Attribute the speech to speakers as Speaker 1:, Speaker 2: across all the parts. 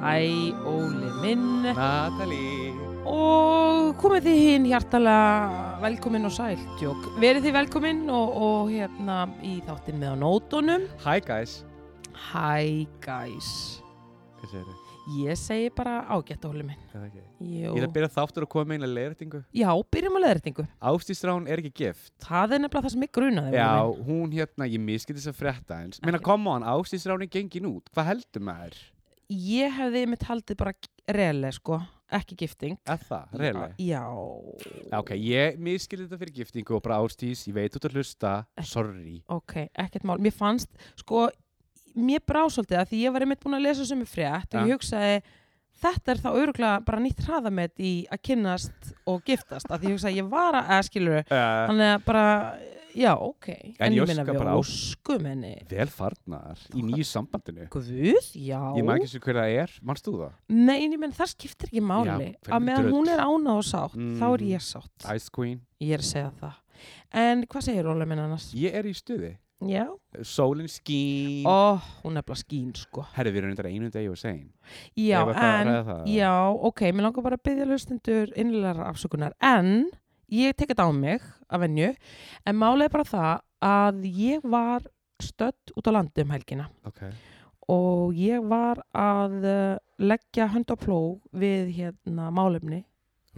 Speaker 1: Hæ, Óli minn
Speaker 2: Natalie
Speaker 1: og komið þið hinn hjartalega velkomin og sæl, tjók. Verið þið velkomin og, og hérna í þáttinn með á nótunum.
Speaker 2: Hi guys
Speaker 1: Hæ, guys.
Speaker 2: Hvað segir þið?
Speaker 1: Ég segi bara ágætt, Óli minn.
Speaker 2: Er það ekki?
Speaker 1: Jú.
Speaker 2: Ég er að byrja þáttur að koma með einlega leiðrætingu
Speaker 1: Já, byrjum á leðrætingu.
Speaker 2: Ástísrán er ekki gift
Speaker 1: Það er nefnilega það sem mig grunaði. Óli
Speaker 2: Já,
Speaker 1: minn.
Speaker 2: hún hérna, ég miskið þess að frétta eins Meina,
Speaker 1: Ekki.
Speaker 2: come on, Ástísrán er gengin út Hvað heldur maður?
Speaker 1: Ég hefði mitt haldið bara rele, sko. Ekki gifting.
Speaker 2: Er það, reyðlega?
Speaker 1: Já.
Speaker 2: Já, ok, ég miskið þetta fyrir giftingu og bara Ástís, ég veit út að hlusta Sorry
Speaker 1: Ok, ekkert mál. Mér fannst, sko, mér brá svolítið að því ég var einmitt búin að lesa sem er frétt og
Speaker 2: Ja.
Speaker 1: ég hugsaði, þetta er þá öruglega bara nýtt hraðamett í að kynnast og giftast. Að því ég hugsaði, ég var að, eða skilur,
Speaker 2: uh,
Speaker 1: þannig að bara, já, ok.
Speaker 2: En ég
Speaker 1: ég meina
Speaker 2: óska
Speaker 1: við
Speaker 2: bara á-
Speaker 1: óskum henni.
Speaker 2: Velfarnar Eh, í nýju sambandinu
Speaker 1: Guð, já.
Speaker 2: Ég maður ekki sem hver það er, mannst þú það?
Speaker 1: Nei, en ég menn, það skiptir ekki máli.
Speaker 2: hvernig
Speaker 1: að meðan
Speaker 2: drull.
Speaker 1: hún er ánað og sátt, þá er
Speaker 2: Mhm.
Speaker 1: ég sátt.
Speaker 2: Ice Queen
Speaker 1: Ég er að segja það. En hvað segir Óla minn annars?
Speaker 2: Ég er í stuði
Speaker 1: Já.
Speaker 2: Sólin skín
Speaker 1: Ó, hún er bara skín, sko.
Speaker 2: Herri, við erum þetta einu degi og sein
Speaker 1: Já,
Speaker 2: Ef að það-
Speaker 1: en,
Speaker 2: ræða það?
Speaker 1: já, ok, mér langar bara að byggja hlustendur innlega afsökunar, en ég tek þetta á mig að venju, en málega bara það að ég var stödd út á landi um helgina
Speaker 2: Ok.
Speaker 1: og ég var að eh, leggja hönd á pló við hérna málefni,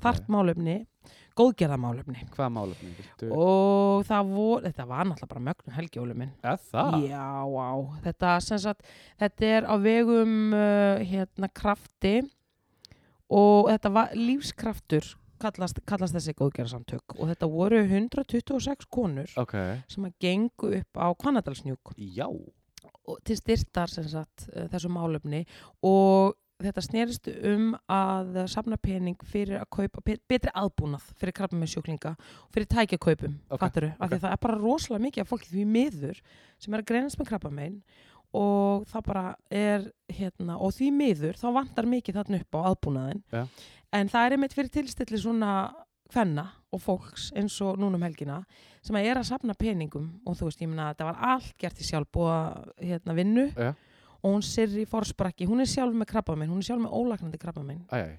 Speaker 1: þart málefni, góðgerða málefni.
Speaker 2: Hvað málefni? Viltu...
Speaker 1: Og það voru, þetta var náttúrulega bara mögnum helgjólu minn.
Speaker 2: Er það?
Speaker 1: Já, á, þetta, sem sagt, þetta er á vegum uh, hérna krafti og þetta var lífskraftur kallast, kallast þessi góðgerðarsamtök og þetta voru 126 konur
Speaker 2: Ok.
Speaker 1: sem að gengu upp á Kvannadalsnjúk
Speaker 2: Já.
Speaker 1: og- til styrtar sem sagt uh, þessu málefni og þetta snerist um að safna pening fyrir að kaupa pe- betri aðbúnað fyrir krabba með sjúklinga fyrir tækjakaupum,
Speaker 2: Ok,
Speaker 1: okay, fattaru af því
Speaker 2: ok.
Speaker 1: að það er bara rosalega mikið af fólki því miður sem er að greinast með krabba og það bara er hérna, og því miður þá vantar mikið þarna upp á aðbúnaðin
Speaker 2: Ja.
Speaker 1: en það er einmitt fyrir tilstilli svona hvenna og fólks eins og núna um helgina sem að er að safna peningum og þú veist, ég meina, þetta var allt gert í sjálfbúa hérna vinnu
Speaker 2: Já.
Speaker 1: og hún Sirri Forsbrakki, hún er sjálf með krabba minn, hún er sjálf með ólagnandi krabba minn
Speaker 2: Æ, æ.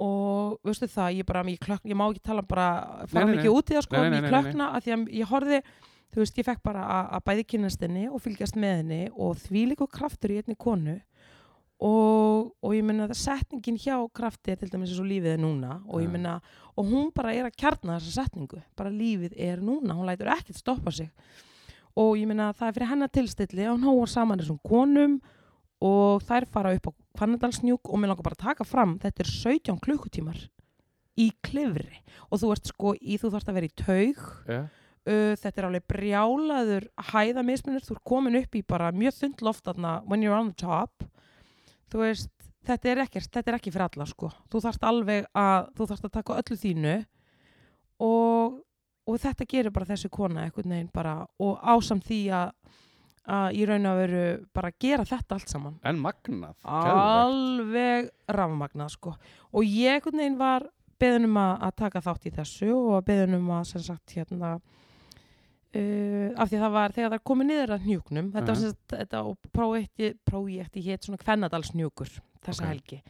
Speaker 1: og veistu það, ég bara, ég, klökk, ég má ekki tala um bara, fara
Speaker 2: Nei, nei,
Speaker 1: mikið
Speaker 2: nei.
Speaker 1: út í það sko,
Speaker 2: Nei, nei,
Speaker 1: ég
Speaker 2: nei, nei,
Speaker 1: klökna að því að ég horfði, þú veist, ég fekk bara að, að bæði kynast henni og fylgjast með henni og því líku kraftur í einni konu og, og ég meina það setningin hjá krafti er til dæmis eins og lífið er núna og ég
Speaker 2: Mm.
Speaker 1: meina, og hún bara er að kjarna þessa setningu, bara lífið er núna hún lætur ekkert stoppa sig og ég meina það er fyrir hennar tilstilli að hún hóar saman þessum konum og þær fara upp á Hvannadalsnjúk og mér langar bara að taka fram, þetta er 17 klukkutímar í klifri og þú ert sko í, þú þarft að vera í taug
Speaker 2: Já.
Speaker 1: uh, þetta er alveg brjálaður hæðamismunur, þú ert komin upp í bara mjög þund loft þarna, when you're on the top þú veist, þetta er ekkert þetta er ekki fyrir alla sko, þú þarft alveg að, þú þarft að taka öllu þínu og, og þetta gerir bara þessi kona einhvern veginn bara og ásamt því að að ég raun að veru bara gera þetta allt saman
Speaker 2: En magnað. Geðveikt.
Speaker 1: alveg rafmagnað sko og ég einhvern veginn var beðin um að, að taka þátt í þessu og beðin um að sem sagt hérna uh, af því það var þegar það komið niður að hnjúknum þetta var
Speaker 2: Mhm.
Speaker 1: sem sagt þetta og prófið prófið hétt svona kvennadalshnjúkur þessa
Speaker 2: Ok.
Speaker 1: helgi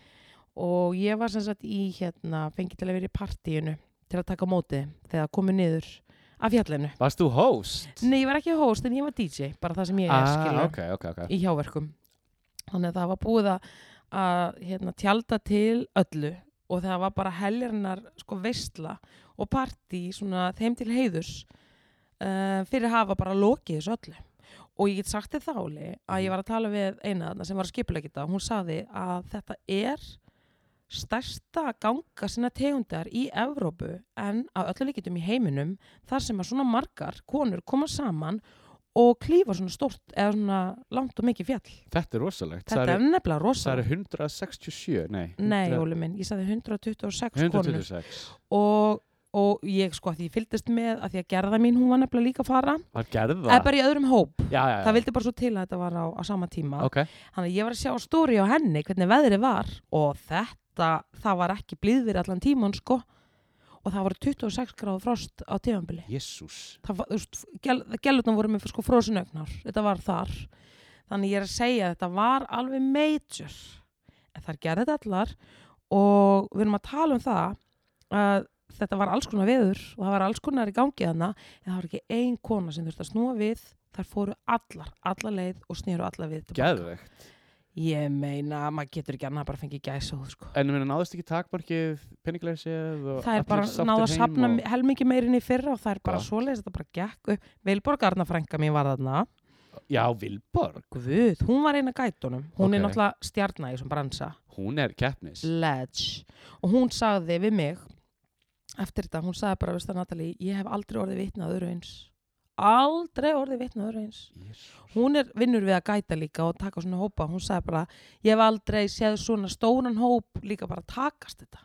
Speaker 1: og ég var sem sagt í hérna fengið til að vera í partíinu til að taka á móti þeim þegar það komið niður af fjallinu
Speaker 2: Varst þú host?
Speaker 1: Nei, ég var ekki host en ég var DJ bara það sem ég er skilurðu
Speaker 2: Ah, ok, ok, ok.
Speaker 1: í hjáverkum þannig að það var búið að, að hérna, tjálta til öllu og það var bara helgarinnar sko veistla og partí svona þeim til heiðurs uh, fyrir að hafa bara lokið þessu öllu og ég get sagt þér þáli að ég var að tala við eina þarna sem var að skipulegja þetta og hún saði að þetta er stærsta ganga sinna tegundar í Evrópu en að öllu líkitum í heiminum þar sem að svona margar konur koma saman og klífa svona stort eða svona langt og mikið fjall
Speaker 2: Þetta er rosalegt.
Speaker 1: þetta er nefnilega rosa
Speaker 2: Það eru 167, nei.
Speaker 1: Nei,
Speaker 2: 100
Speaker 1: Óli minn, ég sagði 126 konur
Speaker 2: 126.
Speaker 1: og, og ég sko að því ég fylgdist með að því að gerða mín hún var nefnilega líka að fara
Speaker 2: Var gerða?
Speaker 1: eða bara í öðrum hóp
Speaker 2: Já, já, já.
Speaker 1: það vildi bara svo til að þetta var á, á sama tíma
Speaker 2: Ok.
Speaker 1: Þannig að ég var að sjá stóri á henni hvernig veðrið var og þetta, það var ekki blíðvir allan tíman sko og það var 26 gráð frost á tífambili
Speaker 2: Jésús
Speaker 1: það var, þú veist, gel, gælutna voru með sko frosinögnar, þetta var þar þannig ég er að segja að þetta var alveg major en þar gerði þetta allar og við erum að tala um það að þetta var alls konar veður og það var alls konar í gangi þarna en það var ekki ein kona sem þurfti að snúa við þar fóru allar, allar leið og snýru allar við tilbaka.
Speaker 2: Geðvegt
Speaker 1: ég meina, maður getur ekki annað bara fengið gæsa sko.
Speaker 2: En mér náðist ekki takmarkið peningleysið og
Speaker 1: það er
Speaker 2: allir
Speaker 1: bara
Speaker 2: sáttir
Speaker 1: náða að
Speaker 2: heim
Speaker 1: sapna
Speaker 2: og-
Speaker 1: og... helmingi meirinni fyrra og það er bara
Speaker 2: Já.
Speaker 1: svoleiðis þetta bara gekk upp Vilborgarna frænka mín var þarna
Speaker 2: Já, Vilborg,
Speaker 1: Guð, hún var eina gætunum hún er
Speaker 2: Ok.
Speaker 1: náttúrulega stjarnar í þessum bransa
Speaker 2: hún er keppnis
Speaker 1: Ledge og hún sagði við mig eftir þetta, hún sagði bara veist það Natalie, ég hef aldrei orðið vitnað öðru eins aldrei orðið vitnað öðru eins
Speaker 2: Jésús
Speaker 1: hún er vinnur við að gæta líka og taka svona hópa, hún sagði bara ég hef aldrei séð svona stóran hóp líka bara takast þetta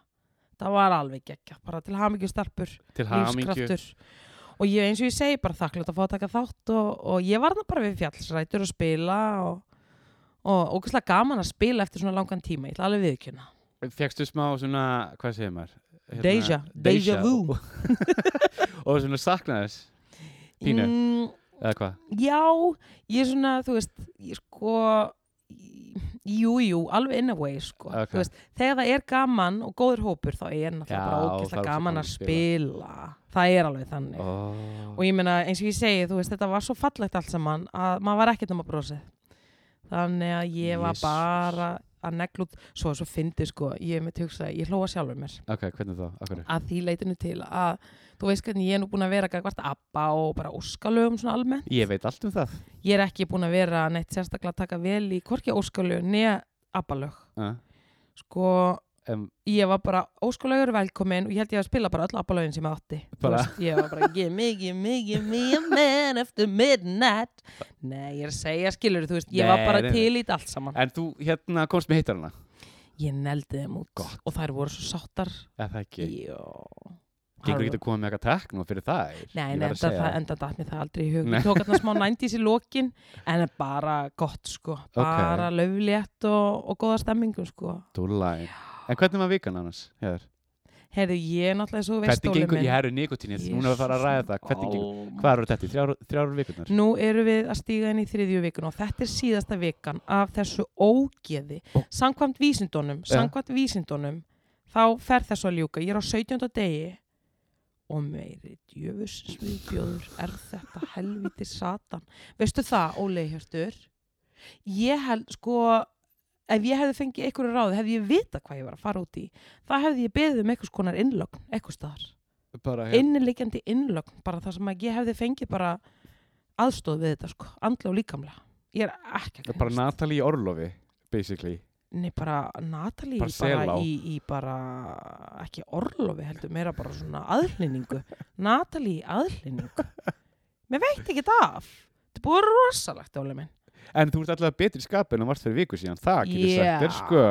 Speaker 1: það var alveg gekkja, bara til hamingjum starpur
Speaker 2: Til hamingju
Speaker 1: lífskraftur og ég, eins og ég segi bara þakklátt að fá að taka þátt og, og ég var það bara við fjallsrætur að spila og, og ógæslega gaman að spila eftir svona langan tíma, ég ætla alveg viðkjöna
Speaker 2: Fekstu smá svona, hvað segir maður?
Speaker 1: Deja, Hérna, deja vu.
Speaker 2: og, og svona saknaðis, Pínu.
Speaker 1: mm,
Speaker 2: eða hvað?
Speaker 1: Já, ég er svona, þú veist ég sko jú, jú, alveg in a way sko.
Speaker 2: Ok.
Speaker 1: Þú veist, þegar það er gaman og góður hópur þá er náttúrulega
Speaker 2: Já,
Speaker 1: bara
Speaker 2: það er
Speaker 1: ógæslega
Speaker 2: svo
Speaker 1: gaman
Speaker 2: gaman
Speaker 1: að
Speaker 2: að
Speaker 1: spila það er alveg þannig
Speaker 2: Oh.
Speaker 1: og ég meina eins og ég segi, þú veist, þetta var svo fallegt allt saman að maður var ekkert um að brosið þannig að ég var
Speaker 2: Jesus.
Speaker 1: bara að negla út, svo svo fyndi sko, ég er með hugsa, ég hlóa sjálfur mér
Speaker 2: Ok, hvernig þá? Af hverju?
Speaker 1: að því leitinu til að þú veist hvernig ég er nú búin að vera hvert abba og bara óskalögum svona almennt
Speaker 2: Ég veit allt um það
Speaker 1: ég er ekki búin að vera neitt sérstaklega að taka vel í hvorki óskalög neða abbalög
Speaker 2: uh,
Speaker 1: sko,
Speaker 2: um,
Speaker 1: ég var bara óskalögur velkomin og ég held ég að spila bara öll abbalögin sem ég átti Þú
Speaker 2: Bara-
Speaker 1: veist, ég var bara gimme, gimme, gimme a man after midnight nei, ég er að segja skilur þú veist, ég var
Speaker 2: Nei,
Speaker 1: bara
Speaker 2: nei, nei.
Speaker 1: til í þetta allt saman
Speaker 2: En þú hérna komst með hittarana
Speaker 1: ég neldi þeim út
Speaker 2: Gott.
Speaker 1: og þær voru svo sáttar
Speaker 2: Eða það ekki
Speaker 1: Jó.
Speaker 2: Gengur ekki að koma með eitthvað takk nú fyrir það
Speaker 1: Nei,
Speaker 2: Ég
Speaker 1: nei
Speaker 2: verð að
Speaker 1: enda,
Speaker 2: segja
Speaker 1: það, enda datt mér það aldrei í hug.
Speaker 2: Nei.
Speaker 1: Ég tók hérna smá nændís í lokin, en bara gott sko, bara okay. löflétt og, og góða stemmingum sko.
Speaker 2: Dúllæn En hvernig var vikan annars? Hér?
Speaker 1: Heyrðu, ég er náttúrulega svo veist
Speaker 2: Hvernig gengur, ég herru nikotinið Núna er að fara að ræða það Hvernig gengur, hvað eru þetta? í? Þrjár, þrjár vikunar?
Speaker 1: Nú eru við að stíga inn í þriðju vikun og þetta er síðasta vikan af þessu ógeði.
Speaker 2: Ó.
Speaker 1: Samkvæmt vísindunum,
Speaker 2: Ja.
Speaker 1: samkvæmt vísindunum, þá fer þessu að ljúka. Ég er á 17. degi og meiri djöfusins viðbjóður er þetta helviti satan. Veistu það, Óli Hjörtur? Ég held, sko, ef ég hefði fengið einhverju ráð, hefði ég vitað hvað ég var að fara út í. Það hefði ég beðið um einhvers konar innlögn, einhvers staðar
Speaker 2: Bara, hér-
Speaker 1: innilegjandi innlögn bara það sem að ég hefði fengið bara aðstóð við þetta sko, andla og líkamlega ég er ekki að
Speaker 2: hérna, bara
Speaker 1: grínast.
Speaker 2: Natalie í Orlofi Basically
Speaker 1: Nei, bara Natalie
Speaker 2: Bara
Speaker 1: bara, bara
Speaker 2: selá.
Speaker 1: í, í bara ekki orlofi heldur, meira bara svona aðhlýningu Natalie í aðhlýningu mér veit ekki það af þetta er búið að vera rosalegt ólega minn
Speaker 2: En þú ert alltaf betri í skapi en þú varst fyrir viku síðan Það getur sagt þér sko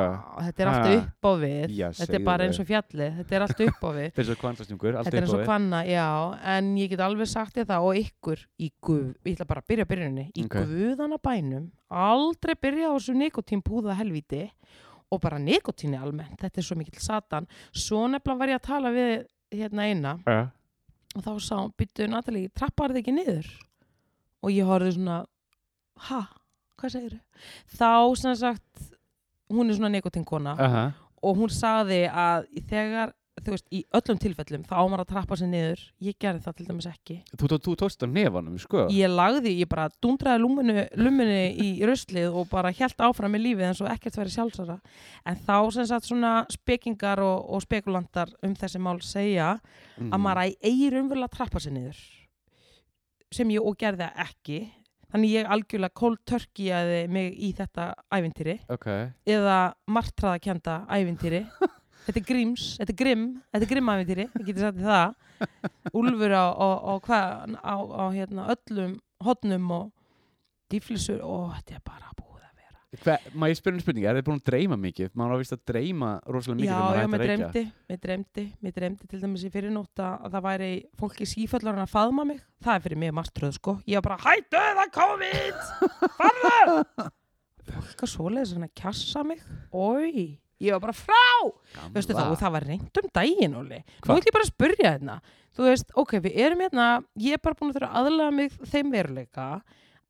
Speaker 1: þetta er alltaf
Speaker 2: Ha.
Speaker 1: upp á við
Speaker 2: Já,
Speaker 1: þetta
Speaker 2: segðu
Speaker 1: er bara
Speaker 2: þér.
Speaker 1: eins og fjallið, þetta er alltaf upp á við
Speaker 2: Þetta er svo kvansastungur
Speaker 1: Þetta er eins og hvanna, já, en ég get alveg sagt þér það og ykkur í guð, ég ætla bara að byrja á byrjuninni, í
Speaker 2: Ok.
Speaker 1: guðana bænum, aldrei byrja á þessu nikotínpúða helvíti og bara nikotíni almennt, þetta er svo mikill satan. Svo nefnilega var ég að tala við hérna eina
Speaker 2: Já.
Speaker 1: og þá sá, byttu Natalie, trappar þið ekki niður? Og ég horfði svona, ha, hvað segir þau? Þá sem sagt, hún er svona nikotínkona
Speaker 2: Aha.
Speaker 1: og hún sagði að í þegar, þú veist, í öllum tilfellum þá á maður að trappa sér niður, ég gerði það til dæmis ekki
Speaker 2: Þú, þú, þú tókst á nefanum sko
Speaker 1: ég lagði, ég bara dundraði lumunu, lumunu í ruslið og bara held áfram í lífið eins og ekkert verið sjálfsara en þá sem sagt svona spekingar og, og spekulantar um þessi mál segja
Speaker 2: Mhm.
Speaker 1: að maður æ- eigi raunverulega að trappa sér niður sem ég og gerði það ekki þannig ég algjörlega kóltörkijaði mig í þetta ævintýri
Speaker 2: Ok
Speaker 1: eða martraðakenda ævintýri þetta er gríms, þetta er grimm þetta er grimm ævintýri, ég geti sagt þér það Úlfur á, á, á, hvað, á, á hérna, öllum hodnum og dýflissur og þetta er bara búið að vera
Speaker 2: Hva, Má ég spyrja um spurningi, er þið búin að dreyma mikið? Maður á víst að dreyma rosalega mikið þegar maður
Speaker 1: já, já,
Speaker 2: hættir
Speaker 1: mér
Speaker 2: að reykja.
Speaker 1: dreymdi, mér dreymdi mér dreymdi til dæmis í fyrirnótt að að það væri fólki síföllar en að faðma mig það er fyrir mig martröð sko, ég var bara hættu það COVID, farðu fólk að svoleiðis að kjassa mig, oi ég var bara frá
Speaker 2: Gamla.
Speaker 1: veistu það, og það var reynd um daginn Óli nú
Speaker 2: Hvað?
Speaker 1: ætlum ég bara að spyrja hérna þú veist, ok, við erum hérna ég er bara búin að þurfa að aðlaga mig þeim veruleika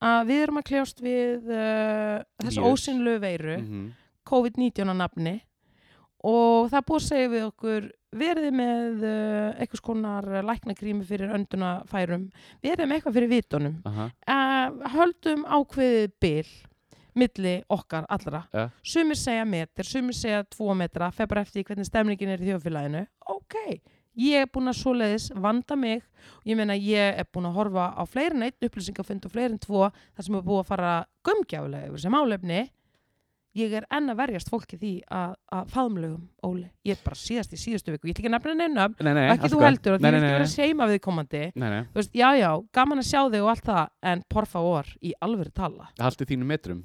Speaker 1: að við erum að kljást við uh, þessu
Speaker 2: Vírus.
Speaker 1: ósynlu veiru
Speaker 2: Mhm.
Speaker 1: COVID-19 á nafni og það er búið að segja við okkur verðið með uh, einhvers konar læknagrími fyrir öndunafærum verðið með eitthvað fyrir vitunum
Speaker 2: Aha.
Speaker 1: uh, höldum ákveðið bil milli okkar allra
Speaker 2: Ja.
Speaker 1: sumir segja metr, sumir segja tvo metra fer bara eftir því hvernig stemningin er í þjóðfélaginu ok, ég er búin að svoleiðis vanda mig, ég meina ég er búin að horfa á fleiri en einn upplýsingafund og fleiri en tvo þar sem er búið að fara gömgjálega yfir sem álefni ég er enn að verjast fólki því að, að faðumlegum, Óli, ég er bara síðast í síðustu viku, ég ætla ekki að nefna neina nöfn,
Speaker 2: Nei, nei,
Speaker 1: ekki þú
Speaker 2: afsaka.
Speaker 1: heldur og því
Speaker 2: Nei,
Speaker 1: ég vil
Speaker 2: nei,
Speaker 1: ekki
Speaker 2: nei,
Speaker 1: vera að seima við komandi
Speaker 2: nei, nei,
Speaker 1: þú veist, já, já, gaman að sjá þig og allt það en por favor, í alvöru tala
Speaker 2: haldið þínum metrum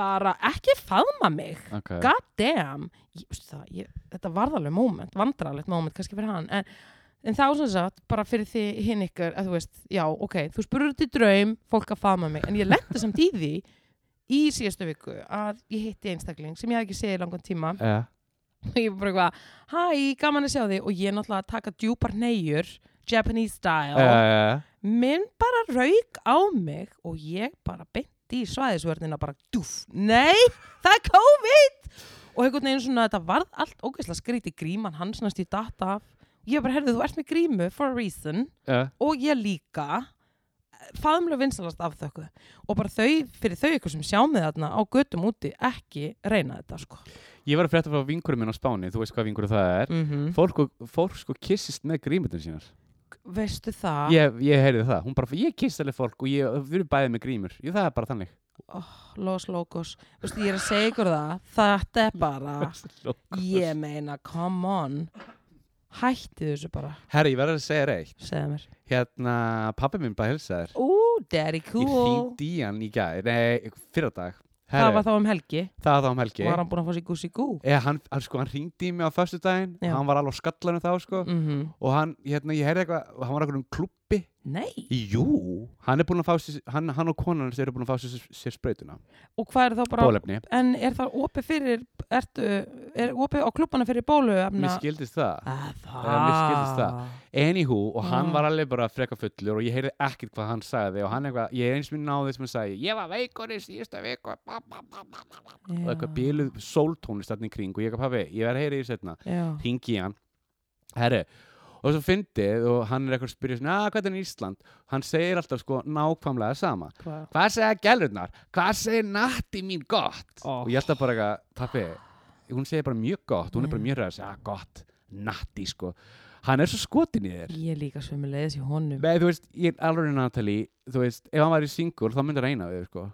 Speaker 1: bara ekki faðma mig
Speaker 2: okay.
Speaker 1: god damn ég, veistu það, ég, þetta varð alveg moment, vandralegt moment kannski fyrir hann, en, en þá sem sagt bara fyrir því hinn ykkur, að þú veist já, ok, þú spurður út í draum fólk að faðma mig, en ég lendi samt í því í síðustu viku að ég hitti einstakling sem ég hafði ekki séð í langan tíma
Speaker 2: Eh,
Speaker 1: og ég bara eitthvað, hæ, gaman að sjá þig og ég er náttúrulega að taka djúpar neyjur Japanese style
Speaker 2: eh,
Speaker 1: minn bara rauk á mig og ég bara beinti í svæðisvörnina bara dúf, nei, það er COVID og einhvern veginn svona þetta varð allt ógeðslega skríti gríman hans næst í data ég bara herði þú ert með grímu for a reason
Speaker 2: eh,
Speaker 1: og ég líka faðumlega vinsalast af þökku og bara þau, fyrir þau ykkur sem sjá mig þarna á götum úti ekki reyna þetta sko
Speaker 2: Ég var að frétta frá vinkurum minn á Spáni Þú veist hvað vinkurum það er
Speaker 1: mm
Speaker 2: Fólk, fólk sko kissist með grímutum sínar
Speaker 1: veistu það
Speaker 2: Ég, ég heyrði það, hún bara, ég kissa alveg fólk og ég, við erum bæðið með grímur, ég, það er bara þannig
Speaker 1: Los Locos, veistu ég er að segja ykkur það þetta er bara Ég meina, come on Hætti þessu bara,
Speaker 2: Herri, ég verður að segja reitt
Speaker 1: segðu mér
Speaker 2: Hérna, pappi minn bara helsa þér
Speaker 1: Ú, daddy
Speaker 2: Ég
Speaker 1: cool
Speaker 2: hringdi í hann í gær, nei, fyrir dag
Speaker 1: Það
Speaker 2: Herri,
Speaker 1: var þá um helgi
Speaker 2: það var þá um helgi
Speaker 1: Var hann búinn að fá sér gúsi gú
Speaker 2: Eða, hann, hann, sko, hann ringdi í mig á föstudaginn
Speaker 1: Já.
Speaker 2: Hann var alveg á skallanum þá, sko
Speaker 1: mm
Speaker 2: Og hann, hérna, ég heyrði eitthvað, hann var eitthvað um klubbi
Speaker 1: Nei,
Speaker 2: Jú, hann er búin að fá sér, hann, hann og konan hans eru búin að fá sér, sér sprautuna
Speaker 1: og hvað er þá bara
Speaker 2: Bólefni,
Speaker 1: En er það opið fyrir ertu, Er opið á klubbana fyrir bóluefna
Speaker 2: mér skildist það
Speaker 1: Að
Speaker 2: Já, mér skildist
Speaker 1: Það
Speaker 2: Anywho, og hann
Speaker 1: Mm.
Speaker 2: var alveg bara freka fullur og ég heyrði ekkert hvað hann sagði og hann eitthvað, ég er eins og minn náði sem hann sagði ég var veikur í síðustu viku bá, bá, bá, bá, bá, bá. og eitthvað bíluð sóltónist þarna í kring og ég eitthvað, pabbi, ég verð að heyra í þér setna
Speaker 1: Já,
Speaker 2: hingi í hann, herri og svo fyndið og hann er eitthvað að spyrja svona, að hvað er í Ísland, hann segir alltaf sko nákvæmlega sama,
Speaker 1: hvað
Speaker 2: hvað segja gælurnar, hvað segir natti mín gott
Speaker 1: Ó.
Speaker 2: og ég held að bara eitthvað, pappi hún segir bara mjög gott, hún er bara
Speaker 1: Nei.
Speaker 2: mjög ræð að segja, "Ah, gott, natti sko hann er svo skotin í þér
Speaker 1: Ég líka sömulegis í honum
Speaker 2: Nei, þú veist, ég er alveg Natalie, þú veist, ef hann væri single þá myndi hann reyna við, þig, sko.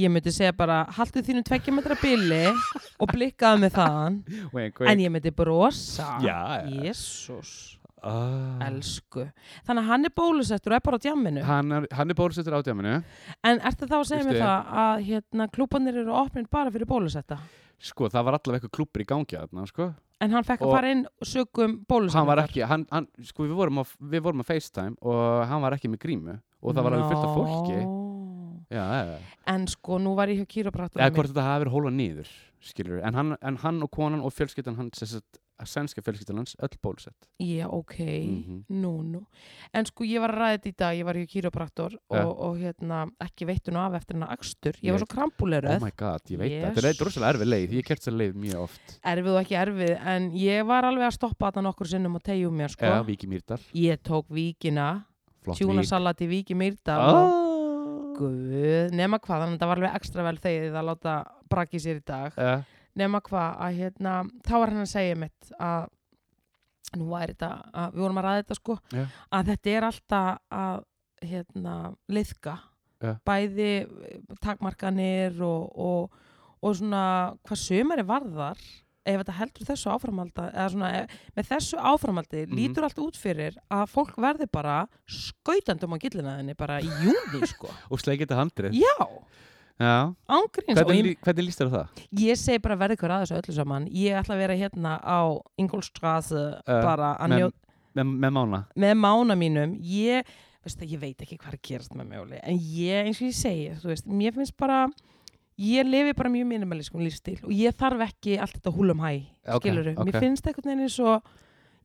Speaker 1: Ég myndi segja bara, haldið þínu tveggjumetra bili og blikkaðu með þaðan
Speaker 2: Wink,
Speaker 1: En ég myndi brosa
Speaker 2: Já, já.
Speaker 1: Jésús
Speaker 2: Ah.
Speaker 1: Elsku. Þannig að hann er bólusettur og er bara á djamminu.
Speaker 2: Hann, er- hann er bólusettur á djáminu.
Speaker 1: En ertu þá að segja mér
Speaker 2: Veistu-
Speaker 1: það að hérna, klúbanir eru opnin bara fyrir bólusetta?
Speaker 2: Sko, það var allavega eitthvað klúpur í gangi þarna, sko.
Speaker 1: En hann fekk
Speaker 2: Og-
Speaker 1: að fara inn um sögum bólusetta.
Speaker 2: Hann var ekki, hann, hann, sko, við vorum, á, við vorum á FaceTime og hann var ekki með grímu og það var alveg fullt af fólki. Já, já, já.
Speaker 1: En sko, nú var ég hjá kýrabrættur.
Speaker 2: Eða hvort þetta hafi verið hóla niður, skilur En hann, en hann og konan og fjölskyldan hans, þess að sænska fjölskyldan hans, öll bólusett.
Speaker 1: Já, ok.
Speaker 2: Mhm.
Speaker 1: Nú, nú. En sko, ég var að ræða þetta í dag, ég var hjá kýrabrættur og,
Speaker 2: Ja.
Speaker 1: og hérna, ekki veittu nú af eftir hennar akstur. Ég
Speaker 2: Ég-
Speaker 1: var svo krampuleruð.
Speaker 2: Oh my god, ég veit það. Þetta er
Speaker 1: Jesus.
Speaker 2: rosalega erfið leið, ég kert þess að leið mjög oft.
Speaker 1: erfið og ekki erfið, en ég var alveg að stoppa þetta nokkur sinnum og tegja um mér, sko.
Speaker 2: Eða Viki Mýrdal,
Speaker 1: Ég tók víkina.
Speaker 2: flott vík.
Speaker 1: tjúnasalat í Víki Mýrdal og
Speaker 2: oh.
Speaker 1: guð, nema hvað, þannig að það var alveg ekstra vel þegið að láta brakið sér í dag
Speaker 2: uh,
Speaker 1: nema hvað, að hérna þá var hann að segja mitt að nú væri þetta, að, við vorum að ræða þetta sko
Speaker 2: Já.
Speaker 1: að þetta er alltaf að hérna, liðka
Speaker 2: Já.
Speaker 1: bæði eh, takmarkanir og, og, og svona hvað sumari varðar ef þetta heldur þessu áframalda eða svona, ef, með þessu áframaldi
Speaker 2: Mhm.
Speaker 1: lítur allt út fyrir að fólk verði bara skautandum á gillinaðinni bara í júni sko
Speaker 2: og sleikið þetta handrið
Speaker 1: já,
Speaker 2: Já.
Speaker 1: ángríns og ég,
Speaker 2: hvernig, lí- hvernig líst þér á það?
Speaker 1: ég segi bara verði hver aðeins öllu saman ég ætla að vera hérna á Ingolstrasse
Speaker 2: Eh,
Speaker 1: bara að
Speaker 2: menn-
Speaker 1: njó,
Speaker 2: Með, með mána?
Speaker 1: með mána mínum ég, veist það, ég veit ekki hvað er að gerast með mjóli en ég, eins og ég segi, þú veist, mér finnst bara ég lifi bara mjög minimalískum lífstíl og ég þarf ekki allt þetta húlum hæ
Speaker 2: Ok,
Speaker 1: skilur
Speaker 2: ok.
Speaker 1: mér finnst einhvern veginn eins og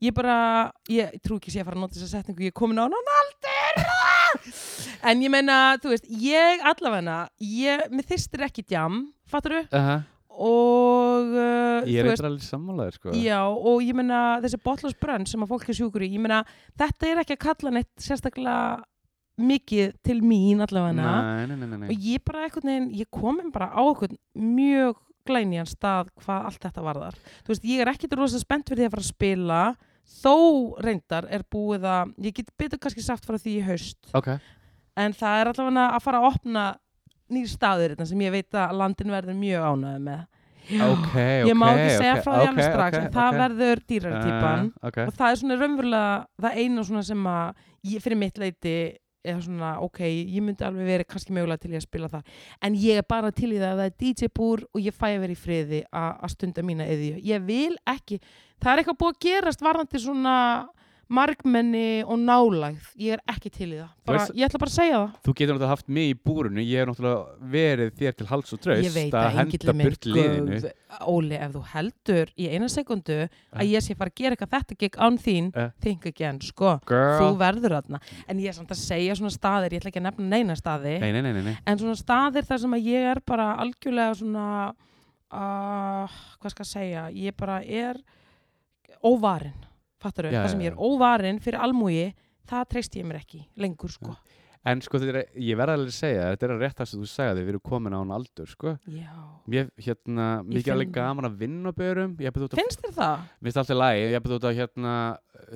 Speaker 1: ég bara, ég trú ekki sé að fara að nota þessa setningu ég er komin á annan aldur en ég meina, þú veist ég allavegna, ég, mér þystir ekki djam, fattaru
Speaker 2: Aha,
Speaker 1: og uh,
Speaker 2: ég
Speaker 1: þú
Speaker 2: er eitthvað alveg sammálaður sko.
Speaker 1: Já, og ég meina þessi botlós brönn sem að fólk er sjúkur í, ég meina þetta er ekki að kalla neitt sérstaklega mikið til mín allavega
Speaker 2: Nei, nei, nei, nei, nei.
Speaker 1: og ég bara einhvern veginn, ég komin bara á einhvern mjög glænýjan stað hvað allt þetta varðar. Þú veist, ég er ekkit rosa spennt fyrir því að fara að spila þó reyndar er búið að ég get betur kannski sagt frá því í haust
Speaker 2: Ok,
Speaker 1: en það er allavega að fara að opna nýr staður þetta sem ég veit að landin verður mjög ánæði með. Já,
Speaker 2: ok, ok
Speaker 1: ég má ekki segja
Speaker 2: ok,
Speaker 1: frá því
Speaker 2: ok,
Speaker 1: alveg strax
Speaker 2: ok,
Speaker 1: en það
Speaker 2: ok.
Speaker 1: verður dýrari típan
Speaker 2: Ah, ok.
Speaker 1: og það er svona raunverulega það eina svona sem að ég, fyrir mitt leiti er svona ok, ég myndi alveg verið kannski mögulega til í að spila það en ég er bara til í það að það er DJ búr og ég fæ að vera í friði a- að stunda mína eðju ég vil ekki, það er eitthvað búið að gerast varðandi svona margmenni og nálægð ég er ekki til í það, bara,
Speaker 2: veist-
Speaker 1: ég ætla bara að segja það
Speaker 2: Þú getur náttúrulega haft mig í búrunu, ég er náttúrulega verið þér til hals og traust
Speaker 1: ég veit
Speaker 2: að
Speaker 1: að
Speaker 2: henda
Speaker 1: engillin minn
Speaker 2: burt liðinu.
Speaker 1: guð, Óli, ef þú heldur í eina sekundu
Speaker 2: Eh.
Speaker 1: að ég sé fara að gera eitthvað þetta gikk án þín,
Speaker 2: Eh.
Speaker 1: think again, sko þú
Speaker 2: Girl.
Speaker 1: verður þarna en ég er samt að segja svona staðir, ég ætla ekki að nefna neina staði
Speaker 2: Nei, nei, nei, nei, nei.
Speaker 1: en svona staðir þar sem að ég er bara algjörlega svona uh, hvað skal ég segja, ég bara er óvarin fattar þau,
Speaker 2: Já,
Speaker 1: það sem
Speaker 2: já,
Speaker 1: ég er óvarin fyrir almúi það treyst ég mér ekki lengur sko
Speaker 2: En sko, þetta er, ég verða alveg að segja, þetta er að rétt það sem þú sagði, við erum komin á hann aldur, sko.
Speaker 1: já.
Speaker 2: Mér, hérna,
Speaker 1: Ég
Speaker 2: mikið alveg
Speaker 1: finn það.
Speaker 2: gaman að vinna á börum, ég hefði þú
Speaker 1: finnst þér það?
Speaker 2: að, minnst alltaf lægi, ég hefði þú að, hérna,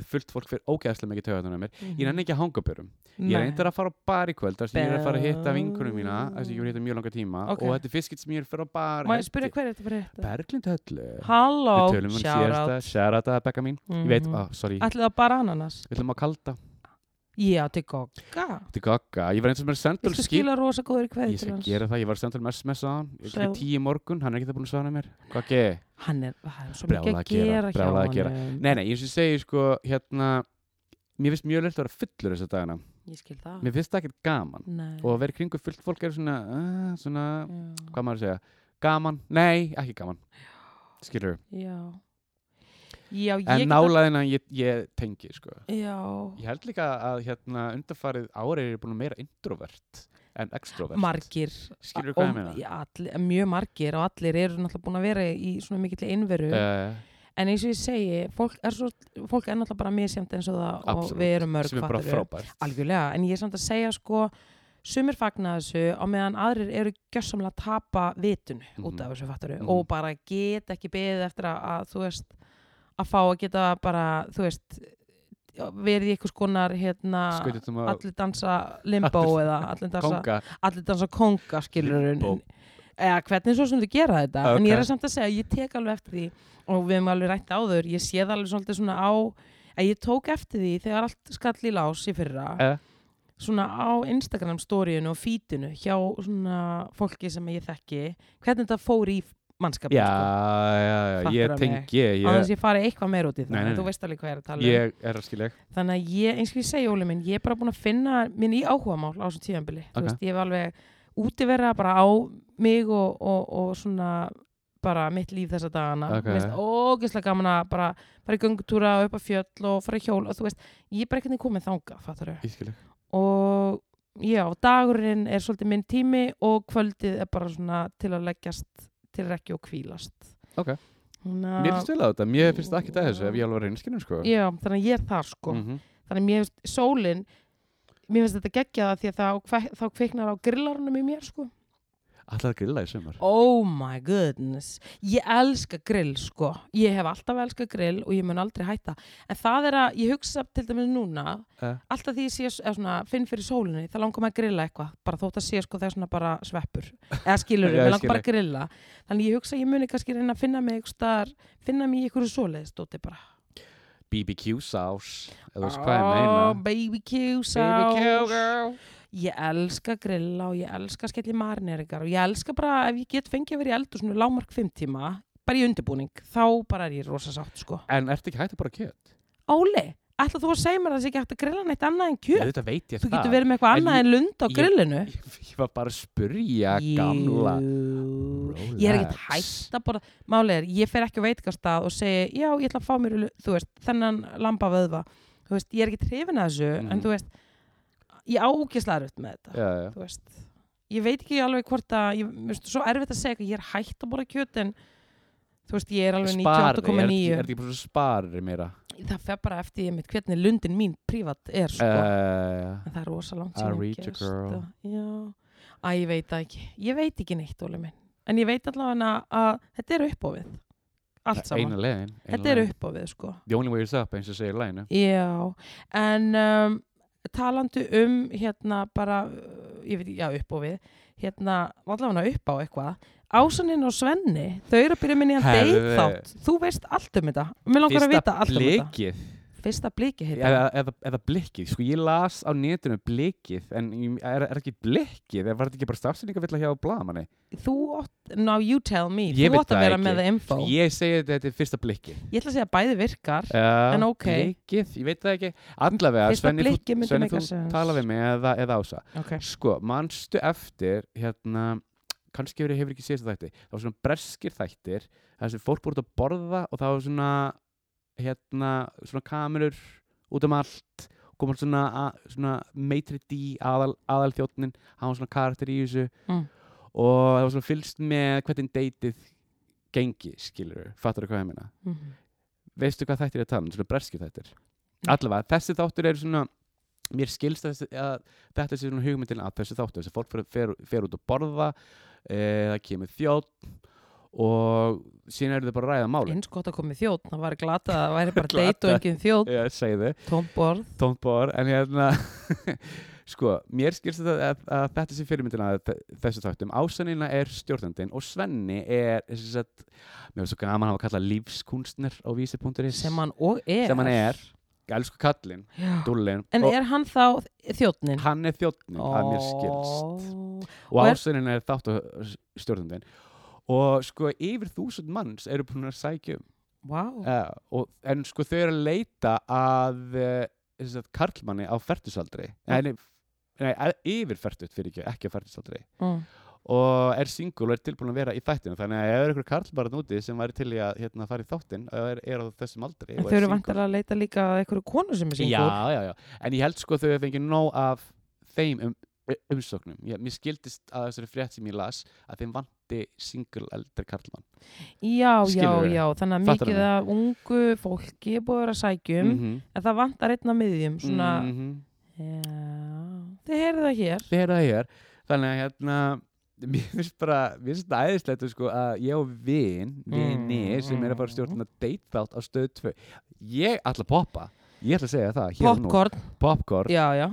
Speaker 2: fullt fólk fyrir ógeðslega mikið töðan á mér. Ég nenni ekki að hanga á börum. Ég er eindir að fara á bar í kvöld, þar sem ég er að fara að hitta vinkunum mína, þar sem ég er að hitta mjög langa tíma,
Speaker 1: Ok.
Speaker 2: og þetta er fiskitt sem ég er að fara á bar.
Speaker 1: má ég spyrja hver er þetta fyrir þetta?
Speaker 2: Berglind Höllu.
Speaker 1: halló,
Speaker 2: Við tölum um
Speaker 1: sjára
Speaker 2: síðasta, sjáraða Becca mín. Ég veit,
Speaker 1: Mhm.
Speaker 2: ah, sorry,
Speaker 1: ætlið það bara ananas?
Speaker 2: við ætlum að kalda.
Speaker 1: já, til gogga
Speaker 2: Þetta er gagga. Ég var eins og mér sendur
Speaker 1: Viltu skila rosa góður kveði
Speaker 2: Ég skal gera það, ég var að senda hann sms á hann Ég
Speaker 1: Sagði-
Speaker 2: er tíu í morgun, hann er ekki það búin að svara mér Hvað ekki?
Speaker 1: hann er, hann er svo
Speaker 2: Brjálað
Speaker 1: mikið
Speaker 2: að
Speaker 1: að
Speaker 2: gera,
Speaker 1: gera,
Speaker 2: brjálað að
Speaker 1: hjá
Speaker 2: gera.
Speaker 1: hann
Speaker 2: Nei, nei, eins og ég segi sko, hérna Mér finnst mjög leilt að vera fullur þessa dagana
Speaker 1: ég skil það
Speaker 2: Mér finnst það ekkert gaman
Speaker 1: Nei.
Speaker 2: Og að vera í kringu fullt fólk er svona uh, Svona,
Speaker 1: já.
Speaker 2: hvað maður að segja Gaman, nei, ekki gaman Skilur,
Speaker 1: já já, ég
Speaker 2: en
Speaker 1: get al-
Speaker 2: nálaðina ég, ég tengi sko
Speaker 1: já,
Speaker 2: Ég held líka að hérna undarfarið árið er ég búin að meira introvert en extrovert
Speaker 1: margir
Speaker 2: Skilur hvað
Speaker 1: Og-
Speaker 2: ég meina?
Speaker 1: já, allir, mjög margir og allir eru náttúrulega búin að vera í svona mikill einveru
Speaker 2: Uh,
Speaker 1: en eins og ég segi, fólk er, svo, fólk er náttúrulega bara misjæmt eins og það
Speaker 2: Absolutt,
Speaker 1: og við erum um. mörg
Speaker 2: sem er bara
Speaker 1: fattar við.
Speaker 2: frábært
Speaker 1: algjörlega, en ég er samt að segja sko sumir fagna þessu á meðan aðrir eru gjössamlega að tapa vitunu
Speaker 2: Mhm.
Speaker 1: út af þessu fattaru
Speaker 2: Mhm.
Speaker 1: og bara get ekki beðið eftir að, að þú veist að fá að geta bara þú veist verið í einhvers konar hérna
Speaker 2: Skaututum að
Speaker 1: allir dansa limbo eða allir dansa,
Speaker 2: konga
Speaker 1: allir dansa konga skilur
Speaker 2: Limbo.
Speaker 1: eða hvernig svo sem þau gera þetta en ég
Speaker 2: Ok.
Speaker 1: er samt að segja, ég tek alveg eftir því og við hefum alveg rætt áður, ég sé það alveg svolítið svona á að ég tók eftir því þegar allt skall í lás í fyrra
Speaker 2: Eh.
Speaker 1: svona á Instagram storyinu og feedinu hjá svona fólki sem ég þekki hvernig þetta fór í mannskapin sko,
Speaker 2: já, já, já,
Speaker 1: Fattar
Speaker 2: ég
Speaker 1: að
Speaker 2: tengi ég,
Speaker 1: á þess að ég fari eitthvað meir út í það
Speaker 2: Nei, nei,
Speaker 1: en þú
Speaker 2: nei.
Speaker 1: veist alveg hvað ég er að tala um
Speaker 2: ég er að skilja ekki.
Speaker 1: þannig að ég, eins og ég segi Óli minn, ég er bara búin að finna minn í áhugamál á þessu tíðanbili
Speaker 2: Ok.
Speaker 1: þú veist, ég hef alveg útivera bara á mig og, og, og svona bara mitt líf þessa dagana
Speaker 2: Ok.
Speaker 1: Mér finnst ógeðslega gaman að bara fara í göngutúra og upp að fjöll og fara í hjól og þú veist, ég er bara ekkert komið þangað, fattar
Speaker 2: ég skilja ekki.
Speaker 1: og já, dagurinn er svolítið minn tími og kvöldið er bara svona til að leggjast til rekki og kvílast
Speaker 2: Ok.
Speaker 1: Ná,
Speaker 2: Mér finnst vel að þetta, mér finnst ekki það þessu ef ég alveg var reynskinu, sko.
Speaker 1: já, þannig að Ah. ég er það sko
Speaker 2: Mhm.
Speaker 1: þannig að mér finnst sólin mér finnst þetta geggja það því að þá, kve- þá kviknar á grillarunum í mér sko
Speaker 2: Ætlaði að grilla í sumar.
Speaker 1: oh my goodness ég elska grill sko ég hef alltaf elska grill og ég mun aldrei hætta en það er að ég hugsa til dæmis núna
Speaker 2: Eh.
Speaker 1: alltaf því ég sé, eða svona, finn fyrir sólinni þá langar maður að grilla eitthvað bara þótt að sé sko það er svona bara sveppur eða skilur,
Speaker 2: Já, ég
Speaker 1: ég
Speaker 2: skil
Speaker 1: langar bara að grilla þannig ég hugsa að ég muni kannski reyna að finna mig einhvers staðar, finna mig í einhverju svoleiðis dóti bara
Speaker 2: BBQ sás, eða þú veist hvað ég
Speaker 1: Ah,
Speaker 2: meina.
Speaker 1: BBQ
Speaker 2: BBQ
Speaker 1: sauce.
Speaker 2: girl.
Speaker 1: ég elska að grilla og ég elska að skella í marineringar og ég elska bara ef ég get fengið að vera í eldur svona lámark 5 tíma bara í undirbúning, þá bara er ég rosa sátt sko.
Speaker 2: En ertu ekki hægt að bara kjöt?
Speaker 1: Óli, ætla þú að segja mér að það sé ekki hægt að grilla neitt annað en kjöt
Speaker 2: Þetta veit ég
Speaker 1: þú
Speaker 2: það
Speaker 1: getur verið með eitthvað
Speaker 2: En
Speaker 1: annað
Speaker 2: ég-
Speaker 1: en lund á
Speaker 2: ég-
Speaker 1: grillinu
Speaker 2: Ég var bara að spurja gamla
Speaker 1: Jú. ég er ekkert
Speaker 2: Relax.
Speaker 1: hægt að borða málið er, ég fer ekki á veitingastað og segi já, ég ætla að fá mér, lu- þú veist, þennan lamba vöðva, þú veist, ég er ekki hrifin að þessu
Speaker 2: Mhm.
Speaker 1: en þú veist ég ágæslega upp með þetta
Speaker 2: Já, já.
Speaker 1: þú veist, ég veit ekki alveg hvort að ég, mér finnst svo erfitt að segja eitthvað, ég er hægt að borða kjöt en þú veist, ég er alveg
Speaker 2: Spar, er, er, er
Speaker 1: 98,9
Speaker 2: þetta ekki bara svo sparir meira
Speaker 1: það fer bara eftir ég mitt hvernig lundin mín prívat er sko
Speaker 2: uh,
Speaker 1: en það er rosa langt
Speaker 2: I
Speaker 1: síðan
Speaker 2: reach a
Speaker 1: gerst
Speaker 2: girl.
Speaker 1: það. já, að ég veit það ekki ég veit ekki neitt, Óli minn en ég veit allavega að þetta er upp á við allt saman,
Speaker 2: Eina leiðin eina
Speaker 1: þetta er
Speaker 2: leiðin.
Speaker 1: upp á við sko
Speaker 2: The only way is up eins og segir læginu
Speaker 1: Já, en um, talandi um hérna bara, uh, ég veit, já upp og við, hérna, allavega upp á eitthvað, Ásaninn og Svenni, þau eru að byrja minni að
Speaker 2: Herðu.
Speaker 1: deyð þátt, þú veist allt um þetta, mér langar að vita allt um þetta.
Speaker 2: blikið
Speaker 1: Fyrsta bliki heitir
Speaker 2: eða, eða, eða blikið, sko ég las á netinu blikið, en ég- er, er ekki blikið eða var þetta ekki bara stafsynningavill hjá blamanni
Speaker 1: það. Þú átt, now you tell me,
Speaker 2: Ég
Speaker 1: þú
Speaker 2: veit
Speaker 1: átt
Speaker 2: það
Speaker 1: að vera
Speaker 2: ekki.
Speaker 1: með það info. Ég...
Speaker 2: ég segi þetta, þetta er fyrsta blikið
Speaker 1: ætla að segja að bæði virkar,
Speaker 2: uh,
Speaker 1: En ok.
Speaker 2: blikið, ég veit það ekki andlega,
Speaker 1: Fyrsta
Speaker 2: Svenni, þú-
Speaker 1: blikið myndi
Speaker 2: Svenni,
Speaker 1: make
Speaker 2: þú
Speaker 1: sense.
Speaker 2: tala við mig eða, eða ása
Speaker 1: ok,
Speaker 2: sko, manstu eftir hérna, kannski hefur, hefur ekki séð þetta þætti það var svona breskir þættir það sem fólk voru út að borða og það var svona hérna, svona kamerur út um allt komur svona, a- svona meitri D aðal, aðal þjóttnin, hann var svona karakter í þessu
Speaker 1: Mm.
Speaker 2: og það var svona fylgst með hvernig deytið gengi, skilur, fattar hvað ég meina
Speaker 1: mm
Speaker 2: veistu hvað þættir er að tala um, svona breskir þættir
Speaker 1: Mm.
Speaker 2: allavega, þessi þáttur eru svona mér skilst að, þessi- að þetta sé svona hugmyndin að þessi þáttur, þessi fólk fer, fer, fer út að borða e, það kemur þjótt og síðan eru þau bara að ræða málin
Speaker 1: eins gott að komið þjótt, það var glata, það væri bara
Speaker 2: Glatað.
Speaker 1: deyt og engin þjótt,
Speaker 2: Já, segðu,
Speaker 1: tómborð,
Speaker 2: tónbor en hérna sko, mér skilst að, að, að þetta sé fyrirmyndin að þe- þessu þáttum, Ásanina er stjórnandinn og Svenni er sem sagt, mér finnst svo gaman að hafa kallað lífskunstner á vísi.is
Speaker 1: sem hann og er.
Speaker 2: sem hann er, elsku kallinn
Speaker 1: Já.
Speaker 2: dúllinn,
Speaker 1: En
Speaker 2: og
Speaker 1: er hann þá þjóttnin?
Speaker 2: hann er þjóttnin að mér skilst og
Speaker 1: Og er-
Speaker 2: ásunin er þátt og stjórnandinn og sko yfir þúsund manns eru búin að sækja um
Speaker 1: Vá,
Speaker 2: uh, og, en sko þau eru að leita að uh, karlmanni á fertusaldri
Speaker 1: Já.
Speaker 2: nei, nei, að- yfir fertut fyrir ekki, ekki á fertusaldri
Speaker 1: mm.
Speaker 2: og er single og er tilbúin að vera í þættinu þannig að ef er ykkur karlbarn úti sem væri til í að hérna, fara í þáttin og er, er á þessum aldri
Speaker 1: en þau
Speaker 2: og er
Speaker 1: eru
Speaker 2: single-
Speaker 1: vantar að leita líka að einhverju konu sem er singur.
Speaker 2: já, já, já, en ég held sko þau hefði fengið nóg af þeim um, umsóknum ég, mér skildist að þessari frétt sem ég las að þeim vanti single eldri karlmann
Speaker 1: Já, já,
Speaker 2: Skilurðu?
Speaker 1: já, þannig að
Speaker 2: Fattar
Speaker 1: mikið
Speaker 2: mig.
Speaker 1: að ungu fólki er búið að vera að sækjum,
Speaker 2: -hmm.
Speaker 1: en það vantar einn að miðjum, svona,
Speaker 2: -hmm.
Speaker 1: já, þið heyrðu það hér.
Speaker 2: þegar það er þannig að hérna mér finnst bara, mér finnst það æðislegt sko, að ég og vin, vini
Speaker 1: Mm,
Speaker 2: sem er að fara stjórnum að date þátt á stöð 2 ég ætla að poppa ég ætla að segja það, hér og nú
Speaker 1: Popcorn,
Speaker 2: popcorn,
Speaker 1: já, já,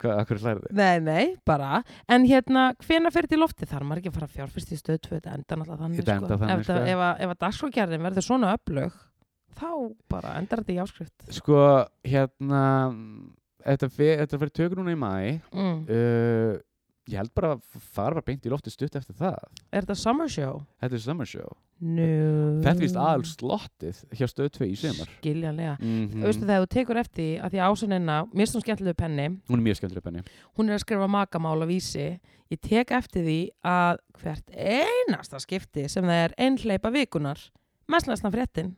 Speaker 2: hvað, hvað hlærðu
Speaker 1: nei, nei, bara, en hérna, hvena fyrir til lofti þar, maður ekki að fara að fjárfyrst í stöð 2, þetta endar alltaf þannig,
Speaker 2: Þetta endar þannig,
Speaker 1: ef, það-
Speaker 2: sko.
Speaker 1: ef, að- ef að dagskókjærðin verður svona öflög, þá bara endar þetta í áskrift.
Speaker 2: sko, hérna þetta fer- þetta fyrir tökur núna í maí
Speaker 1: Mm.
Speaker 2: uh, ég held bara að fara bara beint í lofti stutt eftir það
Speaker 1: Er þetta summer show?
Speaker 2: þetta er summer show
Speaker 1: Nú.
Speaker 2: þetta er vist aðal slottið hjá stöð 2 í sumar
Speaker 1: Skiljanlega.
Speaker 2: mm
Speaker 1: Veistu þegar þú tekur eftir því að því að ásannina, mér finnst hún skemmtilegu penni,
Speaker 2: hún er mjög skemmtileg benni
Speaker 1: hún er að skrifa makamál á vísi, ég tek eftir því að hvert einasta skipti sem það er ein hleypa vikunar, mest lesna fréttin,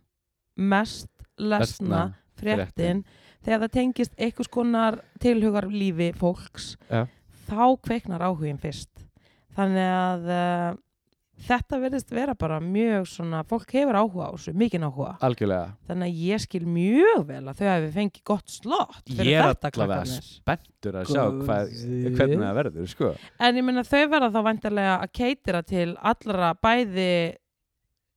Speaker 1: mest lesna
Speaker 2: Lesna
Speaker 1: fréttin, þegar það tengist einhvers konar tilhugar lífi fólks,
Speaker 2: Ja.
Speaker 1: þá kveiknar áhugin fyrst. Þannig að uh, þetta verðist vera bara mjög svona, fólk hefur áhuga á þessu, mikinn áhuga.
Speaker 2: algjörlega
Speaker 1: Þannig að ég skil mjög vel að þau hefði fengið gott slott fyrir
Speaker 2: Ég er
Speaker 1: þetta
Speaker 2: allavega
Speaker 1: krakkanir.
Speaker 2: spenntur að sjá hvað,
Speaker 1: Guð.
Speaker 2: hvernig það verður sko.
Speaker 1: En ég meina þau verða þá vantarlega að keitira til allra bæði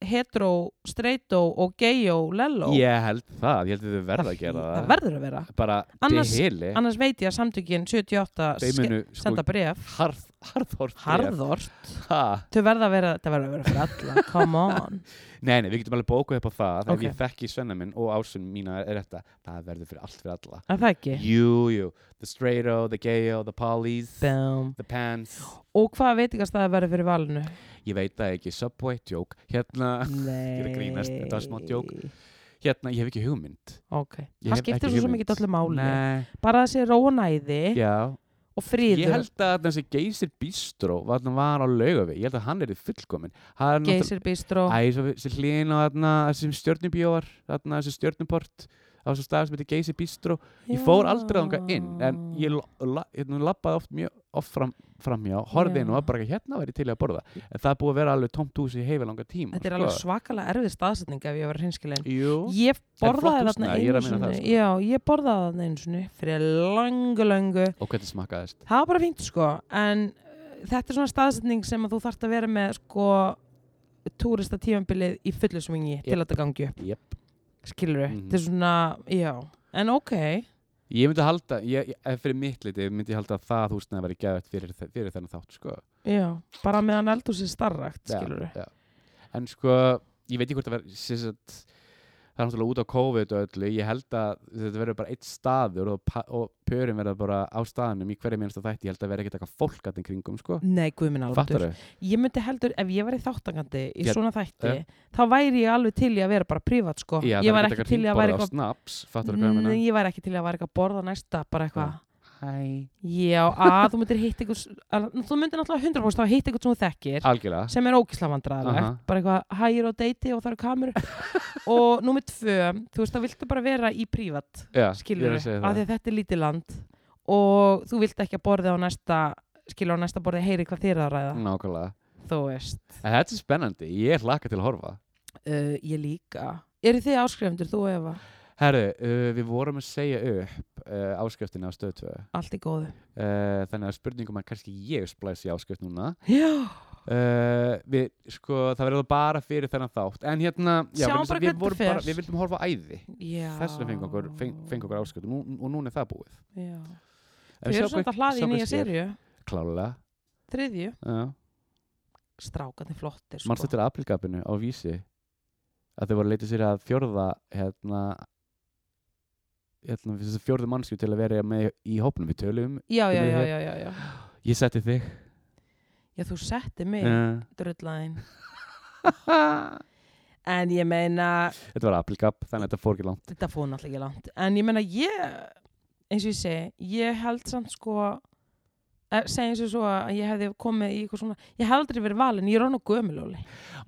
Speaker 1: hetero, streito og geyo, lello.
Speaker 2: ég held það, ég held að þau verða að gera það,
Speaker 1: Það verður að vera.
Speaker 2: bara
Speaker 1: Annars-
Speaker 2: til hili
Speaker 1: Annars veit ég að samtökin 78
Speaker 2: þau
Speaker 1: ske-
Speaker 2: munu sko,
Speaker 1: senda bref.
Speaker 2: harð, harðhort
Speaker 1: Harðort.
Speaker 2: ha.
Speaker 1: Þau verða að vera, það verða að vera fyrir alla. Come on.
Speaker 2: nei, nei, við getum alveg bókuð upp á það
Speaker 1: Ok.
Speaker 2: ef ég þekki svenna minn og ásun mína er þetta það verður fyrir allt fyrir alla
Speaker 1: Er það ekki?
Speaker 2: Jú, jú, the straightO, the gayo, the polys
Speaker 1: Bum.
Speaker 2: the pants
Speaker 1: Og hvað veitingast það að vera fyrir valinu?
Speaker 2: Ég veit það ekki, subway, joke Hérna,
Speaker 1: Nei.
Speaker 2: grínast, þetta var smá djók. hérna, ég hef ekki hugmynd
Speaker 1: ok.
Speaker 2: Ég
Speaker 1: Það
Speaker 2: hef
Speaker 1: skiptir
Speaker 2: ekki
Speaker 1: svo sem
Speaker 2: hugmynd.
Speaker 1: ekki öllu máli.
Speaker 2: Nei,
Speaker 1: Bara þessi róanæði
Speaker 2: já
Speaker 1: og friður.
Speaker 2: Ég held að þessi Geysir Bistró var, þarna- var á laugafi, ég held að hann er fullkomin Hann er náttúrulega-
Speaker 1: Geysir bistró.
Speaker 2: Æ, svo þessi hlýðin á þarna, þessum stjörnubíóar, þarna þessi stjörnuport á þessu stað sem heitir Geysi Bistró. Ég fór aldrei þangað inn, en ég la, la, hérna, lappaði oft mjög oft fram, framjá, horfði inn
Speaker 1: Já.
Speaker 2: og var bara ekki hérna væri til í að borða. En það er búið að vera alveg tómt hús í heifa langa tíma. sko.
Speaker 1: Þetta er alveg svakalega erfið staðsetning ef ég var hinskilin.
Speaker 2: Jú,
Speaker 1: Ég borðaði
Speaker 2: flott
Speaker 1: þarna
Speaker 2: húsnæði, ég
Speaker 1: einu
Speaker 2: er að meina það,
Speaker 1: sinni.
Speaker 2: sko.
Speaker 1: Já, ég borðaði þarna einu sinni fyrir langu, langu.
Speaker 2: og hvernig smakkaðist?
Speaker 1: Það var bara fínt sko, en uh, þetta er svona staðsetning sem að þú þarft að vera með sko túrista tímanbilið í fullu svingi til að þetta gangi upp,
Speaker 2: Jep.
Speaker 1: skilur við.
Speaker 2: Mhm.
Speaker 1: Þetta er svona, já, en ok,
Speaker 2: Ég myndi halda, ég, ég, ef fyrir mitt liti, myndi ég halda að það húsnaði væri geðvægt fyrir, þe- fyrir þennan þátt, sko.
Speaker 1: já, bara meðan eldur sér starrakt,
Speaker 2: Já,
Speaker 1: skilur við.
Speaker 2: já. En sko, ég veit ekki hvort það verður sem sagt, það er náttúrulega út á COVID og öllu, ég held að þetta verður bara eitt staður og, pa- og pörin verður bara á staðnum í hverju minnsta þætti, ég held að verður ekkert eitthvað fólk að þeim kringum, sko.
Speaker 1: Nei, guðminn alveg.
Speaker 2: Fattar þau?
Speaker 1: Ég myndi heldur, ef ég væri þáttangandi í
Speaker 2: Ég- Eh?
Speaker 1: svona þætti, þá væri ég alveg til í að vera bara prívat, sko. ég væri ekki til í að væri
Speaker 2: eitthvað
Speaker 1: eitthvað,
Speaker 2: snaps, fattar þau hvað
Speaker 1: Nei,
Speaker 2: ég meina?
Speaker 1: ég væri ekki til í að væri eitthvað að borða næsta, bara eitthvað.
Speaker 2: Hæ.
Speaker 1: Já, að þú myndir hitt eitthvað, þú myndir náttúrulega 100% að hitt eitthvað sem þú þekkir
Speaker 2: Algjörlega.
Speaker 1: sem er ógislega vandræðilegt
Speaker 2: Ah. Aha.
Speaker 1: bara eitthvað hægir á deiti og það eru kamur og númið tvö, þú veist það viltu bara vera í prívat,
Speaker 2: Já, Ah, ég
Speaker 1: skilur
Speaker 2: er að
Speaker 1: af
Speaker 2: segja
Speaker 1: því
Speaker 2: það.
Speaker 1: að þetta er lítið land og þú vilt ekki að borðið á næsta skilur á næsta borðið heyri hvað þér er að ræða
Speaker 2: Nákvæmlega.
Speaker 1: þú veist,
Speaker 2: En þetta er spennandi, ég hlakka til að horfa.
Speaker 1: uh, ég líka eru þið áskrifendur, þú og Eva
Speaker 2: Herru, uh, við vorum að segja upp uh, áskriftinni á stöð 2.
Speaker 1: allt í góðu
Speaker 2: Uh, þannig að spurningum að kannski ég splæsi áskrift núna.
Speaker 1: já,
Speaker 2: uh, við, sko, það verður bara fyrir þennan þátt en hérna, já,
Speaker 1: Sjáum
Speaker 2: vegna þess
Speaker 1: bara
Speaker 2: að við,
Speaker 1: hvernig
Speaker 2: vorum
Speaker 1: fer.
Speaker 2: bara, við vildum horfa á æði
Speaker 1: já.
Speaker 2: þess vegna fengum okkur, feng, fengum okkur ásköld og, nú- og núna er það búið
Speaker 1: já.
Speaker 2: En
Speaker 1: þau
Speaker 2: sjá
Speaker 1: eru samt
Speaker 2: hvað-
Speaker 1: að hlaði
Speaker 2: sjá
Speaker 1: í
Speaker 2: hvað
Speaker 1: nýja
Speaker 2: sker.
Speaker 1: serju
Speaker 2: klálega,
Speaker 1: þriðju,
Speaker 2: já
Speaker 1: strákarnir flottir sko.
Speaker 2: mannst þetta er aprilgapinu á vísi að þau voru að leita sér að fjórða hérna hérna, þessi fjórðu mannsku til að vera með í hópnum við tölum,
Speaker 1: já, já, já,
Speaker 2: Þetta er-
Speaker 1: já, já, já.
Speaker 2: ég setti þig
Speaker 1: já, þú setti mig yeah.
Speaker 2: uh,
Speaker 1: drullaðin en ég meina
Speaker 2: þetta var aprilgap, þannig að þetta fór ekki langt
Speaker 1: þetta fór náttúrulega ekki langt en ég meina ég eins og ég segi, ég held samt sko eh, segjum sem svo að ég hefði komið í eitthvað svona ég hef aldrei verið valin, ég er án og gömulóli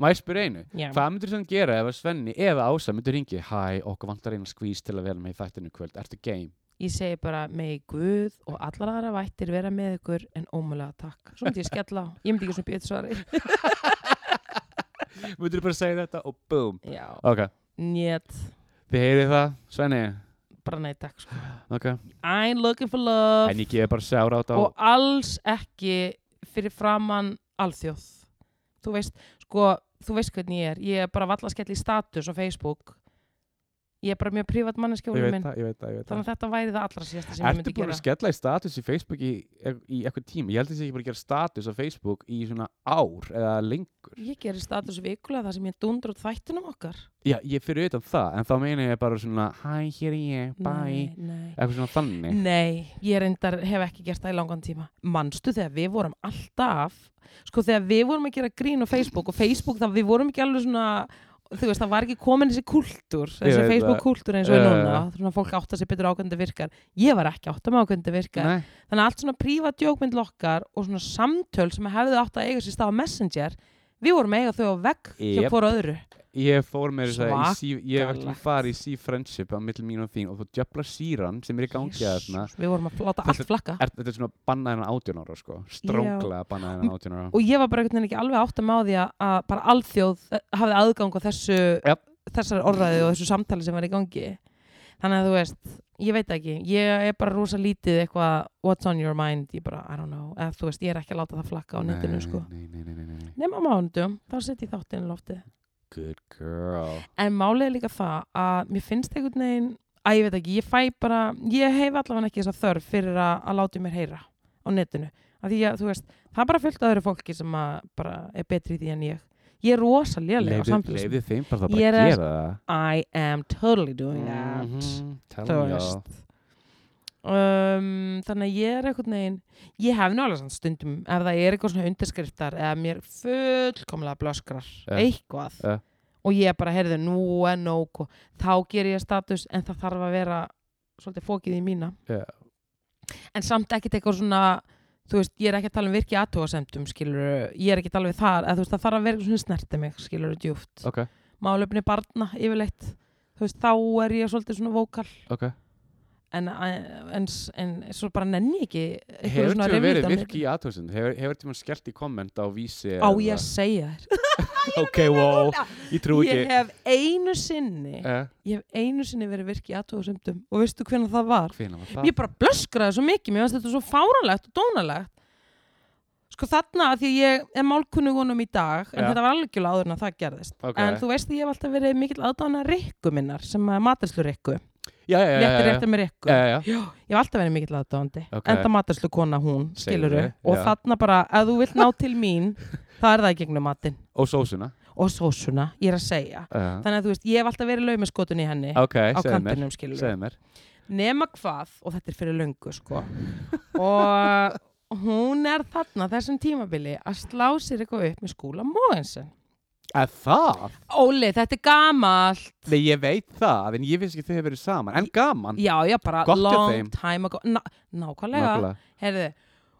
Speaker 2: Má ég spyr einu,
Speaker 1: Já.
Speaker 2: Hvað myndur þú gera ef að Svenni eða Ása myndur ringi Hæ, okkur vantar eina skvís til að vera með í þættinu í kvöld Ertu game?
Speaker 1: ég segi bara megi Guð og allar aðra vættir vera með ykkur en ómulega takk svo myndi ég skella á, ég myndi ekki svona bjöð svari
Speaker 2: Myndur þú bara segja þetta og boom
Speaker 1: já,
Speaker 2: Ok,
Speaker 1: njét,
Speaker 2: þið heyrið það, Svenni
Speaker 1: bara nei takk sko.
Speaker 2: Ok,
Speaker 1: I ain't looking for love
Speaker 2: en ég gefi bara sjára á þetta
Speaker 1: og alls ekki fyrir framann alþjóð þú veist, sko, þú veist hvernig ég er ég er bara valla að skella í status á Facebook ég er bara mjög prívat
Speaker 2: Ég
Speaker 1: manneskjólu
Speaker 2: veit
Speaker 1: minn
Speaker 2: það, ég veit það, ég veit
Speaker 1: þannig að þetta væri það allra síðasta sem
Speaker 2: það
Speaker 1: ég
Speaker 2: Ertu
Speaker 1: myndi
Speaker 2: búin
Speaker 1: gera
Speaker 2: að skella í status í Facebook í, í eitthvað tíma? Ég held að ég sé ekki búin að gera status á Facebook í svona ár eða lengur
Speaker 1: ég gerir status vikulega þar sem ég dundur út þættunum okkar
Speaker 2: Já, ég fyrir utan það, en þá meina ég bara svona Hæ, hér er ég, bye
Speaker 1: nei, nei.
Speaker 2: Eitthvað svona þannig
Speaker 1: Nei, ég reyndar hef ekki gert það í langan tíma Manstu þegar við vorum alltaf Sko þegar við vorum að gera grín á Facebook Og Facebook það við vorum ekki alveg svona Þú veist það var ekki komin þessi kultúr
Speaker 2: Ég
Speaker 1: Þessi
Speaker 2: veit
Speaker 1: Facebook kultúr eins og er
Speaker 2: Já, já,
Speaker 1: núna Svona fólk átta sig betur ákveðndi virkar Ég var ekki átta með ákveðndi virkar
Speaker 2: Nei,
Speaker 1: Þannig að allt svona prívat jókmynd lokkar Og svona samtöl sem hefðu átt að eiga sér stað á Messenger Við vorum að eiga þau á vegg Hjá
Speaker 2: Jep.
Speaker 1: hvora öðru
Speaker 2: Ég fór með þess að sí, ég hef ekki
Speaker 1: Svakalegt.
Speaker 2: farið í sí-friendship á milli mín og þín og þú djöfla síran sem er í gangi að þarna
Speaker 1: Jesus, Við vorum að láta allt flakka
Speaker 2: er, Þetta er svona bannað hennan 18 ára sko Stránglega bannað hennan 18 ára
Speaker 1: og ég var bara einhvern veginn ekki alveg átt að má því að, að bara alþjóð eh, hafði aðgang á þessu
Speaker 2: Jafn.
Speaker 1: þessar orðræði og þessu samtali sem var í gangi þannig að þú veist, ég veit ekki ég er bara rosa lítið eitthvað what's on your mind, ég bara, I don't know eða þú veist, ég er ekki að láta það flakka á netinu sko
Speaker 2: nei, nei, nei, nei, nei.
Speaker 1: nema mánudum, þá sett ég þáttinn í loftið
Speaker 2: Good girl
Speaker 1: en málið er líka það að mér finnst einhvern veginn að ég veit ekki, ég fæ bara ég hef allavega ekki þessa þörf fyrir að, að láta í mér heyra á netinu að því að þú veist, það er bara fullt af öðru fólki sem að bara er betri í því en ég ég er rosa lélega á
Speaker 2: Leifðu
Speaker 1: samfélags
Speaker 2: leifðu þeim bara það
Speaker 1: Ég er
Speaker 2: bara að
Speaker 1: að- Oh,
Speaker 2: gera það
Speaker 1: I am totally doing that
Speaker 2: Mhm, Tell
Speaker 1: þú
Speaker 2: me all.
Speaker 1: veist um, þannig að ég er einhvern veginn ég hef nú alveg svona stundum ef það er eitthvað svona undirskriftar eða mér fullkomlega blöskrar
Speaker 2: Eh,
Speaker 1: eitthvað
Speaker 2: eh.
Speaker 1: og og ég bara heyrði nú en nóg og þá ger ég status en það þarf að vera svolítið fókið í mína
Speaker 2: Já.
Speaker 1: en samt ekkert eitthvað svona þú veist, ég er ekki að tala um virki aðtóasemdum skilur, ég er ekki að tala við þar eða þú veist, það þarf að vera eitthvað svona snerti mig skilur, djúft
Speaker 2: ok,
Speaker 1: málefni barna yfirleitt þú veist, þá er ég svolítið svona vókal
Speaker 2: ok
Speaker 1: en, eh, en, en svo bara nenni ég ekki einhverju
Speaker 2: Hefur
Speaker 1: svona
Speaker 2: tíma verið
Speaker 1: revítanir.
Speaker 2: virki í aðtóðsend? Hefur, hefur tíma skellt í komment á vísi?
Speaker 1: á ég að segja þér
Speaker 2: Ok, wow, ég trú
Speaker 1: ég
Speaker 2: ekki
Speaker 1: hef einu sinni
Speaker 2: Eh,
Speaker 1: ég hef einu sinni verið virki aðtóðsendum og veistu hvernig það var?
Speaker 2: Hvenær var
Speaker 1: Ég
Speaker 2: það?
Speaker 1: bara blöskraði svo mikið, mér finnst þetta svo fáralegt og dónalegt sko þarna af því að ég er málkunnugunum í dag en
Speaker 2: Já.
Speaker 1: þetta var algjörlega áður en að það gerðist
Speaker 2: Ok.
Speaker 1: en þú veist að ég hef alltaf verið mikill aðdána rikku minnar sem að matarslu rikku
Speaker 2: Já, já, já, já,
Speaker 1: réttir
Speaker 2: já.
Speaker 1: réttir með rikku
Speaker 2: Já, já, já.
Speaker 1: sko. Já, ég hef alltaf verið mikill aðdáðandi
Speaker 2: Ok.
Speaker 1: enda matarslu kona hún,
Speaker 2: Segðu,
Speaker 1: skilur og
Speaker 2: já.
Speaker 1: þarna bara, ef þú vilt ná til mín það er það í gegnum matinn
Speaker 2: Og sósuna
Speaker 1: og sósuna, ég er að segja
Speaker 2: Já.
Speaker 1: þannig að þú veist, ég hef alltaf verið laumaskotun í henni
Speaker 2: Ok,
Speaker 1: á
Speaker 2: segðu mér
Speaker 1: kantinum, skilur
Speaker 2: Segðu mér
Speaker 1: nema hvað, og þetta er fyrir löngu sko og hún er þarna þessum tímabili að slá sér eitthvað upp með skúla Móensen
Speaker 2: Er það?
Speaker 1: Óli, þetta er gamalt
Speaker 2: Nei, ég veit það, en ég veist ekki að þau hefur verið saman En gaman
Speaker 1: já, já, bara
Speaker 2: Mm. Gott hjá þeim.
Speaker 1: long time ago Ná, nákvæmlega,
Speaker 2: Nákvæmlega.
Speaker 1: heyrðu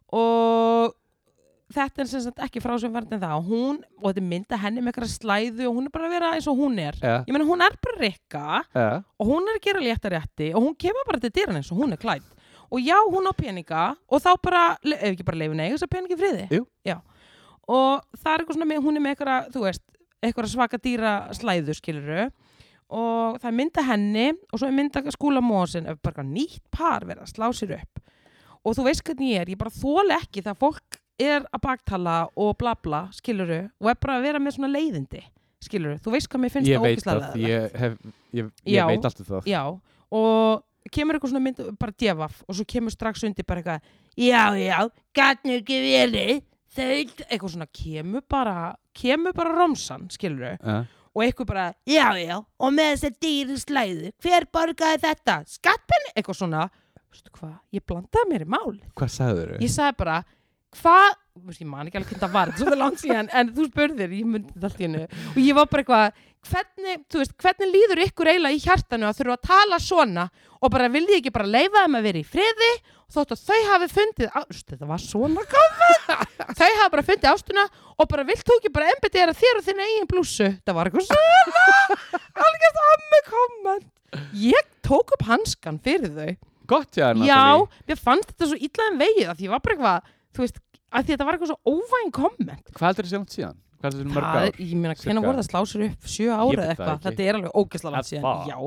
Speaker 1: og þetta er sem sagt ekki frá sem verðin það og hún, og þetta er mynda henni með eitthvað slæðu og hún er bara að vera eins og hún er
Speaker 2: Já,
Speaker 1: ég meina hún er bara rikka
Speaker 2: já,
Speaker 1: og hún er að gera létta rétti og hún kemur bara til dýran eins og hún er klætt og já, hún á peninga og þá bara, le- ef ekki bara leifin eiga þess að peningi í friði
Speaker 2: Jú.
Speaker 1: Já. og það er eitthvað svona með, hún er með eitthvað, þú veist eitthvað svaka dýra slæðu skiluru og það er mynda henni og svo er mynda skúla mósin ef bara eitthvað nýtt par verða að slá sér upp og þú veist hvernig ég er, ég bara þóla ekki þegar fólk er að baktala og bla bla, skiluru og er bara að vera með svona leiðindi skiluru, þú veist hvað mér finnst
Speaker 2: Ég
Speaker 1: það
Speaker 2: veit
Speaker 1: ógeðslega
Speaker 2: það, ég, hef, ég,
Speaker 1: Já.
Speaker 2: ég veit allt um það
Speaker 1: Já, og kemur eitthvað svona mynd bara djafaf og svo kemur strax undir bara eitthvað já, já, gætnu ekki verið þau, eitthvað svona kemur bara kemur bara romsan, skilur þau
Speaker 2: Já.
Speaker 1: og eitthvað bara, já, já, og með þessar dýri slæður hver borgaði þetta, skattpenni eitthvað svona, veistu hvað, ég blandaði mér í mál
Speaker 2: Hvað sagður þau?
Speaker 1: ég sagði bara, hvað ég man ekki alveg hvernig það var, þetta er svolítið langt síðan en þú spurðir, ég myndi þetta allt í hennu og ég var bara eitthvað, hvernig, þú veist, hvernig líður ykkur eiginlega í hjartanu að þurfa að tala svona og bara vildi ég ekki bara leifa þeim að vera í friði og þótt að þau hafi fundið á- Þú veist, þetta var svona komið þau hafi bara fundið ástuna og bara vilt þú ekki bara embedera þér og þinn eigin blússu það var eitthvað svona algjörst ammi komment ég tók upp hanskan fyrir þau
Speaker 2: Gott, já,
Speaker 1: Já,
Speaker 2: Natalie
Speaker 1: mér fannst þetta svo illa en vegið að því ég var bara eitthvað, þú veist, að því þetta var eitthvað svo óvæn komment.
Speaker 2: Hvað heldur þau sér langt síðan? Hvað heldur þau mörg
Speaker 1: Það,
Speaker 2: ár?
Speaker 1: er- ég meina,
Speaker 2: Cirka.
Speaker 1: hvenær voru það slásur upp? Sjö ára
Speaker 2: veit
Speaker 1: eða
Speaker 2: það
Speaker 1: eitthvað,
Speaker 2: ekki.
Speaker 1: þetta er alveg ógæsla
Speaker 2: Er
Speaker 1: langt síðan,
Speaker 2: það?
Speaker 1: já.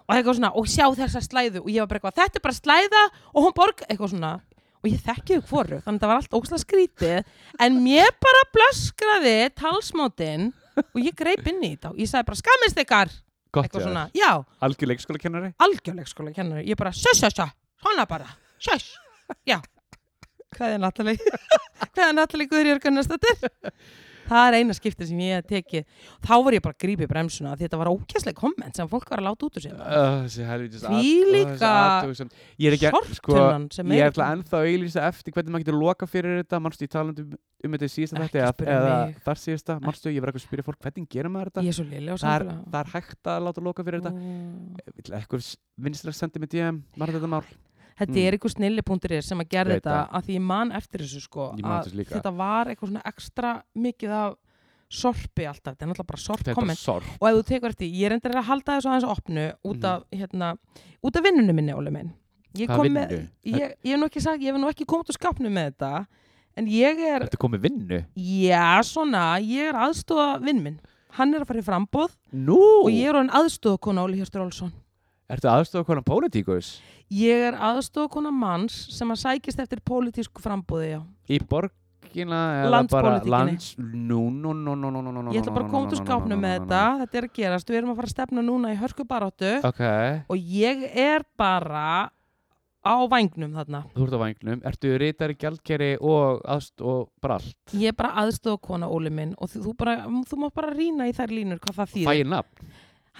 Speaker 1: Og eitthvað svona, og sjá þessa slæðu, og ég var bara eitthvað, þetta er bara slæða og hún borg, eitthvað svona, og ég þekki þau hvoru, þannig að það var allt ógæsla skrítið, en mér bara blöskraði talsmátinn og ég greip inn í þetta og ég sagði bara, skammist ykkar,
Speaker 2: Gott,
Speaker 1: eitthvað
Speaker 2: já,
Speaker 1: svona, já,
Speaker 2: algjör leikskóla kennari
Speaker 1: algjörleik skóla kennari sko, hérna, ég bara, sjöss, sjöss, sjöss, svona bara sjöss, já hvað er Natalie hvað er Natalie Guðrjörg Gunnarsdóttir það er eina skipti sem ég hef tekið þá var ég bara að grípa í bremsuna því þetta var ókjæsleg komment sem fólk var að láta út úr sér
Speaker 2: Þessi helvitis at-
Speaker 1: Þvílíka
Speaker 2: þessi athugasemd. Ég er ekki að, sko,
Speaker 1: sortunan sem
Speaker 2: ég
Speaker 1: er
Speaker 2: ætla ennþá að auðlýsa eftir hvernig maður getur loka fyrir þetta Manstu ég talandi um, um þetta í síðasta
Speaker 1: Ekki
Speaker 2: þætti eða-
Speaker 1: spyrja
Speaker 2: Eða
Speaker 1: mig.
Speaker 2: þar síðasta, manstu, ég var eitthvað að spyrja fólk Hvernig gerir maður þetta?
Speaker 1: ég er svo lili á
Speaker 2: Það er,
Speaker 1: samfélag
Speaker 2: það er hægt að láta loka fyrir þetta Vill eitthvað vinstra sendi mig DM Marðu þetta mál
Speaker 1: Þetta
Speaker 2: Mm.
Speaker 1: er eitthvað snillipunkturinn sem að gerði
Speaker 2: Veit
Speaker 1: þetta
Speaker 2: það.
Speaker 1: að því ég man eftir þessu sko
Speaker 2: Ég man
Speaker 1: að
Speaker 2: þessu líka.
Speaker 1: þetta var eitthvað svona ekstra mikið af sorpi alltaf, þetta er náttúrulega bara sorp
Speaker 2: Þetta
Speaker 1: komment
Speaker 2: er sorg
Speaker 1: og ef þú tekur eftir, ég reyndar að halda þessu aðeins opnu út af, hérna, út af vinnunum minni, Óli minn. Ég
Speaker 2: Hvaða
Speaker 1: kom
Speaker 2: vinnu?
Speaker 1: Með, ég, ég hef nú ekki sagt, ég hef nú ekki komið út úr skapnu með þetta, en ég er,
Speaker 2: Ertu komið vinnu?
Speaker 1: já, svona, ég er aðstofa vinn minn. Hann er að fara í frambóð
Speaker 2: Nú!
Speaker 1: og ég er orðin aðstofa kona Óli Hjörstur Olsson.
Speaker 2: Ertu aðstofa konan pólitíkus?
Speaker 1: Ég er aðstofa kona manns sem að sækist eftir pólitísku frambóði, já.
Speaker 2: Í borgina eða bara
Speaker 1: Landspólitíkinni.
Speaker 2: lands... Nú, nú, nú, nú, nú, nú, nú, nú,
Speaker 1: Ég ætla bara að koma út úr skápnu með þetta, þetta er að gerast, við erum að fara að stefna núna í hörku baráttu
Speaker 2: Ok,
Speaker 1: og ég er bara á vængnum þarna.
Speaker 2: þú ert á vangnum. Ertu rítari, gjaldkeri og aðst og bara allt?
Speaker 1: Ég er bara aðstofa kona Óli minn og þú, þú, bara, þú mátt bara rýna í þær línur hvað það
Speaker 2: Fæ
Speaker 1: þýðir.
Speaker 2: ég nafn?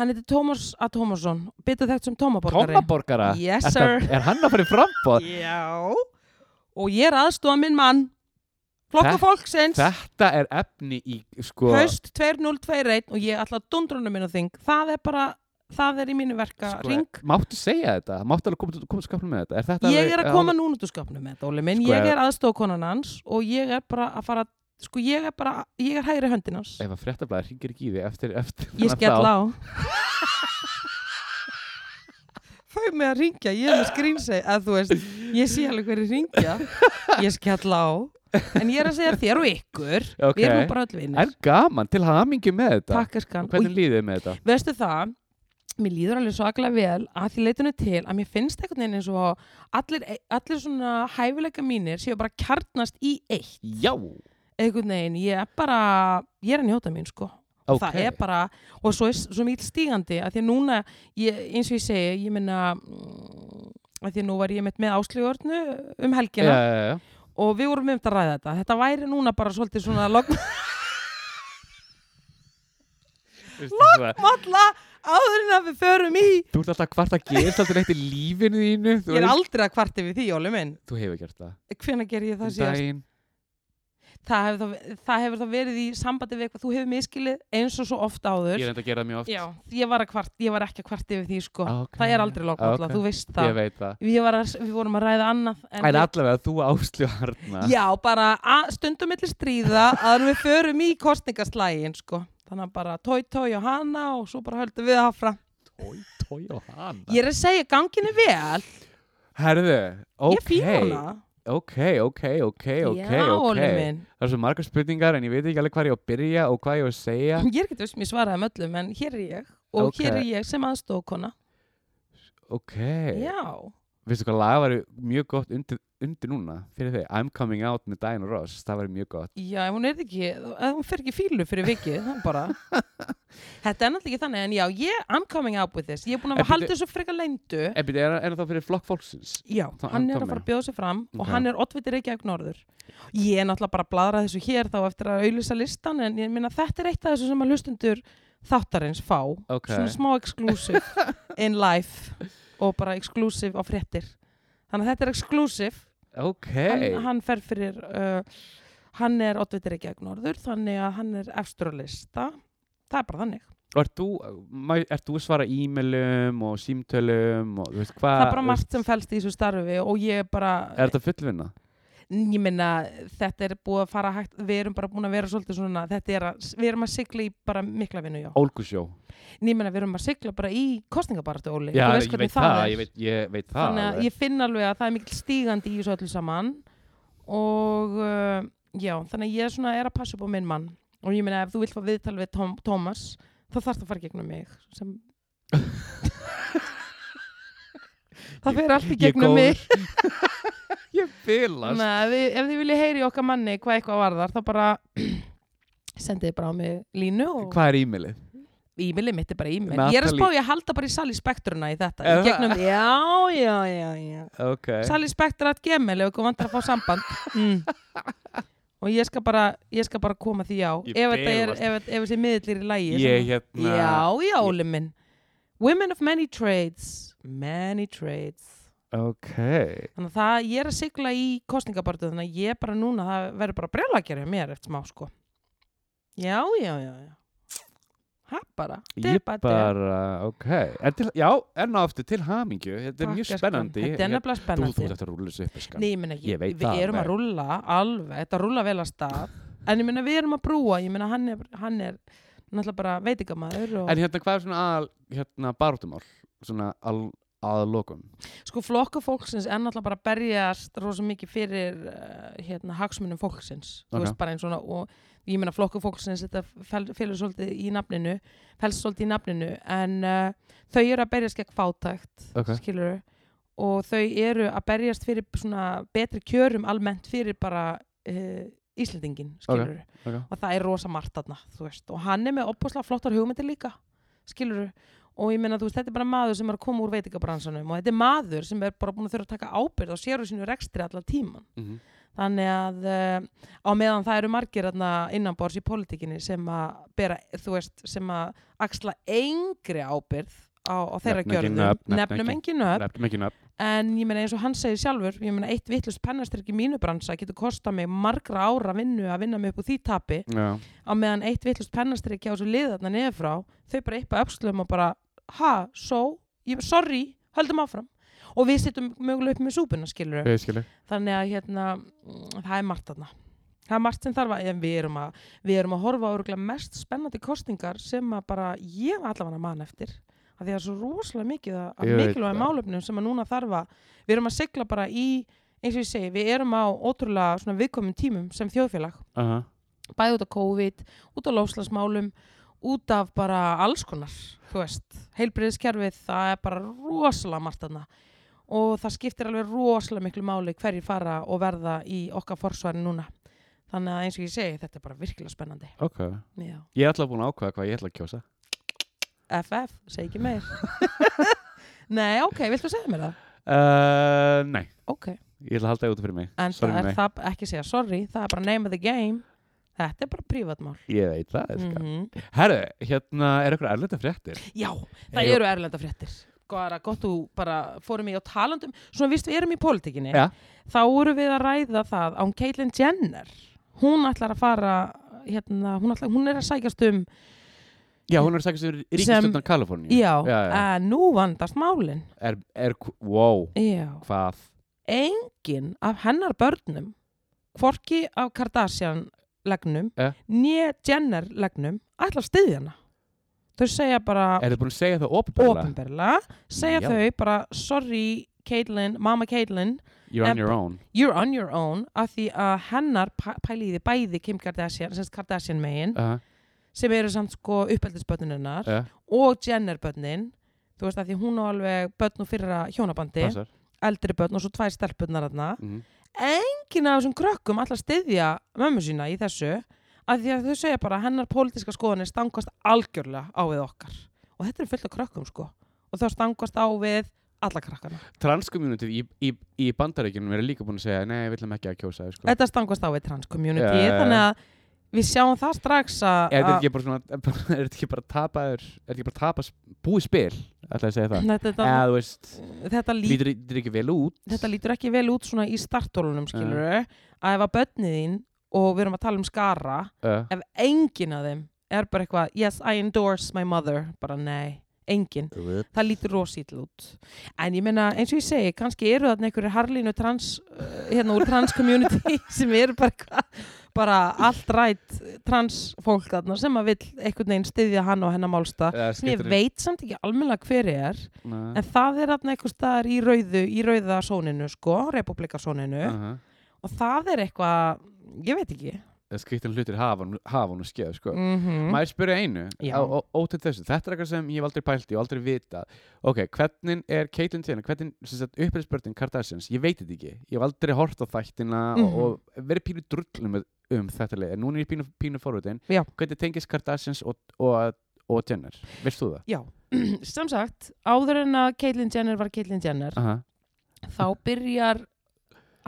Speaker 1: Hann heitir Tómas A. Tómasson, betur þekkt sem Tómaborgari.
Speaker 2: Tómaborgara?
Speaker 1: Yes,
Speaker 2: Ertu- Er hann að fara í frambóð?
Speaker 1: Já. Og ég er aðstofa minn mann Flokka
Speaker 2: Þetta-
Speaker 1: fólksins,
Speaker 2: Þetta er efni í sko
Speaker 1: haust 2021 og ég ætla að dundrunum minn og þing. Það er bara, það er í mínu verka
Speaker 2: sko,
Speaker 1: ring.
Speaker 2: Máttu segja þetta? Máttu alveg koma, koma skapnum með þetta? Er þetta
Speaker 1: Ég
Speaker 2: alveg-
Speaker 1: er að koma núna út úr skapnum með Dóli minn.
Speaker 2: Sko,
Speaker 1: Ég
Speaker 2: ef-
Speaker 1: er aðstofakonan hans og ég er bara að fara, sko ég er bara, ég er hægri höndin hans.
Speaker 2: Ef að fréttablaði hringir ekki í því eftir, eftir
Speaker 1: Ég
Speaker 2: þennan
Speaker 1: skell
Speaker 2: þátt-
Speaker 1: á. Fau mig að ringja, ég er með skrýnseg, að þú veist, ég sé alveg hverju ringja. Ég skell á. En ég er að segja þér og ykkur,
Speaker 2: Ok.
Speaker 1: við erum nú bara öll vinnir.
Speaker 2: En gaman, til hamingi með þetta
Speaker 1: Takkarskan.
Speaker 2: Og Hvernig líðið með þetta?
Speaker 1: veistu það mér líður alveg svaklega vel að því leitinu til að mér finnst einhvern veginn eins og allir, allir svona hæfileika mínir séu bara kjarnast í eitt
Speaker 2: Já,
Speaker 1: einhvern veginn, ég er bara ég er að njóta mín sko
Speaker 2: ok
Speaker 1: það er bara, og svo, er s- svo mjög stígandi að því að núna, ég, eins og ég segi ég minna að því að nú var ég mitt með áslugörnu um
Speaker 2: Já,
Speaker 1: helgina
Speaker 2: já, já.
Speaker 1: og við vorum um að ræða þetta þetta væri núna bara svolítið svona lokmalla
Speaker 2: Veistu það?
Speaker 1: áður en að við förum í
Speaker 2: Þú ert alltaf hvart að gerst alltaf neitt í lífinu þínu Þú,
Speaker 1: ég er
Speaker 2: veist-
Speaker 1: aldrei að kvarti við því, Jóli minn
Speaker 2: þú hefur gert það
Speaker 1: hvenær ger ég það
Speaker 2: Um
Speaker 1: síðast
Speaker 2: daginn.
Speaker 1: það hefur, þá, það hefur þá verið í sambandi við eitthvað þú hefur miskilið eins og svo oft
Speaker 2: Ég
Speaker 1: áður
Speaker 2: er enda að gera það mjög oft Ah,
Speaker 1: Já, ég var, að kvart, ég var ekki að kvarti yfir því sko.
Speaker 2: Ok.
Speaker 1: það er aldrei lokmála,
Speaker 2: Ok.
Speaker 1: þú veist
Speaker 2: Ég
Speaker 1: það
Speaker 2: veit það
Speaker 1: við, var að, við vorum að ræða annað en
Speaker 2: En
Speaker 1: við-
Speaker 2: allavega þú ásljú harna
Speaker 1: Já, bara að- stundum millir stríða að við förum í kostningaslægin sko. þannig að bara tói tói og hana og svo bara höldum við áfram
Speaker 2: Tói, tói og hana
Speaker 1: ég er að segja ganginu vel
Speaker 2: Herðu,
Speaker 1: ég
Speaker 2: ok
Speaker 1: fíla hana
Speaker 2: Ok, ok, ok, ok,
Speaker 1: Já,
Speaker 2: ok
Speaker 1: Óli minn
Speaker 2: Það er svo margar spurningar en ég veit ekki alveg hvað ég á að byrja og hvað ég á að segja
Speaker 1: Ég er ekki veist mér svaraði með öllum en hér er ég og
Speaker 2: Ok.
Speaker 1: hér er ég sem aðstofkona
Speaker 2: Ok,
Speaker 1: Já
Speaker 2: veistu hvað lag var mjög gott undir, undir núna fyrir þig, I'm Coming Out með Diana Ross það var mjög gott
Speaker 1: Já, ef hún er ekki, ef hún fer ekki í fílu fyrir vikið, það er bara Þetta er náttúrulega ekki þannig, en já, ég, I'm coming up with this Ég er búin að
Speaker 2: En
Speaker 1: halda þessu frekar leyndu
Speaker 2: En byrja, Eh, er, er það fyrir flokk fólksins?
Speaker 1: Já,
Speaker 2: Þá
Speaker 1: hann er að
Speaker 2: I'm
Speaker 1: fara
Speaker 2: coming.
Speaker 1: að bjóða sig fram
Speaker 2: Ok.
Speaker 1: og hann er oddvitir ekki ekki norður Ég er náttúrulega bara að bladra þessu hér þá eftir að auðlýsa listan, en ég minna þetta er eitt af þessu sem að hlustundur þáttarins fá
Speaker 2: Ok.
Speaker 1: Svona smá exclusive in life og bara exclusive á fréttir Þannig að þetta er exclusive
Speaker 2: Ok,
Speaker 1: hann, hann fer fyrir uh, hann er oddvitir ekki ekki norður þannig að hann er efstur á lista það er bara þannig
Speaker 2: og ert þú, mæ- ert þú að svara e-mailum og símtölum og þú Ah, veist hvað
Speaker 1: það er bara margt sem fælst í þessu starfi og ég er bara
Speaker 2: Er þetta fullvinna?
Speaker 1: ég minna þetta er búið að fara hægt við erum bara búin að vera svolítið svona þetta er að við erum að sigla í bara mikla vinnu já
Speaker 2: Ólgusjó
Speaker 1: en ég minna við erum að sigla bara í kostningabartu Óli
Speaker 2: Já,
Speaker 1: þú
Speaker 2: ég
Speaker 1: veist
Speaker 2: veit
Speaker 1: hvernig
Speaker 2: það,
Speaker 1: það, er
Speaker 2: ég veit, ég veit það
Speaker 1: þannig að
Speaker 2: alveg.
Speaker 1: ég finn alveg að það er mikill stígandi í þessu öllu saman og uh, já, þannig að ég svona er að passa upp á minn mann og ég meina ef þú vilt fá viðtal við Tom, Thomas þá þarf það að fara í gegnum mig sem það fer allt í
Speaker 2: Ég er
Speaker 1: gegnum mig
Speaker 2: Ég fylast
Speaker 1: þannig að við- ef þið viljið heyri okkar manni hvað eitthvað varðar þá bara sendið bara á mig línu og
Speaker 2: Hvað er e-mailið?
Speaker 1: e-mailið mitt er bara e-mail
Speaker 2: Natalie-
Speaker 1: ég er að spá ég að halda bara í sali spektruna í þetta í
Speaker 2: Er það?
Speaker 1: gegnum, já, já, já, já
Speaker 2: Ok
Speaker 1: Sally Spectre at gmail ef ykkur vantar að fá samband mm. og ég skal bara ég skal bara koma því á
Speaker 2: Ég
Speaker 1: ef þetta er,
Speaker 2: bilast.
Speaker 1: ef, ef þessi miðlir í lægi
Speaker 2: Ég hérna
Speaker 1: já, já, Óli minn Women of many trades many trades
Speaker 2: Ok
Speaker 1: þannig að það, ég er að sigla í kostningabartu þannig að ég bara núna, það verður bara brjála að gera mér eftir smá sko já, já, já, já það bara,
Speaker 2: Ég
Speaker 1: Debatti.
Speaker 2: bara, ok en til, Já, enn og aftur til hamingju Þetta er mjög
Speaker 1: Takk, elskan.
Speaker 2: spennandi
Speaker 1: þetta er
Speaker 2: Hérna-
Speaker 1: nefnilega
Speaker 2: Þú,
Speaker 1: spennandi
Speaker 2: þú ert eftir að rúla þessu upp skan.
Speaker 1: Nei, ég meina ekki,
Speaker 2: Ég veit
Speaker 1: við
Speaker 2: það
Speaker 1: erum að
Speaker 2: alveg.
Speaker 1: rúlla alveg, þetta rúlla vel að stað en ég meina við erum að brúa, ég meina hann er, hann er náttúrulega bara veitingamæður og
Speaker 2: En hérna, hvað er svona aðal hérna, barátumál? Svona al, aðalokum
Speaker 1: sko flokka fólksins er náttúrulega bara að berjast rosa mikið fyrir uh, hérna, hagsmunum fólksins þú
Speaker 2: Ok.
Speaker 1: veist bara eins og, og ég meina flokka fólksins þetta fel- felur svolítið í nafninu fælst svolítið í nafninu en uh, þau eru að berjast gegn fátækt
Speaker 2: Ok.
Speaker 1: skilur og þau eru að berjast fyrir svona betri kjörum almennt fyrir bara uh, Íslendingin skilur
Speaker 2: okay.
Speaker 1: og það er rosa margt þarna, þú veist, og hann er með opposlega flottar hugmyndir líka, skilur og ég meina, þú veist, þetta er bara maður sem er að koma úr veitingabransanum og þetta er maður sem er bara búin að þurfa að taka ábyrð á sér og sínu rekstri allan tíman,
Speaker 2: mm -hmm.
Speaker 1: þannig að uh, á meðan það eru margir þarna innanbors í pólitíkinni sem að bera, þú veist, sem að axla engri ábyrð á á, á þeirra
Speaker 2: Nefnum engin
Speaker 1: gjörðum,
Speaker 2: nöfn, nefnum
Speaker 1: nefnum
Speaker 2: engin-
Speaker 1: engin nöfn
Speaker 2: nefnum ekki nöfn
Speaker 1: en ég meina eins og hann segir sjálfur ég meina eitt vittlust pennastyrk í mínu bransa getur kosta mig margra ára vinnu að vinna mig upp úr því tapi
Speaker 2: já,
Speaker 1: á meðan eitt vittlust pennastyrk hjá þessu liðarna niður frá þau bara yppa öxlum og bara ha, so, ég, sorry, höldum áfram og við sittum mögulega upp með súpuna skilur
Speaker 2: ég skilu
Speaker 1: þannig að hérna, mm, það er margt þarna það er margt sem þarf að, en við erum að við erum að horfa á örugglega mest spennandi kostingar sem að bara ég allavega man eftir að því að það er svo rosalega mikið að-
Speaker 2: Ég
Speaker 1: að
Speaker 2: veit
Speaker 1: mikilvæg
Speaker 2: það.
Speaker 1: málefnum sem að núna þarf að við erum að sigla bara í eins og ég segi, við erum á ótrúlega svona viðkomum tímum sem þjóðfélag
Speaker 2: Aha.
Speaker 1: bæði út af COVID, út af lofslagsmálum út af bara alls konar þú veist, heilbriðiskerfið það er bara rosalega margt þarna og það skiptir alveg rosalega miklu máli hverjir fara og verða í okkar forsvari núna þannig að eins og ég segi, þetta er bara virkilega spennandi
Speaker 2: ok
Speaker 1: Já.
Speaker 2: ég er alltaf búin að ákvaða hvað ég ætla að kjósa
Speaker 1: FF, segi ekki meir Nei, ok, viltu segja mér það?
Speaker 2: uh, nei,
Speaker 1: Ok,
Speaker 2: ég ætla að halda það út fyrir mig
Speaker 1: en
Speaker 2: Sorry,
Speaker 1: það er
Speaker 2: nei.
Speaker 1: það ekki segja sorry, það er bara name of the game Þetta er bara prívatmál
Speaker 2: ég veit það mm
Speaker 1: -hmm.
Speaker 2: herru, hérna er eitthvað erlenda fréttir
Speaker 1: Já, það
Speaker 2: Eigum-
Speaker 1: eru erlenda fréttir Sko, Góðara, gott þú bara fórum í á talandum Svona vist við erum í pólitíkinni
Speaker 2: Já.
Speaker 1: Þá vorum við að ræða það án Caitlyn Jenner Hún ætlar að fara hérna, hún, ætlar, hún er að sækjast um
Speaker 2: já, hún er sækast yfir ríkistöndar Kaliforníu
Speaker 1: Já, Uh,
Speaker 2: já, já.
Speaker 1: að nú vandast málin
Speaker 2: er, er, wow,
Speaker 1: Já,
Speaker 2: hvað
Speaker 1: engin af hennar börnum Hvorki af Kardashian legnum
Speaker 2: Ja.
Speaker 1: Né Jenner legnum Ætlar að styðja hana Þau segja bara
Speaker 2: er þið búin að segja það ofinbarlega
Speaker 1: ofinberlega segja
Speaker 2: Já.
Speaker 1: þau bara sorry Caitlyn, mamma Caitlyn
Speaker 2: you're on
Speaker 1: En-
Speaker 2: your own
Speaker 1: you're on your own af því að hennar pæ- pæli í því bæði Kim Kardashian, sem sagt Kardashian megin
Speaker 2: uh
Speaker 1: sem eru samt sko uppeldisbönnunar
Speaker 2: Já.
Speaker 1: og Jenner bönnin þú veist að því hún á alveg bönn og fyrra hjónabandi,
Speaker 2: passar
Speaker 1: eldri bönn og svo tvær stelpunnar þarna
Speaker 2: Mhm.
Speaker 1: enginn af þessum krökkum ætla að styðja mömmu sína í þessu af því að þau segja bara að hennar pólitíska skoðanir stangast algjörlega á við okkar og þetta er fullt af krökkum sko og þá stangast á við alla krakkana
Speaker 2: transcommunity í, í, í bandaríkjunum er líka búin að segja nei, við ætlum ekki að kjósa þig, sko.
Speaker 1: þetta stangast á við transcommunity
Speaker 2: Já, já, já.
Speaker 1: þannig að við sjáum það strax að
Speaker 2: er þetta
Speaker 1: að-
Speaker 2: ekki bara svona er þetta ekki bara tapaður er þetta ekki bara tapas, búið spil ætlaði að segja það
Speaker 1: þetta,
Speaker 2: eða
Speaker 1: þetta,
Speaker 2: þú veist,
Speaker 1: þetta, lít,
Speaker 2: lítur lítur ekki vel út
Speaker 1: þetta lítur ekki vel út svona í startólunum skilur að ef að börnið þín og við erum að tala um skara
Speaker 2: uh,
Speaker 1: ef enginn af þeim er bara eitthvað yes I endorse my mother bara nei, enginn það lítur rosítl út en ég meina eins og ég segi, kannski eru þarna einhverju harlínu trans uh, hérna úr trans community sem eru bara, eitthvað- bara allt rætt trans fólk þarna sem að vill einhvern veginn styðja hann og hennar málsta
Speaker 2: Eða
Speaker 1: sem ég
Speaker 2: skiptir-
Speaker 1: veit samt ekki almennilega hver er
Speaker 2: Nei.
Speaker 1: en það er þarna einhver staðar í rauðu í rauða sóninu sko, republikasóninu
Speaker 2: Aha.
Speaker 1: og það er eitthvað, ég veit ekki
Speaker 2: eða skrittin hlutir hafa nú- hafa nú skeð sko.
Speaker 1: mhm
Speaker 2: maður spyrja einu
Speaker 1: Já.
Speaker 2: á- ó- ótætt þessu, þetta er eitthvað sem ég hef aldrei pælt í og aldrei vita ok, hvernig er Caitlyn Jenner, hvernig uppreisbörtin Kardashians, ég veit þetta ekki ég hef aldrei hort á þættina
Speaker 1: Mhm.
Speaker 2: og, og verið pínu drullum um, um þetta leið en núna er ég pínu, pínu forvitin
Speaker 1: Já.
Speaker 2: hvernig tengist Kardashians og, og, og Jenner veist þú það?
Speaker 1: Já, sem sagt, áður en að Caitlyn Jenner var Caitlyn Jenner
Speaker 2: Aha.
Speaker 1: þá byrjar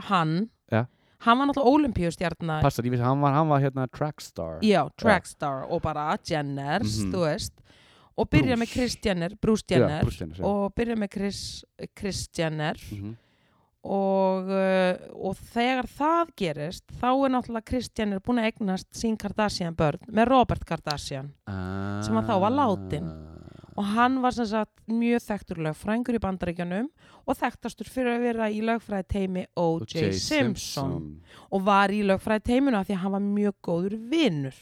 Speaker 1: hann
Speaker 2: Já.
Speaker 1: hann var náttúrulega olimpíustjarnar
Speaker 2: passar, ég veist, hann var, hann var hérna trackstar
Speaker 1: já, trackstar og bara Jenners,
Speaker 2: Mhm.
Speaker 1: þú veist og byrja
Speaker 2: Bruce.
Speaker 1: með Chris Jenner, Bruce
Speaker 2: Já,
Speaker 1: Jenner
Speaker 2: Bruce Jenner já.
Speaker 1: og byrja með Chris, Chris Jenner
Speaker 2: Mhm.
Speaker 1: og, uh, og þegar það gerist þá er náttúrulega Chris Jenner búin að eignast sín Kardashian börn með Robert Kardashian sem að þá var látinn.
Speaker 2: Ah.
Speaker 1: og hann var sem sagt mjög þekktur lögfrængur í bandaríkjanum og þekktastur fyrir að vera í lögfræði teimi
Speaker 2: Og
Speaker 1: O.J. Simpson og var í lögfræði teiminu af því að hann var mjög góður vinnur